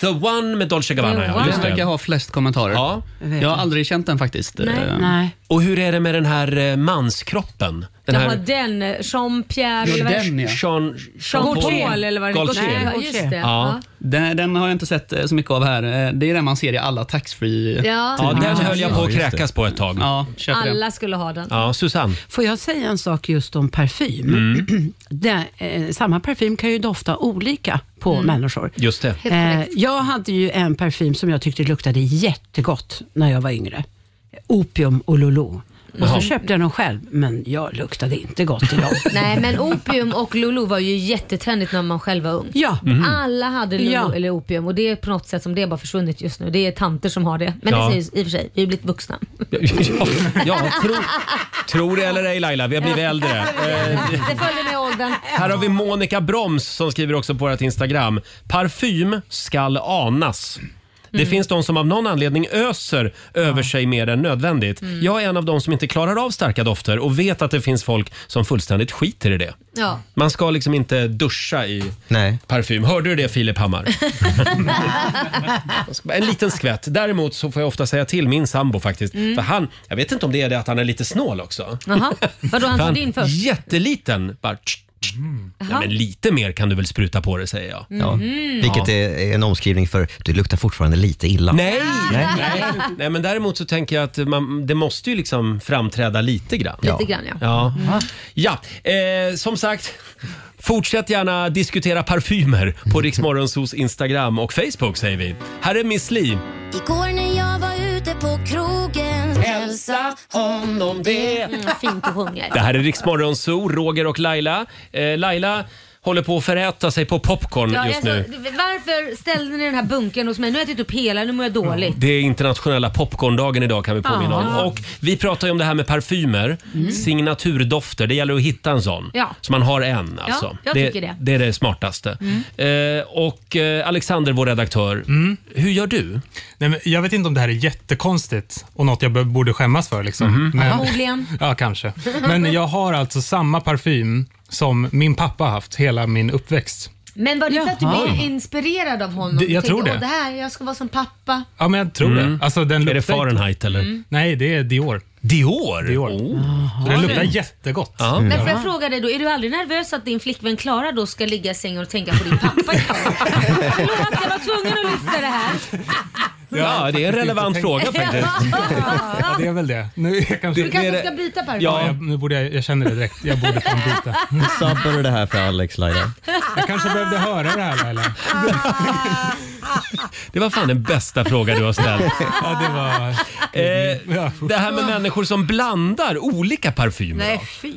[SPEAKER 1] The One med Dolce
[SPEAKER 6] Gabbana, ja, The just
[SPEAKER 10] Den
[SPEAKER 6] det.
[SPEAKER 10] verkar ha flest kommentarer. Ja.
[SPEAKER 6] Jag vet
[SPEAKER 10] Jag har aldrig känt den faktiskt.
[SPEAKER 2] Nej.
[SPEAKER 10] Eh,
[SPEAKER 6] Nej.
[SPEAKER 1] Och hur är det med den här eh, manskroppen? Den
[SPEAKER 2] Den
[SPEAKER 1] här
[SPEAKER 2] Jaha, den. eh, Jean-Pierre eller vad är det?
[SPEAKER 1] Jean, Jean
[SPEAKER 2] Gaultier eller vad det
[SPEAKER 1] Gaultier.
[SPEAKER 2] Nej, just det.
[SPEAKER 1] Ja.
[SPEAKER 2] Ja.
[SPEAKER 10] Den, den har jag inte sett eh, så mycket av här. Eh, Det är den man ser i alla taxfree
[SPEAKER 2] Ja.
[SPEAKER 1] Ja, den höll jag på
[SPEAKER 10] Ja,
[SPEAKER 1] att
[SPEAKER 10] just det.
[SPEAKER 1] kräkas på ett tag.
[SPEAKER 10] Ja,
[SPEAKER 2] Alla skulle ha den.
[SPEAKER 1] Ja, Susanne.
[SPEAKER 6] Får jag säga en sak just om parfym?
[SPEAKER 1] Mm.
[SPEAKER 6] Det, eh, samma parfym kan ju dofta olika på
[SPEAKER 1] Mm.
[SPEAKER 6] människor.
[SPEAKER 1] Just det.
[SPEAKER 6] Eh, jag hade ju en parfym som jag tyckte luktade jättegott när jag var yngre. Opium och Lolo. Och
[SPEAKER 2] Jaha.
[SPEAKER 6] så köpte jag den själv, men jag luktade inte gott i dem.
[SPEAKER 2] Nej men opium och Lulu var ju jättetrendigt när man själv var ung.
[SPEAKER 6] Ja.
[SPEAKER 1] Mm.
[SPEAKER 6] Mhm.
[SPEAKER 2] Alla hade Lulu
[SPEAKER 6] Ja.
[SPEAKER 2] eller opium och det är på något sätt som det har bara försvunnit just nu. Det är tanter som har det. Men
[SPEAKER 1] Ja.
[SPEAKER 2] det säger ju- i och för sig, vi har blivit vuxna.
[SPEAKER 1] Ja, tro, tro det eller ej Laila, vi har blivit äldre. Eh,
[SPEAKER 2] Det följer med åldern.
[SPEAKER 1] här har vi Monica Broms som skriver också på vårt Instagram. Parfym skall anas. Det
[SPEAKER 2] Mm.
[SPEAKER 1] finns de som av någon anledning öser över sig mer än nödvändigt.
[SPEAKER 2] Mm.
[SPEAKER 1] Jag är en av de som inte klarar av starka dofter och vet att det finns folk som fullständigt skiter i det.
[SPEAKER 2] Ja.
[SPEAKER 1] Man ska liksom inte duscha i
[SPEAKER 5] Mm.
[SPEAKER 1] parfym. Hörde du det Filip Hammar? Man ska bara- en liten skvätt. Däremot så får jag ofta säga till min sambo faktiskt.
[SPEAKER 2] Mm.
[SPEAKER 1] För han, jag vet inte om det är det att han är lite snål också.
[SPEAKER 2] Jaha, vadå han
[SPEAKER 1] För
[SPEAKER 2] tog din först? Mm.
[SPEAKER 1] Jätteliten. Bara, tsch, tsch. Ja,
[SPEAKER 2] Jaha.
[SPEAKER 1] men lite mer kan du väl spruta på det säger jag.
[SPEAKER 2] Ja. Mhm.
[SPEAKER 5] Vilket är en omskrivning för du luktar fortfarande lite illa.
[SPEAKER 1] Nej, nej.
[SPEAKER 5] Nej.
[SPEAKER 1] nej. men däremot så tänker jag att man, det måste ju liksom framträda lite grann.
[SPEAKER 2] Lite grann ja. Mm.
[SPEAKER 1] Ja, ja. Eh, som sagt. Fortsätt gärna diskutera parfymer på Riksmorgonsos Instagram och Facebook säger vi. Här är Miss Li.
[SPEAKER 7] Igår när jag var ute på krogen Hälsa honom det
[SPEAKER 2] Mm, fint du sjunger.
[SPEAKER 1] Det här är Riksmorgonso, Roger och Laila. Eh, Laila, håller på att föräta sig på popcorn
[SPEAKER 2] Ja,
[SPEAKER 1] just
[SPEAKER 2] alltså,
[SPEAKER 1] nu.
[SPEAKER 2] Varför ställde ni den här bunkern hos mig? Nu har jag ätit upp hela, nu mår jag dåligt.
[SPEAKER 1] Det är internationella popcorndagen idag kan vi påminna
[SPEAKER 2] Ja.
[SPEAKER 1] om. Och vi pratar ju om det här med parfymer,
[SPEAKER 2] Mm.
[SPEAKER 1] signaturdofter. Det gäller att hitta en sån.
[SPEAKER 2] Ja.
[SPEAKER 1] Så man har en
[SPEAKER 2] Ja,
[SPEAKER 1] alltså.
[SPEAKER 2] jag
[SPEAKER 1] det,
[SPEAKER 2] tycker det. Mm.
[SPEAKER 1] det är det smartaste. Eh, och eh, Alexander, vår redaktör, hur gör du?
[SPEAKER 9] Nej, men jag vet inte om det här är jättekonstigt och något jag b- borde skämmas för. Liksom.
[SPEAKER 1] Mhm.
[SPEAKER 9] Men,
[SPEAKER 2] Förmodligen.
[SPEAKER 9] ja, kanske. Men jag har alltså samma parfym som min pappa haft hela min uppväxt.
[SPEAKER 2] Men var det för att du
[SPEAKER 9] Jaha.
[SPEAKER 2] blev inspirerad av honom?
[SPEAKER 9] Det- jag
[SPEAKER 2] Du
[SPEAKER 9] tror
[SPEAKER 2] tänkte,
[SPEAKER 9] det.
[SPEAKER 2] "Åh, det här, jag ska vara som pappa.
[SPEAKER 9] Ja, men jag tror det. Alltså, den
[SPEAKER 1] Mm. Är det
[SPEAKER 9] luktar-
[SPEAKER 1] Fahrenheit eller?
[SPEAKER 2] Mm.
[SPEAKER 9] Nej, det är Dior.
[SPEAKER 1] Dior? Oh.
[SPEAKER 9] Dior. Så den luktar
[SPEAKER 2] Jaha.
[SPEAKER 9] jättegott.
[SPEAKER 2] Men får jag fråga dig då, är du aldrig nervös att din flickvän Klara då ska ligga i sängen och tänka på din pappa ikväll? Jag var tvungen att lyfta det här.
[SPEAKER 1] Ja, det är en relevant fråga faktiskt.
[SPEAKER 9] Ja, det är väl det. Nu, jag kanske...
[SPEAKER 2] Du kanske ska byta parfym?
[SPEAKER 9] Ja, jag, nu borde jag, jag känner det direkt. Jag borde fan byta.
[SPEAKER 5] Nu sabbar du det här för Alex Laila.
[SPEAKER 9] Jag kanske behövde höra det här Laila.
[SPEAKER 1] Det var fan den bästa fråga du har ställt.
[SPEAKER 9] Ja, det, var...
[SPEAKER 1] eh, det här med människor som blandar olika parfymer.
[SPEAKER 11] Nej, fy.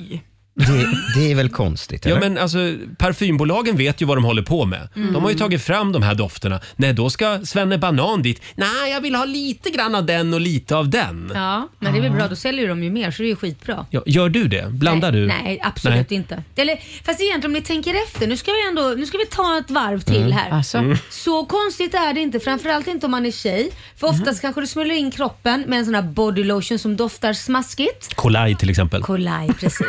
[SPEAKER 1] Det,
[SPEAKER 5] är väl konstigt?
[SPEAKER 1] Ja,
[SPEAKER 5] eller?
[SPEAKER 1] men alltså, parfymbolagen vet ju vad de håller på med.
[SPEAKER 11] Mm.
[SPEAKER 1] De har ju tagit fram de här dofterna. Nej, då ska Svenne Banan dit. Nej, jag vill ha lite grann av den och lite av den.
[SPEAKER 2] Ja, men det är väl bra. Då säljer ju de ju mer så det är ju skitbra.
[SPEAKER 1] Ja, gör du det? Blandar
[SPEAKER 2] nej,
[SPEAKER 1] du?
[SPEAKER 2] Nej, absolut inte. Eller, fast egentligen om ni tänker efter, nu ska vi, ändå, nu ska vi ta ett varv till
[SPEAKER 1] Mm.
[SPEAKER 9] Ah,
[SPEAKER 2] här.
[SPEAKER 1] Alltså. Mm.
[SPEAKER 2] Så konstigt är det inte, framförallt inte om man är tjej. För oftast kanske du smörjer in kroppen med en sån här body lotion som doftar smaskigt.
[SPEAKER 1] Kolaj till exempel.
[SPEAKER 2] Kolaj, precis.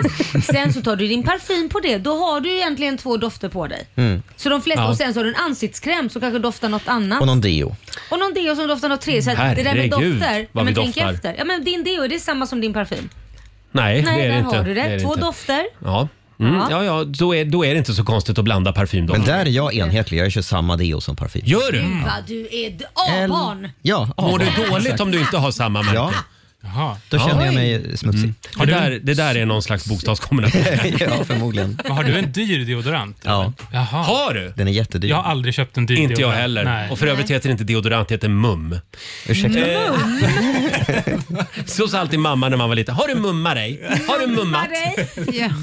[SPEAKER 2] sen så tar du din parfym på det, då har du ju egentligen två dofter på dig.
[SPEAKER 5] Mm.
[SPEAKER 2] Så de flesta,
[SPEAKER 5] Ja.
[SPEAKER 2] Och sen så har du en ansiktskräm som kanske doftar något annat.
[SPEAKER 5] Och någon deo.
[SPEAKER 2] Och någon deo som doftar något tredje. Så att det där med
[SPEAKER 5] Herregud,
[SPEAKER 2] dofter,
[SPEAKER 5] vad
[SPEAKER 2] men
[SPEAKER 5] vi
[SPEAKER 2] tänk
[SPEAKER 5] doftar.
[SPEAKER 2] efter. Ja, men din deo, är det samma som din parfym?
[SPEAKER 1] Nej, det är
[SPEAKER 2] där
[SPEAKER 1] det inte.
[SPEAKER 2] har du det.
[SPEAKER 1] är
[SPEAKER 2] Två
[SPEAKER 1] inte.
[SPEAKER 2] dofter.
[SPEAKER 1] Ja. Mm, ja, ja då, är, då är det inte så konstigt att blanda parfymdofter.
[SPEAKER 5] Men där är jag enhetlig. Jag kör samma deo som parfym.
[SPEAKER 1] Gör du?
[SPEAKER 2] Gud vad du är d- A-barn!
[SPEAKER 5] Ja,
[SPEAKER 1] Mår
[SPEAKER 5] ja,
[SPEAKER 1] du dåligt
[SPEAKER 5] exakt.
[SPEAKER 1] om du inte har samma märke?
[SPEAKER 5] Ja.
[SPEAKER 9] Jaha.
[SPEAKER 5] Då känner jag mig smutsig.
[SPEAKER 1] Det, där, det där är någon slags bokstavskombination.
[SPEAKER 5] ja, förmodligen.
[SPEAKER 9] Men har du en dyr deodorant?
[SPEAKER 5] Ja.
[SPEAKER 9] Jaha.
[SPEAKER 1] Har du?
[SPEAKER 5] Den är jättedyr.
[SPEAKER 9] Jag har aldrig köpt en dyr
[SPEAKER 1] Inte jag
[SPEAKER 9] deodorant.
[SPEAKER 1] heller.
[SPEAKER 9] Nej.
[SPEAKER 1] Och för övrigt heter inte deodorant, det heter mum. Eh,
[SPEAKER 5] Ursäkta?
[SPEAKER 1] Så sa alltid mamma när man var liten. Har du mumma dig? Har du mummat?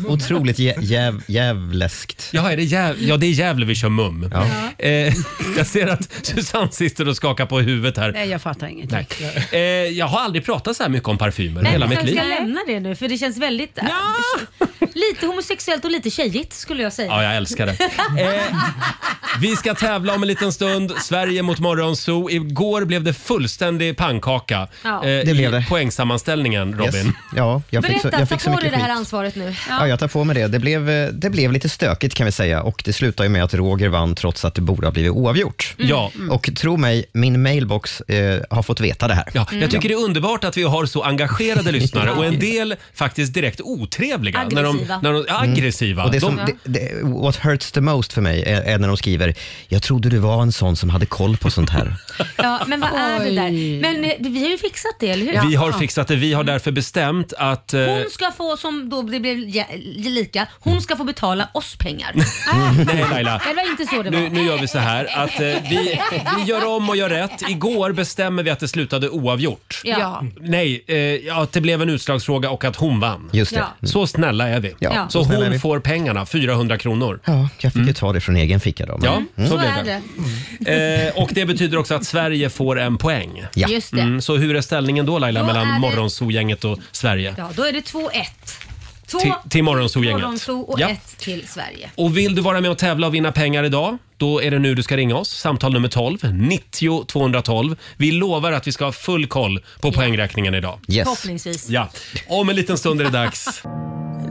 [SPEAKER 5] Otroligt jä- jäv- jävleskt.
[SPEAKER 1] Ja, är det jäv- ja, det är Gävle vi kör mum. Eh, jag ser att Susanne sitter och skakar på huvudet här.
[SPEAKER 6] Nej, jag fattar inget.
[SPEAKER 1] Nej. Eh, jag har aldrig pratat så här mycket om parfymer
[SPEAKER 2] Men
[SPEAKER 1] hela
[SPEAKER 2] vi
[SPEAKER 1] mitt
[SPEAKER 2] kanske
[SPEAKER 1] liv.
[SPEAKER 2] ska lämna det nu för det känns väldigt... äh, Lite homosexuellt och lite tjejigt skulle jag säga.
[SPEAKER 1] Ja, jag älskar det. Eh, vi ska tävla om en liten stund. Sverige mot Morgonzoo. Igår blev det fullständig pannkaka
[SPEAKER 2] Ja.
[SPEAKER 1] eh,
[SPEAKER 2] Det
[SPEAKER 1] i poängsammanställningen, Robin.
[SPEAKER 5] Ja, jag fick,
[SPEAKER 2] Berätta,
[SPEAKER 5] så, jag
[SPEAKER 2] ta
[SPEAKER 5] fick så
[SPEAKER 2] på dig
[SPEAKER 5] mycket
[SPEAKER 2] det här
[SPEAKER 5] skit.
[SPEAKER 2] ansvaret nu.
[SPEAKER 5] Ja, jag tar på mig det. Det blev, eh, det blev lite stökigt kan vi säga och det slutade ju med att Roger vann trots att det borde ha blivit oavgjort.
[SPEAKER 1] Mm. Ja.
[SPEAKER 5] Och tro mig, min mailbox eh, har fått veta det här.
[SPEAKER 1] Ja,
[SPEAKER 2] Mm.
[SPEAKER 1] Jag tycker det är underbart att vi har så engagerade lyssnare och en del faktiskt direkt otrevliga.
[SPEAKER 5] Aggressiva.
[SPEAKER 1] När de, när de, aggressiva.
[SPEAKER 5] Mm. Och det
[SPEAKER 1] de,
[SPEAKER 5] som, det, det, what hurts the most för mig är, är när de skriver “Jag trodde du var en sån som hade koll på sånt här”.
[SPEAKER 2] Ja, men vad är det där? Men eh, vi har ju fixat det, eller hur?
[SPEAKER 1] Vi har
[SPEAKER 2] Ja. Mm.
[SPEAKER 1] fixat det. Vi har därför bestämt att... eh,
[SPEAKER 2] Hon ska få, som då det blev jä- lika, hon ska få betala oss pengar.
[SPEAKER 1] Nej Laila.
[SPEAKER 2] Det var inte så det var.
[SPEAKER 1] Nu, nu gör vi så här att eh, vi, vi gör om och gör rätt. Igår bestämmer vi att det slutade oavgjort.
[SPEAKER 2] Ja.
[SPEAKER 1] Nej, eh, ja, att det blev en utslagsfråga och att hon vann.
[SPEAKER 5] Just det.
[SPEAKER 1] Ja. Så snälla är vi.
[SPEAKER 5] Ja,
[SPEAKER 1] Så
[SPEAKER 5] så snälla är
[SPEAKER 1] hon
[SPEAKER 5] vi.
[SPEAKER 1] får pengarna, 400 kronor.
[SPEAKER 5] Ja, jag fick ju ta det från egen ficka då. men-
[SPEAKER 1] Ja, så
[SPEAKER 2] Mm. Så
[SPEAKER 1] blev
[SPEAKER 2] är
[SPEAKER 1] det.
[SPEAKER 2] det.
[SPEAKER 1] Eh, och det betyder också att Sverige får en poäng.
[SPEAKER 2] Ja. Just det.
[SPEAKER 1] Mm, så hur är ställningen då Laila
[SPEAKER 2] Då är
[SPEAKER 1] mellan
[SPEAKER 2] det-
[SPEAKER 1] Morgonzoo-gänget och Sverige?
[SPEAKER 2] Ja, då är det 2-1. Två
[SPEAKER 1] Till, till Morgonzoo-gänget.
[SPEAKER 2] Morgonzoo och
[SPEAKER 1] Ja.
[SPEAKER 2] ett till Sverige.
[SPEAKER 1] Och vill du vara med och tävla och vinna pengar idag? Då är det nu du ska ringa oss. Samtal nummer 12, 90 212. Vi lovar att vi ska ha full koll på poängräkningen idag.
[SPEAKER 5] Yes.
[SPEAKER 2] Förhoppningsvis.
[SPEAKER 1] Ja. Om en liten stund är det dags.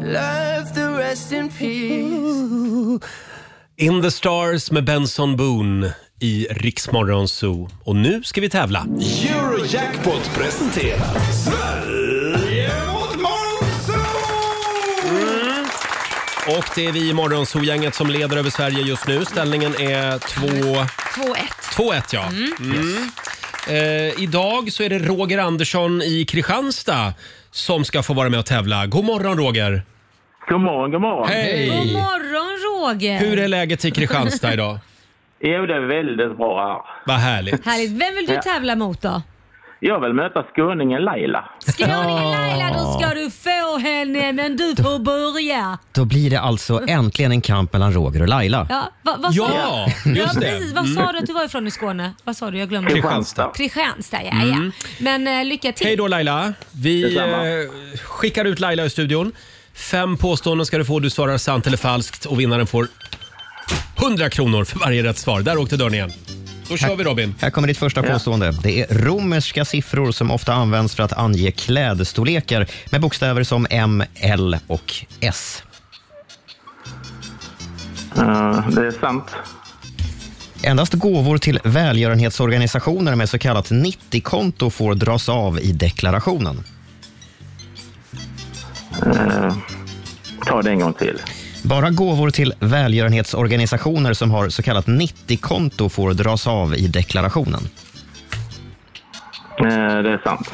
[SPEAKER 8] Love the rest in peace.
[SPEAKER 1] In the stars med Benson Boone i Riksmorgon Zoo. Och nu ska vi tävla.
[SPEAKER 3] Eurojackpot presenterar
[SPEAKER 1] Mm.
[SPEAKER 3] Sverige mot Monzo!
[SPEAKER 1] Och det är vi i Morgonzoo-gänget som leder över Sverige just nu. Ställningen är 2...
[SPEAKER 2] 2-1.
[SPEAKER 1] 2-1 ja.
[SPEAKER 2] Mm.
[SPEAKER 1] Mm. Eh, idag så är det Roger Andersson i Kristianstad som ska få vara med och tävla. God morgon Roger!
[SPEAKER 14] God morgon, god morgon.
[SPEAKER 2] God
[SPEAKER 1] Hej!
[SPEAKER 2] morgon Roger!
[SPEAKER 1] Hur är läget i Kristianstad idag?
[SPEAKER 14] Jo, det är väldigt bra här.
[SPEAKER 1] Vad härligt.
[SPEAKER 2] Härligt. Vem vill du
[SPEAKER 14] Ja.
[SPEAKER 2] tävla mot då?
[SPEAKER 14] Jag vill möta skåningen Laila.
[SPEAKER 2] Skåningen Laila, då ska du få henne men du får börja.
[SPEAKER 5] Då blir det alltså äntligen en kamp mellan Roger och Laila.
[SPEAKER 2] Ja, va, vad sa
[SPEAKER 5] Ja,
[SPEAKER 2] du?
[SPEAKER 5] just
[SPEAKER 2] ja,
[SPEAKER 5] det.
[SPEAKER 2] precis. Vad sa
[SPEAKER 5] Mm.
[SPEAKER 2] du att du var ifrån i Skåne? Vad sa du? Jag glömde.
[SPEAKER 5] Kristianstad.
[SPEAKER 2] Kristianstad, ja,
[SPEAKER 1] Mm.
[SPEAKER 2] ja. Men eh, lycka till.
[SPEAKER 1] Hej då Laila. Vi
[SPEAKER 2] Detsamma.
[SPEAKER 1] eh, skickar ut Laila ur studion. Fem påståenden ska du få. Du svarar sant eller falskt och vinnaren får 100 kronor för varje rätt svar. Där åkte dörren igen. Då kör vi Robin.
[SPEAKER 5] Här kommer ditt första påstående. Det är romerska siffror som ofta används för att ange klädstorlekar med bokstäver som M, L och S.
[SPEAKER 14] Eh, det är sant.
[SPEAKER 5] Endast gåvor till välgörenhetsorganisationer med så kallat 90-konto får dras av i deklarationen.
[SPEAKER 14] Eh, ta det en gång till.
[SPEAKER 5] Bara gåvor till välgörenhetsorganisationer som har så kallat 90-konto får dras av i deklarationen.
[SPEAKER 14] Eh, det är sant.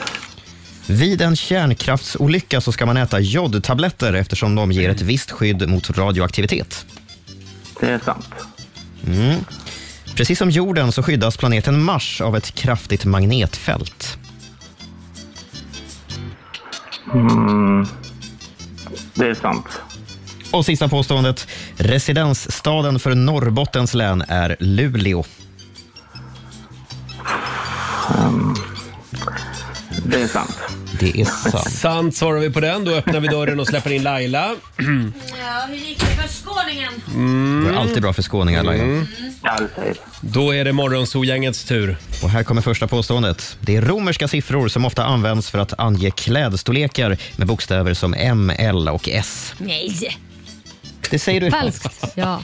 [SPEAKER 5] Vid en kärnkraftsolycka så ska man äta jodtabletter eftersom de ger ett visst skydd mot radioaktivitet.
[SPEAKER 14] Det är sant.
[SPEAKER 5] Mm. Precis som jorden så skyddas planeten Mars av ett kraftigt magnetfält.
[SPEAKER 14] Mm, det är sant.
[SPEAKER 5] Och sista påståendet. Residensstaden för Norrbottens län är Luleå.
[SPEAKER 14] Det är sant.
[SPEAKER 5] Det är sant.
[SPEAKER 1] Sant svarar vi på den. Då öppnar vi dörren och släpper in Laila.
[SPEAKER 2] Ja, hur gick det för skåningen?
[SPEAKER 1] Mm.
[SPEAKER 5] Det är alltid bra för skåningar, Laila.
[SPEAKER 14] Alltid.
[SPEAKER 1] Då är det Morgonzoo-gängets tur.
[SPEAKER 5] Och här kommer första påståendet. Det är romerska siffror som ofta används för att ange klädstorlekar med bokstäver som M, L och E. S.
[SPEAKER 2] Nej!
[SPEAKER 5] Det säger du är
[SPEAKER 2] Falskt. Ja.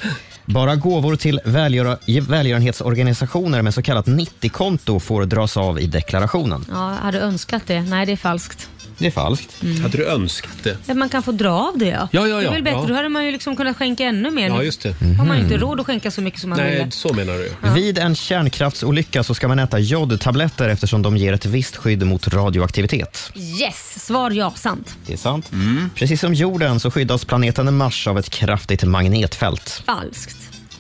[SPEAKER 5] Bara gåvor till välgöra- välgörenhetsorganisationer med så kallat 90-konto får dras av i deklarationen.
[SPEAKER 2] ja, jag hade önskat det. Nej, det är falskt.
[SPEAKER 5] Det är falskt.
[SPEAKER 2] Mm.
[SPEAKER 1] Hade du önskat det?
[SPEAKER 2] Men Man kan få dra av det ja.
[SPEAKER 1] Ja, ja,
[SPEAKER 2] Det är
[SPEAKER 1] ja,
[SPEAKER 2] väl bättre,
[SPEAKER 1] ja.
[SPEAKER 2] då hade man ju liksom kunnat skänka ännu mer.
[SPEAKER 5] Ja,
[SPEAKER 2] Nu
[SPEAKER 5] just det.
[SPEAKER 2] har man ju inte
[SPEAKER 5] Mhm.
[SPEAKER 2] råd att skänka så mycket som man ville.
[SPEAKER 1] Nej, så menar du.
[SPEAKER 5] Vid en kärnkraftsolycka så ska man äta jodtabletter eftersom de ger ett visst skydd mot radioaktivitet.
[SPEAKER 2] Yes! Svar ja, sant.
[SPEAKER 5] Det är sant.
[SPEAKER 2] Mm.
[SPEAKER 5] Precis som jorden så skyddas planeten Mars av ett kraftigt magnetfält.
[SPEAKER 2] Falskt.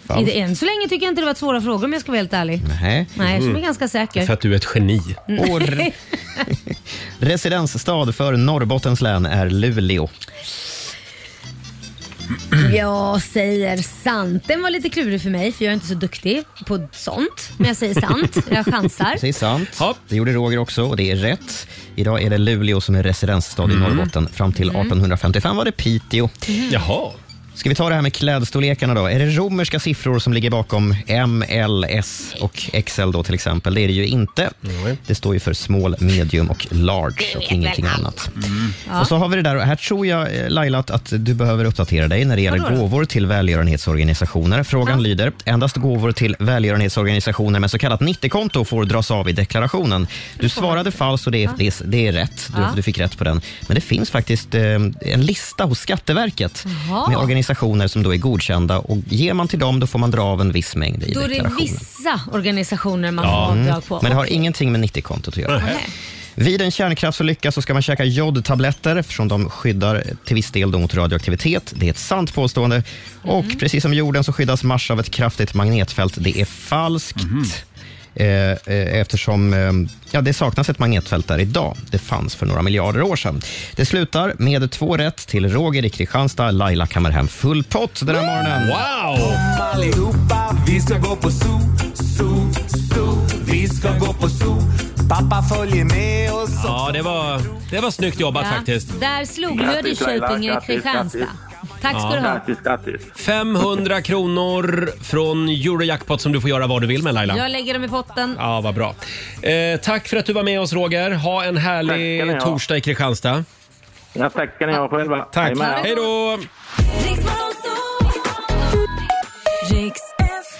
[SPEAKER 5] Falskt.
[SPEAKER 2] Inte, än så länge tycker jag inte det var svåra frågor om jag ska vara helt ärlig.
[SPEAKER 5] Nej. Mm.
[SPEAKER 2] Nej, jag känner mig ganska säker.
[SPEAKER 1] För att du är ett geni.
[SPEAKER 2] Mm.
[SPEAKER 5] Och re- residensstad för Norrbottens län är Luleå.
[SPEAKER 2] Jag säger sant. Den var lite klurig för mig för jag är inte så duktig på sånt. Men jag säger sant. Jag chansar.
[SPEAKER 5] Det är sant. Det gjorde Roger också och det är rätt. Idag är det Luleå som är residensstad i Norrbotten. Fram till
[SPEAKER 2] Mm.
[SPEAKER 5] 1855 var det Piteå.
[SPEAKER 2] Mm.
[SPEAKER 1] Jaha.
[SPEAKER 5] Ska vi ta det här med klädstorlekarna då? Är det romerska siffror som ligger bakom M, L, S och XL då till exempel? Det är det ju inte. Det står ju för small, medium och large och ingenting annat.
[SPEAKER 3] Ja.
[SPEAKER 5] Och så har vi det där, och här tror jag eh, Laila att, att du behöver uppdatera dig när det gäller
[SPEAKER 3] Vadå då?
[SPEAKER 5] gåvor till välgörenhetsorganisationer. Frågan lyder, endast gåvor till välgörenhetsorganisationer med så kallat 90-konto får dras av i deklarationen. Du svarade falskt och det är, det är, det är rätt. Du,
[SPEAKER 3] Ja.
[SPEAKER 5] du fick rätt på den. Men det finns faktiskt eh, en lista hos Skatteverket
[SPEAKER 2] Jaha.
[SPEAKER 5] med organisationer som då är godkända och ger man till dem då får man dra av en viss mängd i
[SPEAKER 2] Då är det
[SPEAKER 5] deklarationen.
[SPEAKER 2] vissa organisationer man får
[SPEAKER 5] Mm.
[SPEAKER 2] avdrag på.
[SPEAKER 5] Men det har
[SPEAKER 2] Okej.
[SPEAKER 5] ingenting med 90-kontot att göra.
[SPEAKER 2] Nej.
[SPEAKER 5] Vid en kärnkraftsolycka så ska man käka jodtabletter eftersom de skyddar till viss del då mot radioaktivitet. Det är ett sant påstående. Och
[SPEAKER 2] Mm.
[SPEAKER 5] precis som jorden så skyddas Mars av ett kraftigt magnetfält. Det är falskt. Eh, eh, Eftersom eh, ja, det saknas ett magnetfält där idag. Det fanns för några miljarder år sedan. Det slutar med två rätt till Roger i Kristianstad. Laila kammar hem full pott den här morgonen.
[SPEAKER 1] Wow!
[SPEAKER 3] Allihopa, vi ska gå på zoo, zoo, zoo. Vi ska gå på zoo. Pappa följer med oss.
[SPEAKER 1] Ja, det var, det var snyggt jobbat
[SPEAKER 2] Ja,
[SPEAKER 1] faktiskt.
[SPEAKER 2] Där slog Löddeköping i Kristianstad. Tack ska
[SPEAKER 1] Ja.
[SPEAKER 2] du ha.
[SPEAKER 1] Grattis, 500 kronor från Eurojackpot som du får göra vad du vill med Laila.
[SPEAKER 2] Jag lägger dem i potten.
[SPEAKER 1] Ja, vad bra. Eh, tack för att du var med oss Roger. Ha en
[SPEAKER 14] Tack ska ni
[SPEAKER 1] härlig
[SPEAKER 14] ha.
[SPEAKER 1] torsdag i Kristianstad.
[SPEAKER 14] Ja, tack ska ni ha själva.
[SPEAKER 1] Tack.
[SPEAKER 14] Jajamän.
[SPEAKER 1] Hej då!
[SPEAKER 7] Riks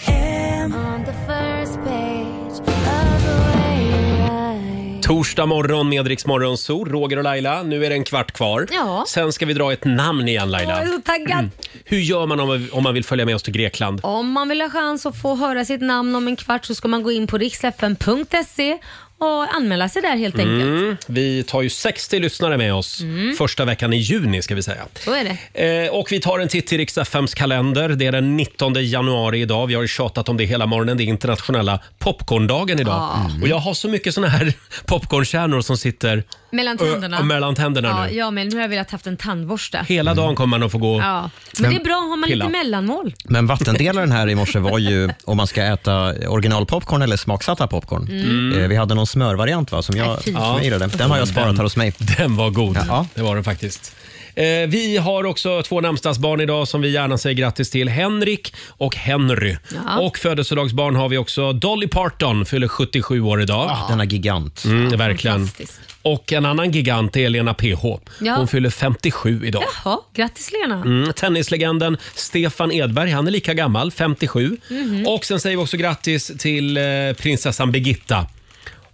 [SPEAKER 7] FM. On the first page of the waiting light.
[SPEAKER 1] Torsdag morgon med Rix Morgonzoo, Roger och Laila. Nu är det en kvart kvar.
[SPEAKER 2] Ja.
[SPEAKER 1] Sen ska vi dra ett namn igen
[SPEAKER 2] Jag
[SPEAKER 1] Laila.
[SPEAKER 2] är så
[SPEAKER 5] Mm.
[SPEAKER 2] taggad.
[SPEAKER 1] Hur gör man om, om man vill följa med oss till Grekland?
[SPEAKER 2] Om man vill ha chans att få höra sitt namn om en kvart så ska man gå in på riksfn.se och anmäla sig där helt enkelt.
[SPEAKER 1] Mm. Vi tar ju 60 lyssnare med oss
[SPEAKER 2] Mm.
[SPEAKER 1] första veckan i juni ska vi säga.
[SPEAKER 2] Så är det.
[SPEAKER 1] Eh, och vi tar en titt i riks FMs kalender. Det är den 19 januari idag. Vi har ju tjatat om det hela morgonen. Det är internationella popcorndagen idag. Mm.
[SPEAKER 2] Ja.
[SPEAKER 1] Och jag har så mycket såna här popcornkärnor som sitter
[SPEAKER 2] Mellan
[SPEAKER 1] ö,
[SPEAKER 2] tänderna.
[SPEAKER 1] mellan tänderna
[SPEAKER 2] ja,
[SPEAKER 1] nu.
[SPEAKER 2] ja, men nu har jag velat haft en tandborste.
[SPEAKER 1] Hela dagen kommer man att få gå...
[SPEAKER 2] Ja. Men det är bra, har man
[SPEAKER 5] Pilla.
[SPEAKER 2] lite mellanmål.
[SPEAKER 5] Men vattendelaren här i morse var ju om man ska äta originalpopcorn eller smaksatta popcorn.
[SPEAKER 1] Mm.
[SPEAKER 5] Eh, Vi hade någon smörvariant va, som jag,
[SPEAKER 1] Nej, fy.
[SPEAKER 5] som jag gillade. Den har jag sparat här hos mig.
[SPEAKER 1] Den var god. Det var den faktiskt. Eh, vi har också två namnsdagsbarn idag som vi gärna säger grattis till. Henrik och Henry.
[SPEAKER 11] Ja.
[SPEAKER 1] Och födelsedagsbarn har vi också. Dolly Parton fyller 77 år idag.
[SPEAKER 5] denna gigant.
[SPEAKER 1] Mm, verkligen. Och en annan gigant är Elena PH.
[SPEAKER 2] Ja.
[SPEAKER 1] Hon fyller 57 idag.
[SPEAKER 2] Jaha, grattis Lena.
[SPEAKER 1] Mm, tennislegenden Stefan Edberg, han är lika gammal, 57.
[SPEAKER 2] Mhm.
[SPEAKER 1] Och sen säger vi också grattis till eh, prinsessan Birgitta.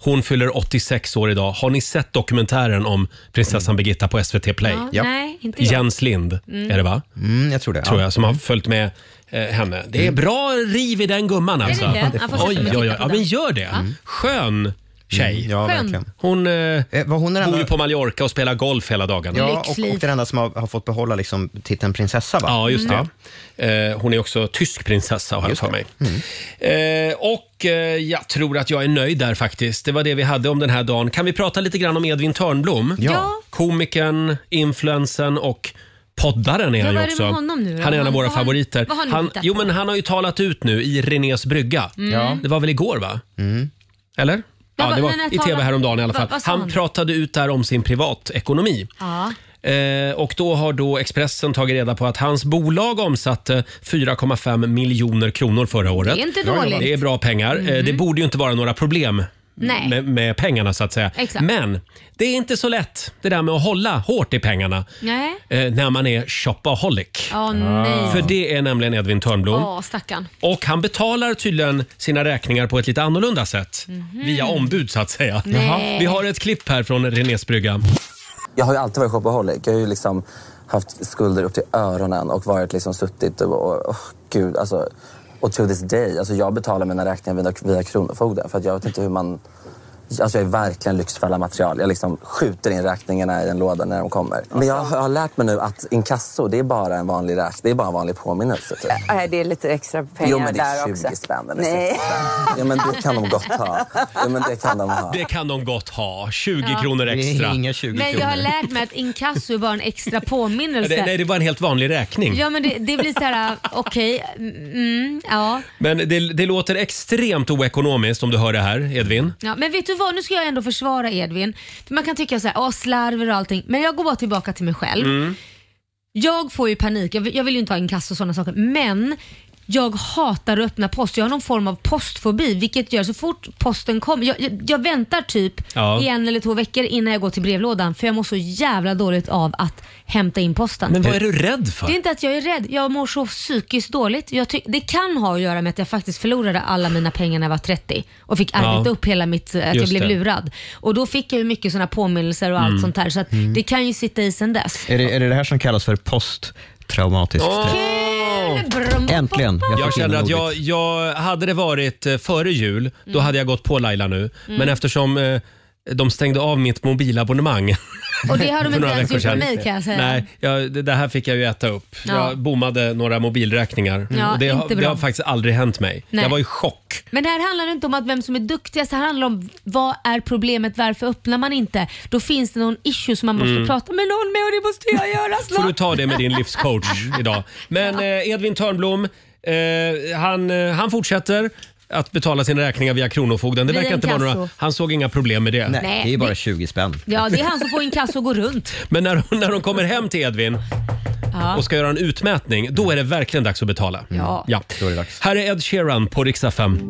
[SPEAKER 1] Hon fyller 86 år idag. Har ni sett dokumentären om prinsessan Birgitta på SVT Play?
[SPEAKER 2] Ja, Ja. nej, inte jag.
[SPEAKER 1] Jens Lind
[SPEAKER 2] Mm.
[SPEAKER 1] är det va?
[SPEAKER 5] Mm, jag tror det.
[SPEAKER 1] Tror jag, som har följt med eh, henne. Det är
[SPEAKER 5] Mm.
[SPEAKER 1] bra riv i den gumman
[SPEAKER 5] Är det
[SPEAKER 1] alltså.
[SPEAKER 5] det? Ja, det får man.
[SPEAKER 1] Oj, oj, oj. Ja, men gör det.
[SPEAKER 5] Mm.
[SPEAKER 1] Skön tjej.
[SPEAKER 5] Ja, Skön. verkligen.
[SPEAKER 1] Hon, eh,
[SPEAKER 5] hon
[SPEAKER 1] bor ju på Mallorca och spelar golf hela dagarna.
[SPEAKER 5] Ja, och, och den enda som har, har fått behålla liksom, titeln prinsessa va?
[SPEAKER 1] Ja, just det.
[SPEAKER 2] Mm.
[SPEAKER 1] Eh, hon är också tysk prinsessa har jag för mig.
[SPEAKER 2] Mm.
[SPEAKER 1] Eh, och eh, jag tror att jag är nöjd där faktiskt. Det var det vi hade om den här dagen. Kan vi prata lite grann om Edvin Törnblom?
[SPEAKER 2] Ja.
[SPEAKER 1] Komikern, influensen och poddaren är
[SPEAKER 2] Ja,
[SPEAKER 1] han
[SPEAKER 2] vad
[SPEAKER 1] ju
[SPEAKER 2] är det
[SPEAKER 1] också.
[SPEAKER 2] med honom nu då?
[SPEAKER 1] han är en av
[SPEAKER 2] Vad-
[SPEAKER 1] våra
[SPEAKER 2] vad har-
[SPEAKER 1] favoriter.
[SPEAKER 2] vad har ni
[SPEAKER 1] han,
[SPEAKER 2] hittat
[SPEAKER 1] jo,
[SPEAKER 2] på?
[SPEAKER 1] men han har ju talat ut nu i Renés brygga.
[SPEAKER 2] Mm. Ja. Mm.
[SPEAKER 1] Det var väl igår va? Eller?
[SPEAKER 2] Ja,
[SPEAKER 1] Ja,
[SPEAKER 2] vad-
[SPEAKER 1] det var
[SPEAKER 2] men jag
[SPEAKER 1] i tv
[SPEAKER 2] talar-
[SPEAKER 1] häromdagen i alla
[SPEAKER 2] vad-
[SPEAKER 1] fall.
[SPEAKER 2] vad sa
[SPEAKER 1] han,
[SPEAKER 2] han?
[SPEAKER 1] pratade ut där om sin privatekonomi.
[SPEAKER 2] Ja.
[SPEAKER 1] Eh, och då har då Expressen tagit reda på att hans bolag omsatte 4,5 miljoner kronor förra året.
[SPEAKER 2] Det är inte dåligt. Mm.
[SPEAKER 1] Det är bra pengar. Eh, det borde ju inte vara några problem
[SPEAKER 2] Nej.
[SPEAKER 1] med, med pengarna så att säga.
[SPEAKER 2] Exakt.
[SPEAKER 1] Men det är inte så lätt det där med att hålla hårt i pengarna
[SPEAKER 2] Nej.
[SPEAKER 1] eh, när man är shopaholic.
[SPEAKER 2] Ja, nej.
[SPEAKER 1] För det är nämligen Edvin Törnblom.
[SPEAKER 2] Ja, stackarn.
[SPEAKER 1] Och han betalar tydligen sina räkningar på ett lite annorlunda sätt. Via ombud så att säga.
[SPEAKER 2] Mhm. Nej. Jaha.
[SPEAKER 1] Vi har ett klipp här från Renés brygga.
[SPEAKER 11] Jag har ju alltid varit shopaholic. Jag har ju liksom haft skulder upp till öronen och varit liksom suttit och, och åh, gud alltså. Och to this day, alltså jag betalar mina räkningar via, via Kronofogden för att jag vet inte hur man... Alltså jag är verkligen Lyxfälla-material. Jag liksom skjuter in räkningarna i en låda när de kommer. Men jag har jag har lärt mig nu att inkasso, det är bara en vanlig räkning. Det är bara en vanlig påminnelse typ.
[SPEAKER 15] Nej, Äh, det är lite extra pengar
[SPEAKER 11] Jo, men det är
[SPEAKER 15] där
[SPEAKER 11] 20
[SPEAKER 15] också.
[SPEAKER 11] spänn eller
[SPEAKER 15] Nej.
[SPEAKER 11] Ja men det kan de gott ha. Ja, men det kan de ha.
[SPEAKER 1] Det kan de gott ha. 20
[SPEAKER 2] Ja.
[SPEAKER 1] kronor extra.
[SPEAKER 11] Det är
[SPEAKER 5] inga
[SPEAKER 2] Men jag har lärt mig att inkasso är bara en extra påminnelse.
[SPEAKER 1] det, nej, det var en helt vanlig räkning.
[SPEAKER 2] Ja men det, det blir så här, okej, mm, ja.
[SPEAKER 1] Men det, det låter extremt oekonomiskt om du hör det här, Edvin.
[SPEAKER 2] ja. Men vet du vad, nu ska jag ändå försvara Edvin. För man kan tycka så här, åh slarver och allting. Men jag går bara tillbaka till mig själv.
[SPEAKER 1] Mm.
[SPEAKER 2] Jag får ju panik, jag vill, jag vill ju inte ha inkasso och sådana saker. Men jag hatar att öppna post. Jag har någon form av postfobi vilket gör så fort posten kommer. Jag, jag, jag väntar typ
[SPEAKER 1] Ja.
[SPEAKER 2] i en eller två veckor innan jag går till brevlådan för jag mår så jävla dåligt av att hämta in posten.
[SPEAKER 1] Men vad är du rädd för?
[SPEAKER 2] Det är inte att jag är rädd. Jag mår så psykiskt dåligt. Jag ty- det kan ha att göra med att jag faktiskt förlorade alla mina pengar när jag var 30 och fick
[SPEAKER 16] Ja.
[SPEAKER 2] arbeta upp hela mitt, eh, att jag
[SPEAKER 16] Just
[SPEAKER 2] blev
[SPEAKER 16] det.
[SPEAKER 2] lurad. Och då fick jag ju mycket sådana påminnelser och
[SPEAKER 5] Mm.
[SPEAKER 2] allt sånt här så att
[SPEAKER 5] Mm.
[SPEAKER 2] det kan ju sitta i sen dess.
[SPEAKER 5] Är det, är det det här som kallas för posttraumatiskt stress? Äntligen! Jag,
[SPEAKER 1] Jag
[SPEAKER 5] fick in
[SPEAKER 1] känner att
[SPEAKER 5] ordet.
[SPEAKER 1] jag, jag hade det varit eh, före jul, då hade jag gått på Laila nu. Men
[SPEAKER 2] Mm.
[SPEAKER 1] eftersom eh, de stängde av mitt mobilabonnemang.
[SPEAKER 2] Och det har de
[SPEAKER 1] för
[SPEAKER 2] inte
[SPEAKER 1] några
[SPEAKER 2] ens
[SPEAKER 1] veckor
[SPEAKER 2] gjort med
[SPEAKER 1] sedan.
[SPEAKER 2] mig, kan jag säga.
[SPEAKER 1] Nej, jag, det, det här fick jag ju äta upp.
[SPEAKER 2] Ja.
[SPEAKER 1] Jag bommade några mobilräkningar.
[SPEAKER 2] Ja,
[SPEAKER 1] och det, har-
[SPEAKER 2] inte bra.
[SPEAKER 1] det har faktiskt aldrig hänt mig.
[SPEAKER 2] Nej.
[SPEAKER 1] Jag var i chock.
[SPEAKER 2] Men det här handlar inte om att vem som är duktigast, det här handlar om vad är problemet, varför öppnar man inte? Då finns det någon issue som man måste
[SPEAKER 1] Mm.
[SPEAKER 2] prata med någon med och det måste jag göra snart.
[SPEAKER 1] får du ta det med din livscoach idag. Men eh, Edvin Törnblom, eh, han, eh, han fortsätter att betala sina räkningar via Kronofogden. Det
[SPEAKER 2] Via
[SPEAKER 1] verkar inte vara
[SPEAKER 2] inkasso.
[SPEAKER 1] några, han såg inga problem med det.
[SPEAKER 2] Nej, Nej, det är bara det-
[SPEAKER 1] 20 spänn.
[SPEAKER 2] Ja, det är han som får inkasso och går runt.
[SPEAKER 1] Men när, när de kommer hem till Edvin
[SPEAKER 2] Ja.
[SPEAKER 1] och ska göra en utmätning, då är det verkligen dags att betala.
[SPEAKER 2] Ja.
[SPEAKER 1] Då är det dags. Här är Ed Sheeran på riksdag 5.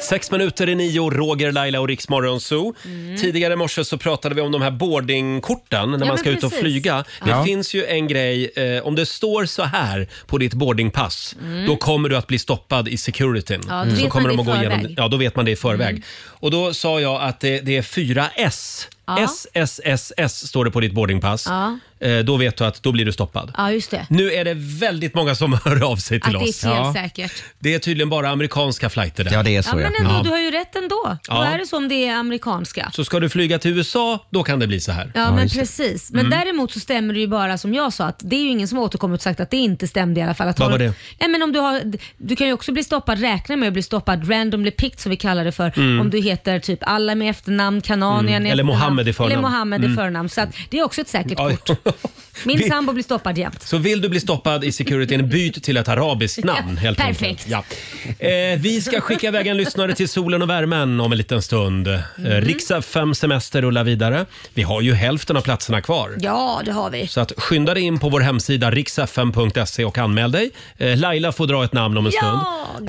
[SPEAKER 1] Sex minuter i nio, Roger, Laila och Riksmorgon Zoo. Tidigare i morse så pratade vi om de här boardingkorten när
[SPEAKER 11] Mm. Ja,
[SPEAKER 1] man
[SPEAKER 11] men
[SPEAKER 1] ska ut och
[SPEAKER 11] precis.
[SPEAKER 1] flyga. Det
[SPEAKER 11] Ja.
[SPEAKER 1] finns ju en grej, eh, om det står så här på ditt boardingpass,
[SPEAKER 11] Mm.
[SPEAKER 1] då kommer du att bli stoppad i securityn.
[SPEAKER 11] Ja, då vet
[SPEAKER 1] så
[SPEAKER 11] man
[SPEAKER 1] kommer
[SPEAKER 11] det
[SPEAKER 1] de
[SPEAKER 11] i
[SPEAKER 1] att gå igenom
[SPEAKER 11] förväg.
[SPEAKER 1] det. Ja, då vet man det i förväg.
[SPEAKER 11] Mm.
[SPEAKER 1] Och då sa jag att det, det är fyra S.
[SPEAKER 2] Ja.
[SPEAKER 1] S, S, S, S står det på ditt boardingpass.
[SPEAKER 2] Ja.
[SPEAKER 1] eh, då vet du att då blir du stoppad.
[SPEAKER 2] Ja, just det.
[SPEAKER 1] Nu är det väldigt många som hör av sig
[SPEAKER 2] Att
[SPEAKER 1] till
[SPEAKER 2] det är
[SPEAKER 1] oss.
[SPEAKER 2] fel
[SPEAKER 1] Ja.
[SPEAKER 2] säkert.
[SPEAKER 1] Det är tydligen bara amerikanska flighter där. Ja, det är
[SPEAKER 2] Ja, men ändå, du har ju rätt ändå.
[SPEAKER 1] Ja.
[SPEAKER 2] Då är det som det är amerikanska.
[SPEAKER 1] Så ska du flyga till USA, då kan det bli så här.
[SPEAKER 2] Ja, men precis. Men
[SPEAKER 1] Mm.
[SPEAKER 2] däremot så stämmer det ju bara som jag sa att det är ju ingen som har återkommit och sagt att det inte stämde i alla fall. Att
[SPEAKER 1] Vad
[SPEAKER 2] har-
[SPEAKER 1] var det?
[SPEAKER 2] Nej, men om du, har, du kan ju också bli stoppad, räkna med att bli stoppad randomly picked som vi kallar det för.
[SPEAKER 1] Mm.
[SPEAKER 2] Om du heter typ alla med efternamn, Kananian
[SPEAKER 1] Mm.
[SPEAKER 2] i
[SPEAKER 1] Eller
[SPEAKER 2] efternamn.
[SPEAKER 1] Mohammed i förnamn.
[SPEAKER 2] Eller Mohammed i
[SPEAKER 1] Mm.
[SPEAKER 2] förnamn. Så att det är också ett säkert
[SPEAKER 1] Ja,
[SPEAKER 2] kort. Min
[SPEAKER 1] Vi-
[SPEAKER 2] sambo blir stoppad jämt.
[SPEAKER 1] Så vill du bli stoppad i securityn, byt till ett arabiskt namn. Helt
[SPEAKER 2] Perfekt.
[SPEAKER 1] enkelt. Ja. Eh, vi ska skicka iväg en lyssnare till solen och värmen om en liten stund. Eh, Riksdag 5 semester rullar vidare. Vi har ju hälften av platserna kvar.
[SPEAKER 2] Ja, det har vi.
[SPEAKER 1] Så att skynda dig in på vår hemsida riksfm.se och anmäl dig. Eh, Laila får dra ett namn om en stund.
[SPEAKER 2] Jag!